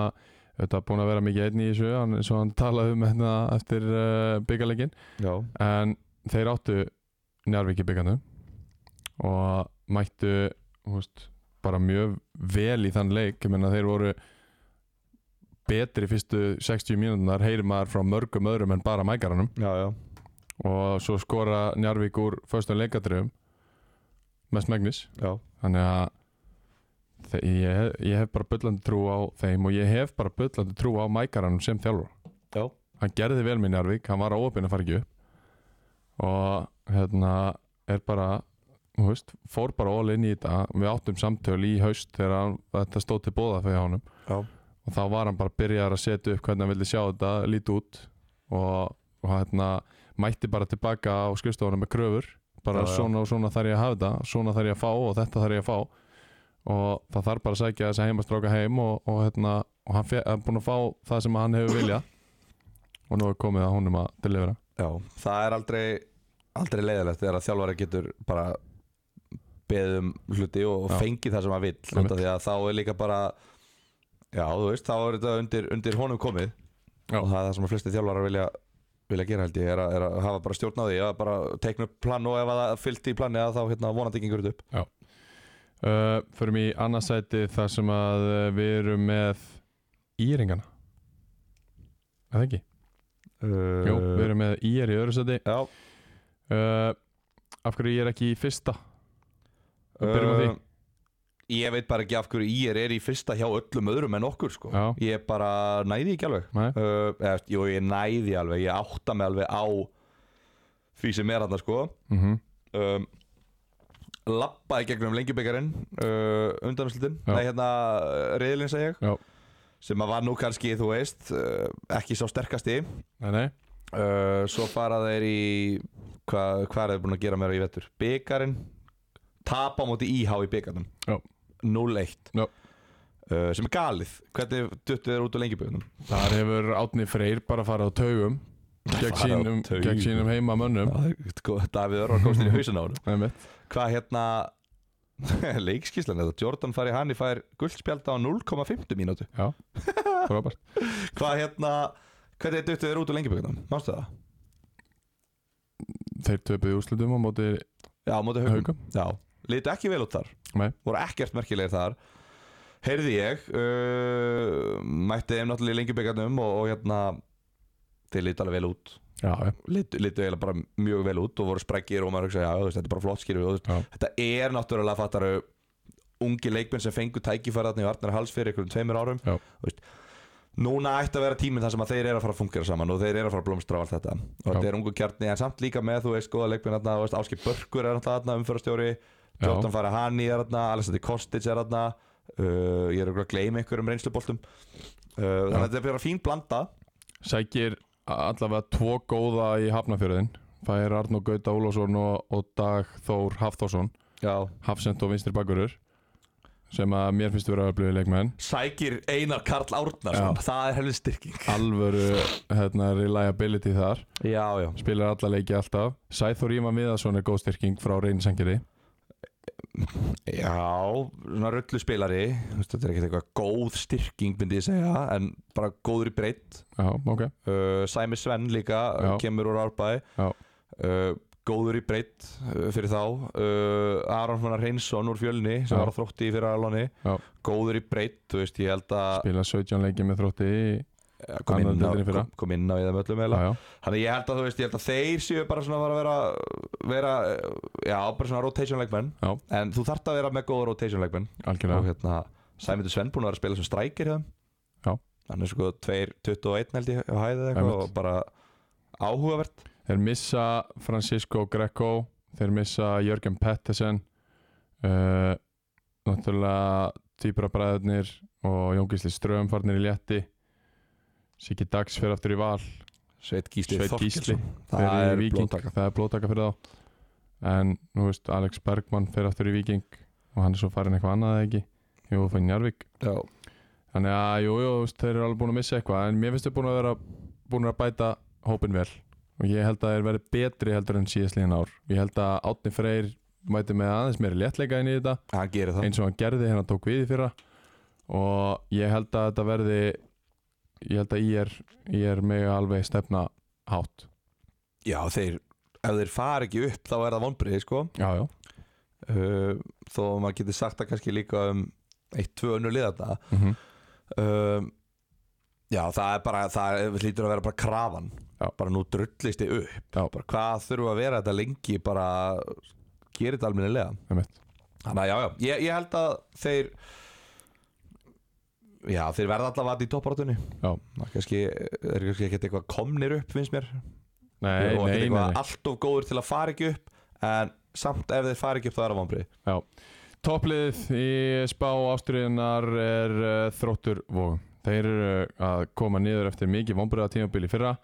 Speaker 1: þetta er búin að vera mikið einn í þessu hann, eins og hann talaði um hérna eftir uh, byggarleikin
Speaker 2: já,
Speaker 1: en þeir áttu Njarvík í byggarnu og mættu húst, bara mjög vel í þann leik ég menna þeir voru betri fyrstu 60 mínútunar heyrir maður frá mörgum öðrum en bara mækaranum
Speaker 2: já, já.
Speaker 1: og svo skora Njarvík úr föstum leikadröfum mest megnis
Speaker 2: já.
Speaker 1: þannig að þe- ég, hef- ég hef bara bullandi trú á þeim og ég hef bara bullandi trú á mækaranum sem þjálfur
Speaker 2: Já.
Speaker 1: hann gerði vel með Njarvík, hann var óöpinn að fara ekki upp og hérna er bara þú veist, fór bara all in í þetta við áttum samtöl í haust þegar hann- þetta stóð til bóða fyrir honum
Speaker 2: Já.
Speaker 1: og þá var hann bara byrjar að setja upp hvernig hann vildi sjá þetta lítið út og, og hérna mætti bara tilbaka á skrifstofunum með kröfur bara
Speaker 2: Já, já.
Speaker 1: svona og svona þarf ég að hafa þetta svona þarf ég að fá og þetta þarf ég að fá og það þarf bara að sækja þessi heimastráka heim og, og, hérna, og hann fe- er búin að fá það sem hann hefur viljað og nú er komið að honum að delivera
Speaker 2: Já, það er aldrei aldrei leiðilegt þegar að þjálfari getur bara beðið um hluti og
Speaker 1: Já.
Speaker 2: fengið það sem hann vill
Speaker 1: Einmitt.
Speaker 2: út af því að þá er líka bara já, þú veist, þá er þetta undir, undir honum komið
Speaker 1: Já.
Speaker 2: og það er það sem að flesti þjálfarar vilja vilja gera held ég, er að, er að hafa bara stjórn á því að bara teikna upp plan og ef að það fyllt í plani að þá hérna vonandi gengur þetta upp
Speaker 1: uh, Förum í annarsæti þar sem að uh, við erum með íringana Er það ekki?
Speaker 2: uh,
Speaker 1: Jú, við erum með ír í öðru sæti
Speaker 2: Eh, Já,
Speaker 1: uh, Af hverju ég er ekki í fyrsta? Við byrjum á því.
Speaker 2: Uh, Ég veit bara ekki af hverju ég er í fyrsta hjá öllum öðrum en okkur sko
Speaker 1: Já.
Speaker 2: Ég bara næði ekki alveg
Speaker 1: Nei.
Speaker 2: uh, eða, Jú, ég næði alveg, ég átta mig alveg á því sem er þarna sko
Speaker 1: Mm
Speaker 2: um, Lappaði gegnum lengjubikarinn uh, undanvæslutin
Speaker 1: Já.
Speaker 2: Nei, hérna, reyðlinn segja ég
Speaker 1: Já.
Speaker 2: Sem að var nú kannski, þú veist, uh, ekki sá sterkasti
Speaker 1: Nei, nei
Speaker 2: uh, Svo fara þeir í hva, Hvað er þeir búin að gera meira í vettur? Byggarinn Tapa á móti íhá í byggarnum
Speaker 1: Já.
Speaker 2: 0-1
Speaker 1: Já.
Speaker 2: Uh, sem er galið, hvernig duttu þeir út á lengjuböðunum?
Speaker 1: Þar hefur Átni Freyr bara farið á taugum gegn
Speaker 2: Farið á
Speaker 1: sínum,
Speaker 2: taugum.
Speaker 1: gegn sínum heima mönnum
Speaker 2: sko, Davíð Örvar komst inn í hausin á honum
Speaker 1: Einmitt.
Speaker 2: Hvað hérna leikskíslan þetta, Jordan fari hann í fær guldspjald á 0,5 mínútu
Speaker 1: Já, frábært
Speaker 2: Hvað hérna, hvernig duttu þeir út á lengjuböðunum? Mástu það?
Speaker 1: Þeir töpuðu úrslutum á móti
Speaker 2: Já, á móti haugum
Speaker 1: haugum
Speaker 2: Já, litu ekki vel út þar
Speaker 1: Nei.
Speaker 2: voru ekkert merkilegir þar heyrði ég uh, mætti þeim náttúrulega í lengjubyggarnum og, og hérna þeir litu alveg vel út
Speaker 1: Já, já,
Speaker 2: litu, litu eiginlega bara mjög vel út og voru spreggir og maður hugsa, já, þú veist, þetta er bara flott skýrfi og þú
Speaker 1: Já.
Speaker 2: veist, þetta er náttúrulega fattaru ungi leikmenn sem fengu tækifæraðni í Arnar Hals fyrir einhverjum tveimur árum
Speaker 1: Já.
Speaker 2: Þú veist, núna ætti að vera tíminn þar sem að þeir eru að fara að fungera saman og þeir eru að fara að blómstra á allt þetta og
Speaker 1: Já.
Speaker 2: þetta er ungu kjarni en samt líka með þú veist góða leikmenn þarna, þú veist, Áskip Börkur er þarna umförastjóri Jordan Farahani er þarna Alessandri Kostic er þarna uh, ég er örugglega að gleyma einhverjum reynsluboltum uh, þannig að þetta er bara fín blanda
Speaker 1: sækir allavega tvo góða í hafnafjörðin Fær Arnó Gauta Ólásson og, og Dag Þór Hafþórsson
Speaker 2: já.
Speaker 1: Hafsend og Vinstri Bakurur sem að mér finnst vera að bliði leikmenn
Speaker 2: sækir Einar Karl Árnarsson það er helvið styrking
Speaker 1: alvöru hérna, reliability þar
Speaker 2: já, já.
Speaker 1: spilar alla leiki alltaf Sæþór Íma Viðarsson er góð styrking frá reynsangeri
Speaker 2: já, svona rullu spilari þetta er ekkert eitthvað góð styrking myndi ég segja, en bara góður í breytt
Speaker 1: Já, ok
Speaker 2: uh, Sæmi Svenn líka
Speaker 1: Já.
Speaker 2: já. kemur úr árbæ
Speaker 1: Já.
Speaker 2: uh, góður í breytt uh, fyrir þá uh, Aron Fannar Reynsson úr fjölni sem
Speaker 1: Já.
Speaker 2: var á þrótti í fyrir alóni
Speaker 1: Já.
Speaker 2: góður í breytt, þú veist, ég held að
Speaker 1: Spila 17 leiki með þrótti í
Speaker 2: kom
Speaker 1: annar
Speaker 2: inn,
Speaker 1: deildinni
Speaker 2: á,
Speaker 1: hérna í fyrra.
Speaker 2: kom, kom inn á í þeim öllum eiginlega.
Speaker 1: Já, já,
Speaker 2: Þannig ég held að þú veist, ég held að þeir séu bara svona að fara að vera, vera já, bara svona rotation leikmenn
Speaker 1: Já.
Speaker 2: en þú þarft að vera með góða rotation leikmenn
Speaker 1: algjörlega
Speaker 2: og hérna, Sæmundur Svenn búinn að vera að spila sem strækir hjá þeim
Speaker 1: Já.
Speaker 2: Hann er sko 2.21 held ég á hæðið eitthvað
Speaker 1: Einmitt.
Speaker 2: og bara áhugavert
Speaker 1: Þeir missa Francisco Greco Þeir missa Jörgen Pettesen uh, Náttúrulega Týpra bræðurnir og Jón Gísli Ström farnir í létti Siggi Dags fyrir aftur í val
Speaker 2: Sveit Gísli
Speaker 1: Sveinn Gísli.
Speaker 2: Þorkelsson
Speaker 1: Þeir
Speaker 2: Það
Speaker 1: eru
Speaker 2: er
Speaker 1: í Víking.
Speaker 2: blóttaka
Speaker 1: Það er blótaka fyrir þá En nú veist Alex Bergmann fyrir aftur í Viking og hann er svo farin eitthvað annað eða ekki Jú, fyrir Njarvík
Speaker 2: Já,
Speaker 1: Þannig að jú, jú, þú veist, þeir eru alveg búin að missa eitthvað en mér finnst þau búin að vera búin að bæta hópin vel og ég held að þeir verði betri heldur en síðast líðan ár ég held að Átni Freyr mæti með aðeins meiri léttleika inn í þetta
Speaker 2: hann gerir það
Speaker 1: eins og hann gerði hérna tók við í fyrra og ég held að þetta verði ég held að ég er, ég er mega alveg stefna hátt
Speaker 2: Já, þeir, ef þeir fara ekki upp þá er það vonbriði sko
Speaker 1: Já, já,
Speaker 2: uh, þó að maður getur sagt það kannski líka um eitt, tvö önnur liða þetta
Speaker 1: mm
Speaker 2: um, Já, það er bara það er, lítur að vera bara krafan
Speaker 1: Já.
Speaker 2: bara nú drullist þið upp
Speaker 1: Já.
Speaker 2: bara, hvað þurfa að vera þetta lengi bara gerir þetta alminnilega
Speaker 1: Einmitt.
Speaker 2: Þannig að já, já, ég, ég held að þeir Já, þeir verða allavega að í topparáttunni
Speaker 1: Já.
Speaker 2: Það kannski, er kannski ekkert eitthvað komnir upp finnst mér
Speaker 1: nei,
Speaker 2: og
Speaker 1: nei,
Speaker 2: ekkert
Speaker 1: nei,
Speaker 2: eitthvað
Speaker 1: nei.
Speaker 2: allt of góður til að fara ekki upp en samt ef þeir fara ekki upp þá er það vombrið
Speaker 1: Topplið í spá ástriðunar er uh, þróttur vógum. Þeir eru að koma niður eftir mikið vombriða tímabili fyrra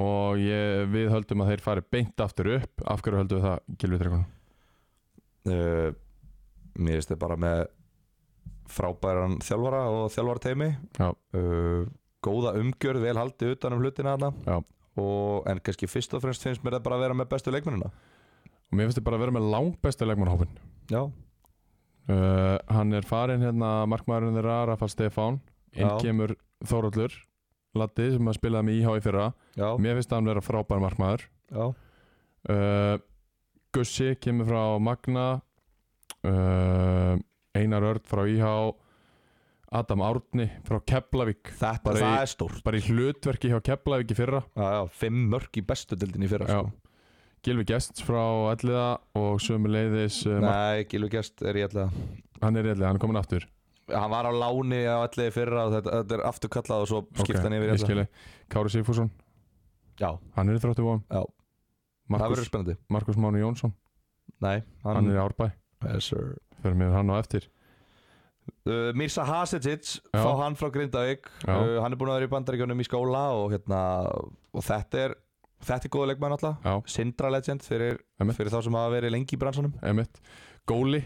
Speaker 1: og ég, við höldum að þeir fari beint aftur upp. Af hverju höldum við það, Gilvi Trekkun?
Speaker 2: uh, mér finnst þið bara með frábæran þjálfara og þjálfara teimi
Speaker 1: Já.
Speaker 2: uh, góða umgjörð, vel haldið utan um hlutina
Speaker 1: Já.
Speaker 2: þarna og, en kannski fyrst og fremst finnst mér það bara að vera með bestu leikmennina
Speaker 1: og mér finnst þið bara að vera með langbæstu leikmannhópin
Speaker 2: Já,
Speaker 1: uh, hann er farin hérna markmaðurinn þeirra Rafa Stefán inn
Speaker 2: Já.
Speaker 1: kemur Þóróllur Latti sem að spilaði með IH í fyrra
Speaker 2: já,
Speaker 1: mér finnst hann vera frábær markmaður
Speaker 2: já,
Speaker 1: uh, Gussi kemur frá Magna uh, Einar Örd frá IH Adam Árni frá Keflavík
Speaker 2: það,
Speaker 1: Bara í-
Speaker 2: það er stórt
Speaker 1: bara í hlutverki hjá Keflavík í fyrra
Speaker 2: Já, já, fimm mörg í bestu dildin í fyrra
Speaker 1: Já.
Speaker 2: sko.
Speaker 1: Gilvi Gests frá Elliða og sömuleiðis uh, Mar-
Speaker 2: Nei, Gilvi Gjast er ég ætla
Speaker 1: hann er í Elliða, hann er komin aftur
Speaker 2: Hann var á láni á allir í fyrra og þetta, þetta er afturkallað og svo skipta hann yfir í
Speaker 1: ég
Speaker 2: ætla
Speaker 1: skilji. Kári Sigfússon,
Speaker 2: Já,
Speaker 1: hann er í þróttu vóðum
Speaker 2: já, það verður
Speaker 1: Markus,
Speaker 2: spennandi
Speaker 1: Markus Máni Jónsson,
Speaker 2: Nei,
Speaker 1: hann
Speaker 2: hann,
Speaker 1: er í Árbæ
Speaker 2: yes, sir.
Speaker 1: fyrir mér hann á eftir
Speaker 2: uh, Mirsa Hasicic
Speaker 1: Já.
Speaker 2: fá hann frá Grindavík
Speaker 1: Já.
Speaker 2: uh, hann er búin að vera í bandaríkjónum í skóla og, hérna, og þetta er þetta er góða leikmann alltaf
Speaker 1: Já,
Speaker 2: Sindra legend fyrir,
Speaker 1: Einmitt.
Speaker 2: fyrir þá sem hafa verið lengi í bransunum
Speaker 1: emitt Góli,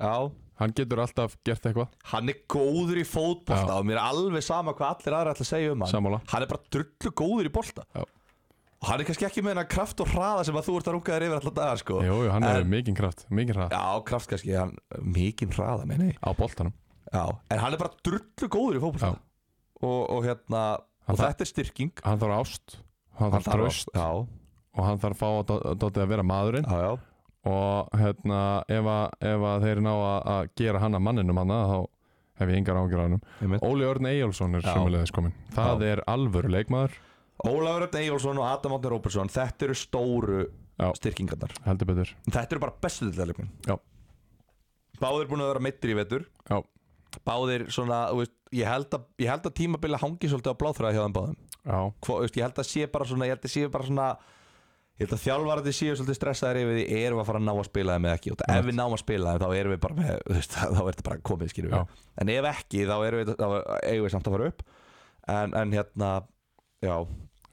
Speaker 2: Já,
Speaker 1: hann getur alltaf gert eitthvað
Speaker 2: hann er góður í fótbolta
Speaker 1: Já.
Speaker 2: og mér er alveg sama hvað allir aðra ætla að segja um hann
Speaker 1: Sammála
Speaker 2: hann er bara drullu góður í bolta
Speaker 1: Já.
Speaker 2: og hann er kannski ekki með hennar kraft og hraða sem að þú ert að runga þér yfir alltaf dagar sko
Speaker 1: Jú, jú, hann er
Speaker 2: En-
Speaker 1: mikinn kraft, mikinn hrað
Speaker 2: Já, kraft kannski, hann mikinn hraða meina ég
Speaker 1: á boltanum
Speaker 2: Já, en hann er bara drullu góður í fótbolta
Speaker 1: Já.
Speaker 2: og, og hérna
Speaker 1: Hann
Speaker 2: og
Speaker 1: þarf-
Speaker 2: þetta er styrking
Speaker 1: Hann þarf ást, hann þarf
Speaker 2: þarf
Speaker 1: tröst
Speaker 2: að- Já,
Speaker 1: og hann þarf að fá að dó- dótið að vera maðurinn
Speaker 2: já, já
Speaker 1: og hérna, ef að, ef að þeir ná að, að gera hann að manninum hann þá hef ég engar ágjur á hann
Speaker 2: Einmitt.
Speaker 1: Óli Örn Eyjálsson er
Speaker 2: Já.
Speaker 1: sömulegðis komin Það er alvöru leikmaður,
Speaker 2: Ólafur Örn Eyjólfsson og Adam Átni Róbertsson Þetta eru stóru
Speaker 1: Já.
Speaker 2: styrkingarnar
Speaker 1: heldur betur
Speaker 2: Þetta eru bara bestu dildaleikmenn
Speaker 1: Já.
Speaker 2: Báðir búin að vera meittir í vetur
Speaker 1: Já,
Speaker 2: Báðir svona, þú veist, ég held að, ég held að tímabili hangi svolítið á bláþræða hjá þeim báðum
Speaker 1: já,
Speaker 2: Hvo, veist, Ég held að sé bara svona Ég held að sé bara svona Ég held að þjálfarandi séu svolítið stressaðir yfir því erum við að fara að ná að spila þeim eða ekki og það, ef við náum að spila þeim þá erum við bara með þú veist, þá er þetta bara komið skilur
Speaker 1: Já.
Speaker 2: við en ef ekki þá erum við, þá eigum við samt að fara upp en, en hérna já,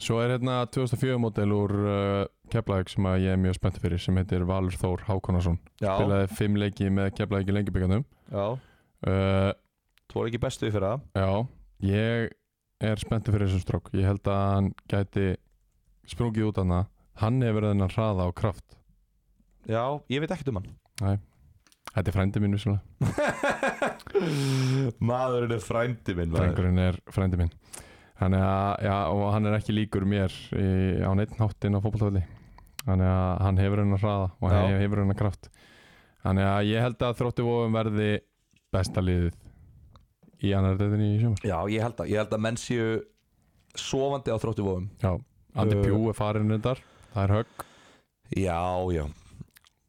Speaker 1: Svo er hérna 2004 módel úr uh, Keflavík sem að ég er mjög spennt fyrir sem heitir Valur Þór Hákonarsson
Speaker 2: já,
Speaker 1: spilaði fimm leiki með Keflavík í lengibyggjandum
Speaker 2: já
Speaker 1: uh,
Speaker 2: þú var ekki bestu fyrir það
Speaker 1: Já, ég er spennt fyrir þessum strók ég held að hann gæti sprungið út hana hann hefur verið hennar hraða og kraft
Speaker 2: já, ég veit ekkert um hann
Speaker 1: Þetta er frændi mín vissulega
Speaker 2: maðurinn er frændi minn maður.
Speaker 1: Drengurinn er frændi mín Þannig að, já, og hann er ekki líkur mér í, á neitt náttinn á fótbolltafli Þannig að hann hefur hennar hraða og
Speaker 2: Já.
Speaker 1: hann hefur hennar kraft Þannig að ég held að þróttu vofum verði besta liðið í annar dættinni í sjömar
Speaker 2: já, ég held að, ég held að menn séu sofandi á þróttu vofum
Speaker 1: Já, Andi
Speaker 2: Uh.
Speaker 1: Pjú er farin reyndar Það er högg,
Speaker 2: já, já,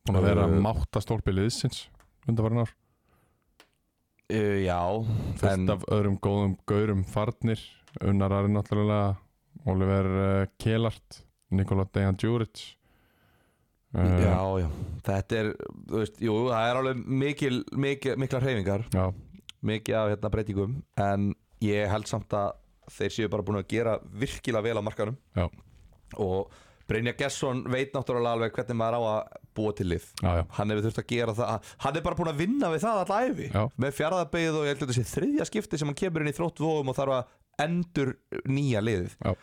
Speaker 1: búin að vera
Speaker 2: Uh.
Speaker 1: máttastólpi liðsins undanfarin ár
Speaker 2: uh, já
Speaker 1: Fullt af öðrum góðum gaurum farnir Unnar Ari náttúrulega Oliver uh, Kjelart Nikola Dejan Djuric uh,
Speaker 2: Já, já, þetta er, þú veist, jú, það er alveg mikil, mikil, mikla hreyfingar,
Speaker 1: já
Speaker 2: mikið af hérna breytingum En ég held samt að þeir séu bara búin að gera virkilega vel á markanum
Speaker 1: Já.
Speaker 2: Og Brynja Gesson veit náttúrulega alveg hvernig maður á að búa til lið
Speaker 1: Já, já,
Speaker 2: Hann hefur þurft að gera það, hann er bara búin að vinna við það alltaf æfi
Speaker 1: Já.
Speaker 2: Með fjaraðabeigð og ég held að þetta sé þriðja skipti sem hann kemur inn í þrótt vóum og þarf að endur nýja liðið
Speaker 1: Já.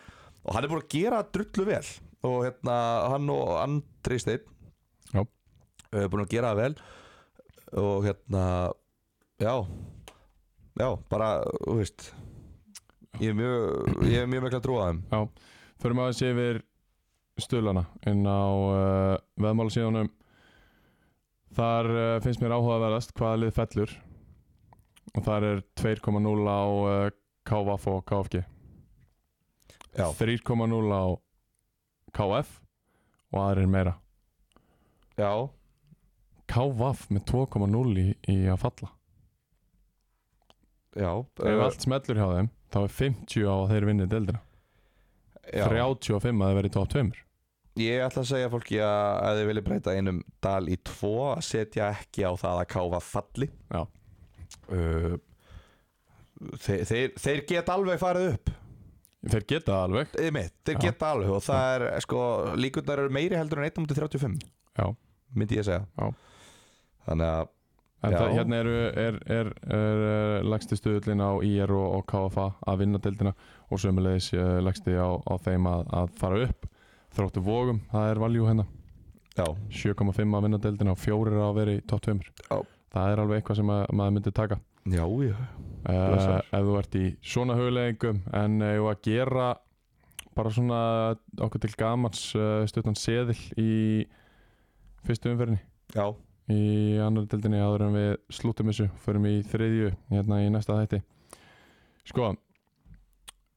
Speaker 2: Og hann er búin að gera drullu vel Og hérna, hann og Andri Steinn
Speaker 1: Já.
Speaker 2: Eh, búin að gera það vel og hérna já, já, bara þú veist ég er mjög, ég er mjög mikla trú að þeim
Speaker 1: Förum aðeins yfir stölana inn á uh, veðmála síðanum Þar uh, finnst mér áhugaverðast hvaða lið fellur og þar er 2,0 á uh, KVF og KFG
Speaker 2: Já.
Speaker 1: 3,0 á KF og aðrir meira
Speaker 2: já,
Speaker 1: KVF með 2,0 í, í að falla
Speaker 2: já,
Speaker 1: Ef
Speaker 2: eh,
Speaker 1: allt smellur hjá þeim þá er 50 á að þeir vinni deildina
Speaker 2: já.
Speaker 1: 35 að þeir verið top 2
Speaker 2: ég ætla að segja fólki að ef þið vilja breyta einum dal í tvo að setja ekki á það að káfa falli
Speaker 1: Já.
Speaker 2: uh, þeir, þeir, þeir geta alveg farið upp
Speaker 1: Þeir geta það alveg
Speaker 2: Þið mitt, þeir
Speaker 1: Já.
Speaker 2: geta alveg og það er sko, líkurnar eru meiri heldur en 1.35
Speaker 1: Já.
Speaker 2: myndi ég segja
Speaker 1: Já.
Speaker 2: þannig að
Speaker 1: En
Speaker 2: Já.
Speaker 1: það, hérna eru, er, er, er, er lagsti stuðullin á IR og, og KFA að vinna deildina og sömulegis uh, lagsti á, á þeim að, að fara upp þróttu vogum, það er valjú hérna
Speaker 2: Já,
Speaker 1: 7,5 að vinna deildina og fjórir að vera í top 2
Speaker 2: Já.
Speaker 1: það er alveg eitthvað sem að, maður myndi taka
Speaker 2: já, já
Speaker 1: uh,
Speaker 2: Blessaður.
Speaker 1: ef þú ert í svona hugleggingum en ef að gera bara svona okkur til gamans uh, stuttan seðil í fyrstu umferðinni
Speaker 2: Já,
Speaker 1: í annar deildinni áður en við slúttum þessu förum í þriðju hérna í næsta þætti sko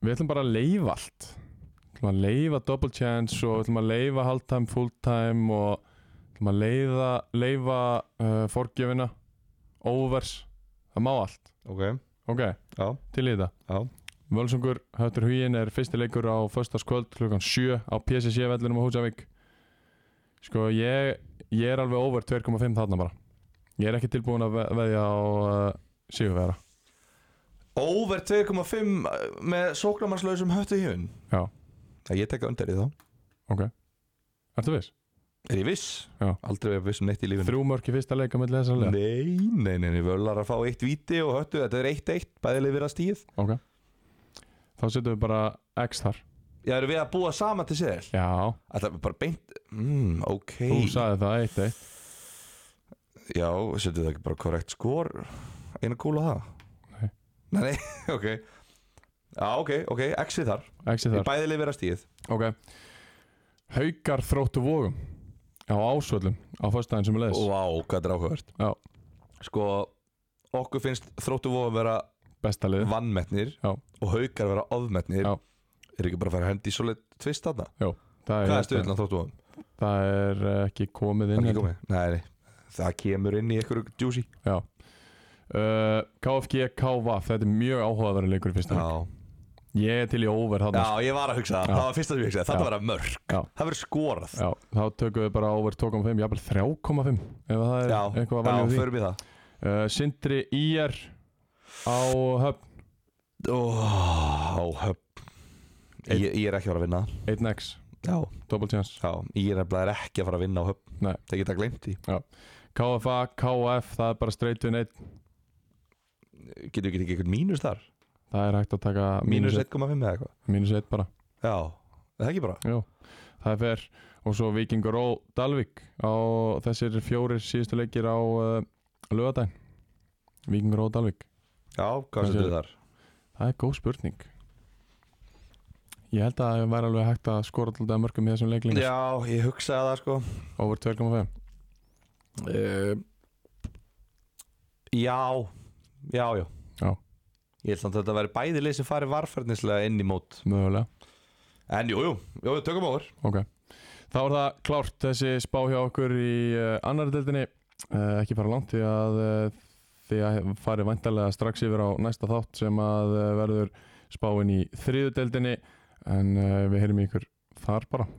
Speaker 1: við ætlum bara að leifa allt við ætlum að leifa double chance og við ætlum að leifa half time, full time og við ætlum að leiða, leifa uh, forgjöfina overs, það má allt
Speaker 2: ok
Speaker 1: ok,
Speaker 2: Já,
Speaker 1: til í þetta
Speaker 2: Já.
Speaker 1: Völsungur, Höttur Hugin er fyrsti leikur á föstaskvöld klukkan 7 á PSC vellinum á Húsavík Sko ég, ég er alveg over 2,5 þarna bara Ég er ekki tilbúin að ve- veðja á uh, Sigurvera
Speaker 2: Over 2,5 eh, með sóknarmannslausum höttu í hjön
Speaker 1: Já.
Speaker 2: Já, ég tekka undir í þá
Speaker 1: Ertu viss?
Speaker 2: Er ég viss?
Speaker 1: Já.
Speaker 2: Aldrei verið viss um neitt í lífinu
Speaker 1: Þrjú mörk í fyrsta leika milli þessar leika
Speaker 2: Nei, nei, nei, nei, völar að fá eitt víti og höttu, þetta er 1-1, bæðileg verið að stíð
Speaker 1: Ok Þá setjum við bara X þar
Speaker 2: Já, erum við að búa saman til sér?
Speaker 1: Já,
Speaker 2: Þetta er bara beint, mm, ok
Speaker 1: þú sagði það eitt eitt
Speaker 2: Já, setjum það ekki bara korrekt skor Einu kúla það?
Speaker 1: Nei.
Speaker 2: Nei, nei, ok Já, ok, ok, exi þar
Speaker 1: X
Speaker 2: Í
Speaker 1: þar
Speaker 2: bæðileg verið að stíð
Speaker 1: Ok Haukar þróttu vógum á ásvöllum á föstudaginn sem er leiðis
Speaker 2: Vá, hvað þetta er áhugavert
Speaker 1: Já.
Speaker 2: Sko, okkur finnst þróttu vóðum vera
Speaker 1: besta liðið
Speaker 2: vannmetnir
Speaker 1: Já.
Speaker 2: og haukar vera ofmetnir
Speaker 1: Já.
Speaker 2: Er ekki bara að fara að hendi í svoleið tvist þarna?
Speaker 1: Það
Speaker 2: Hvað er stöðun á þróttu vóðum?
Speaker 1: Það er eh, ekki komið inn
Speaker 2: Það er
Speaker 1: heldur.
Speaker 2: ekki komið Nei, nei, það kemur inn í einhverju juicy
Speaker 1: Já uh, KFG, KVAF, þetta er mjög áhugaverður leikur í fyrsta leik.
Speaker 2: Já,
Speaker 1: Ég er til í over þarna
Speaker 2: Já, ég var að hugsa það,
Speaker 1: Já.
Speaker 2: það var fyrsta sem ég hugsaði,
Speaker 1: Já.
Speaker 2: þetta var að mörg
Speaker 1: Já.
Speaker 2: Það verður skorað
Speaker 1: Já, þá tökum við bara over 2.5, jafnvel 3.5 ef það er eitthvað að valja úr því
Speaker 2: förum í það
Speaker 1: uh, Sindri IR á höfn
Speaker 2: Ó, höfn ég, ég er ekki að fara að vinna
Speaker 1: 1x,
Speaker 2: Já,
Speaker 1: double chance
Speaker 2: já, ég er nefnilega ekki að fara að vinna á höfn
Speaker 1: Nei.
Speaker 2: Það geta gleymt því
Speaker 1: KFA, KF, það er bara straight win 1
Speaker 2: Getur við ekki tekið eitthvað mínus þar?
Speaker 1: Það er hægt að taka
Speaker 2: Mínus 1,5 eða eitthvað
Speaker 1: mínus 1 bara
Speaker 2: Já, er það ekki bara
Speaker 1: Jú, það er fer og svo Vikingur og Dalvik á þessir fjórir síðustu leikir á uh, lögadaginn Vikingur og Dalvik
Speaker 2: Já, hvað
Speaker 1: Hvað
Speaker 2: sem
Speaker 1: sérðu?
Speaker 2: þar?
Speaker 1: Það er góð spurning Ég held að það væri alveg hægt að skora alltaf mörgum í þessum leiklingu
Speaker 2: Já, ég hugsaði það sko
Speaker 1: Over 2.5
Speaker 2: uh, Já, já, já
Speaker 1: Já.
Speaker 2: Ég held samt að þetta veri bæði lið sem farið varferðnislega inn í mót
Speaker 1: Mögulega
Speaker 2: En jú, jú, jú, tökum over
Speaker 1: Ok Þá er það klárt þessi spá hjá okkur í uh, annari deildinni uh, Ekki fara langt því að uh, því að fari vantarlega strax yfir á næsta þátt sem að uh, verður spáin í þriðu deildinni En uh, við heyrim í ykkur þar bara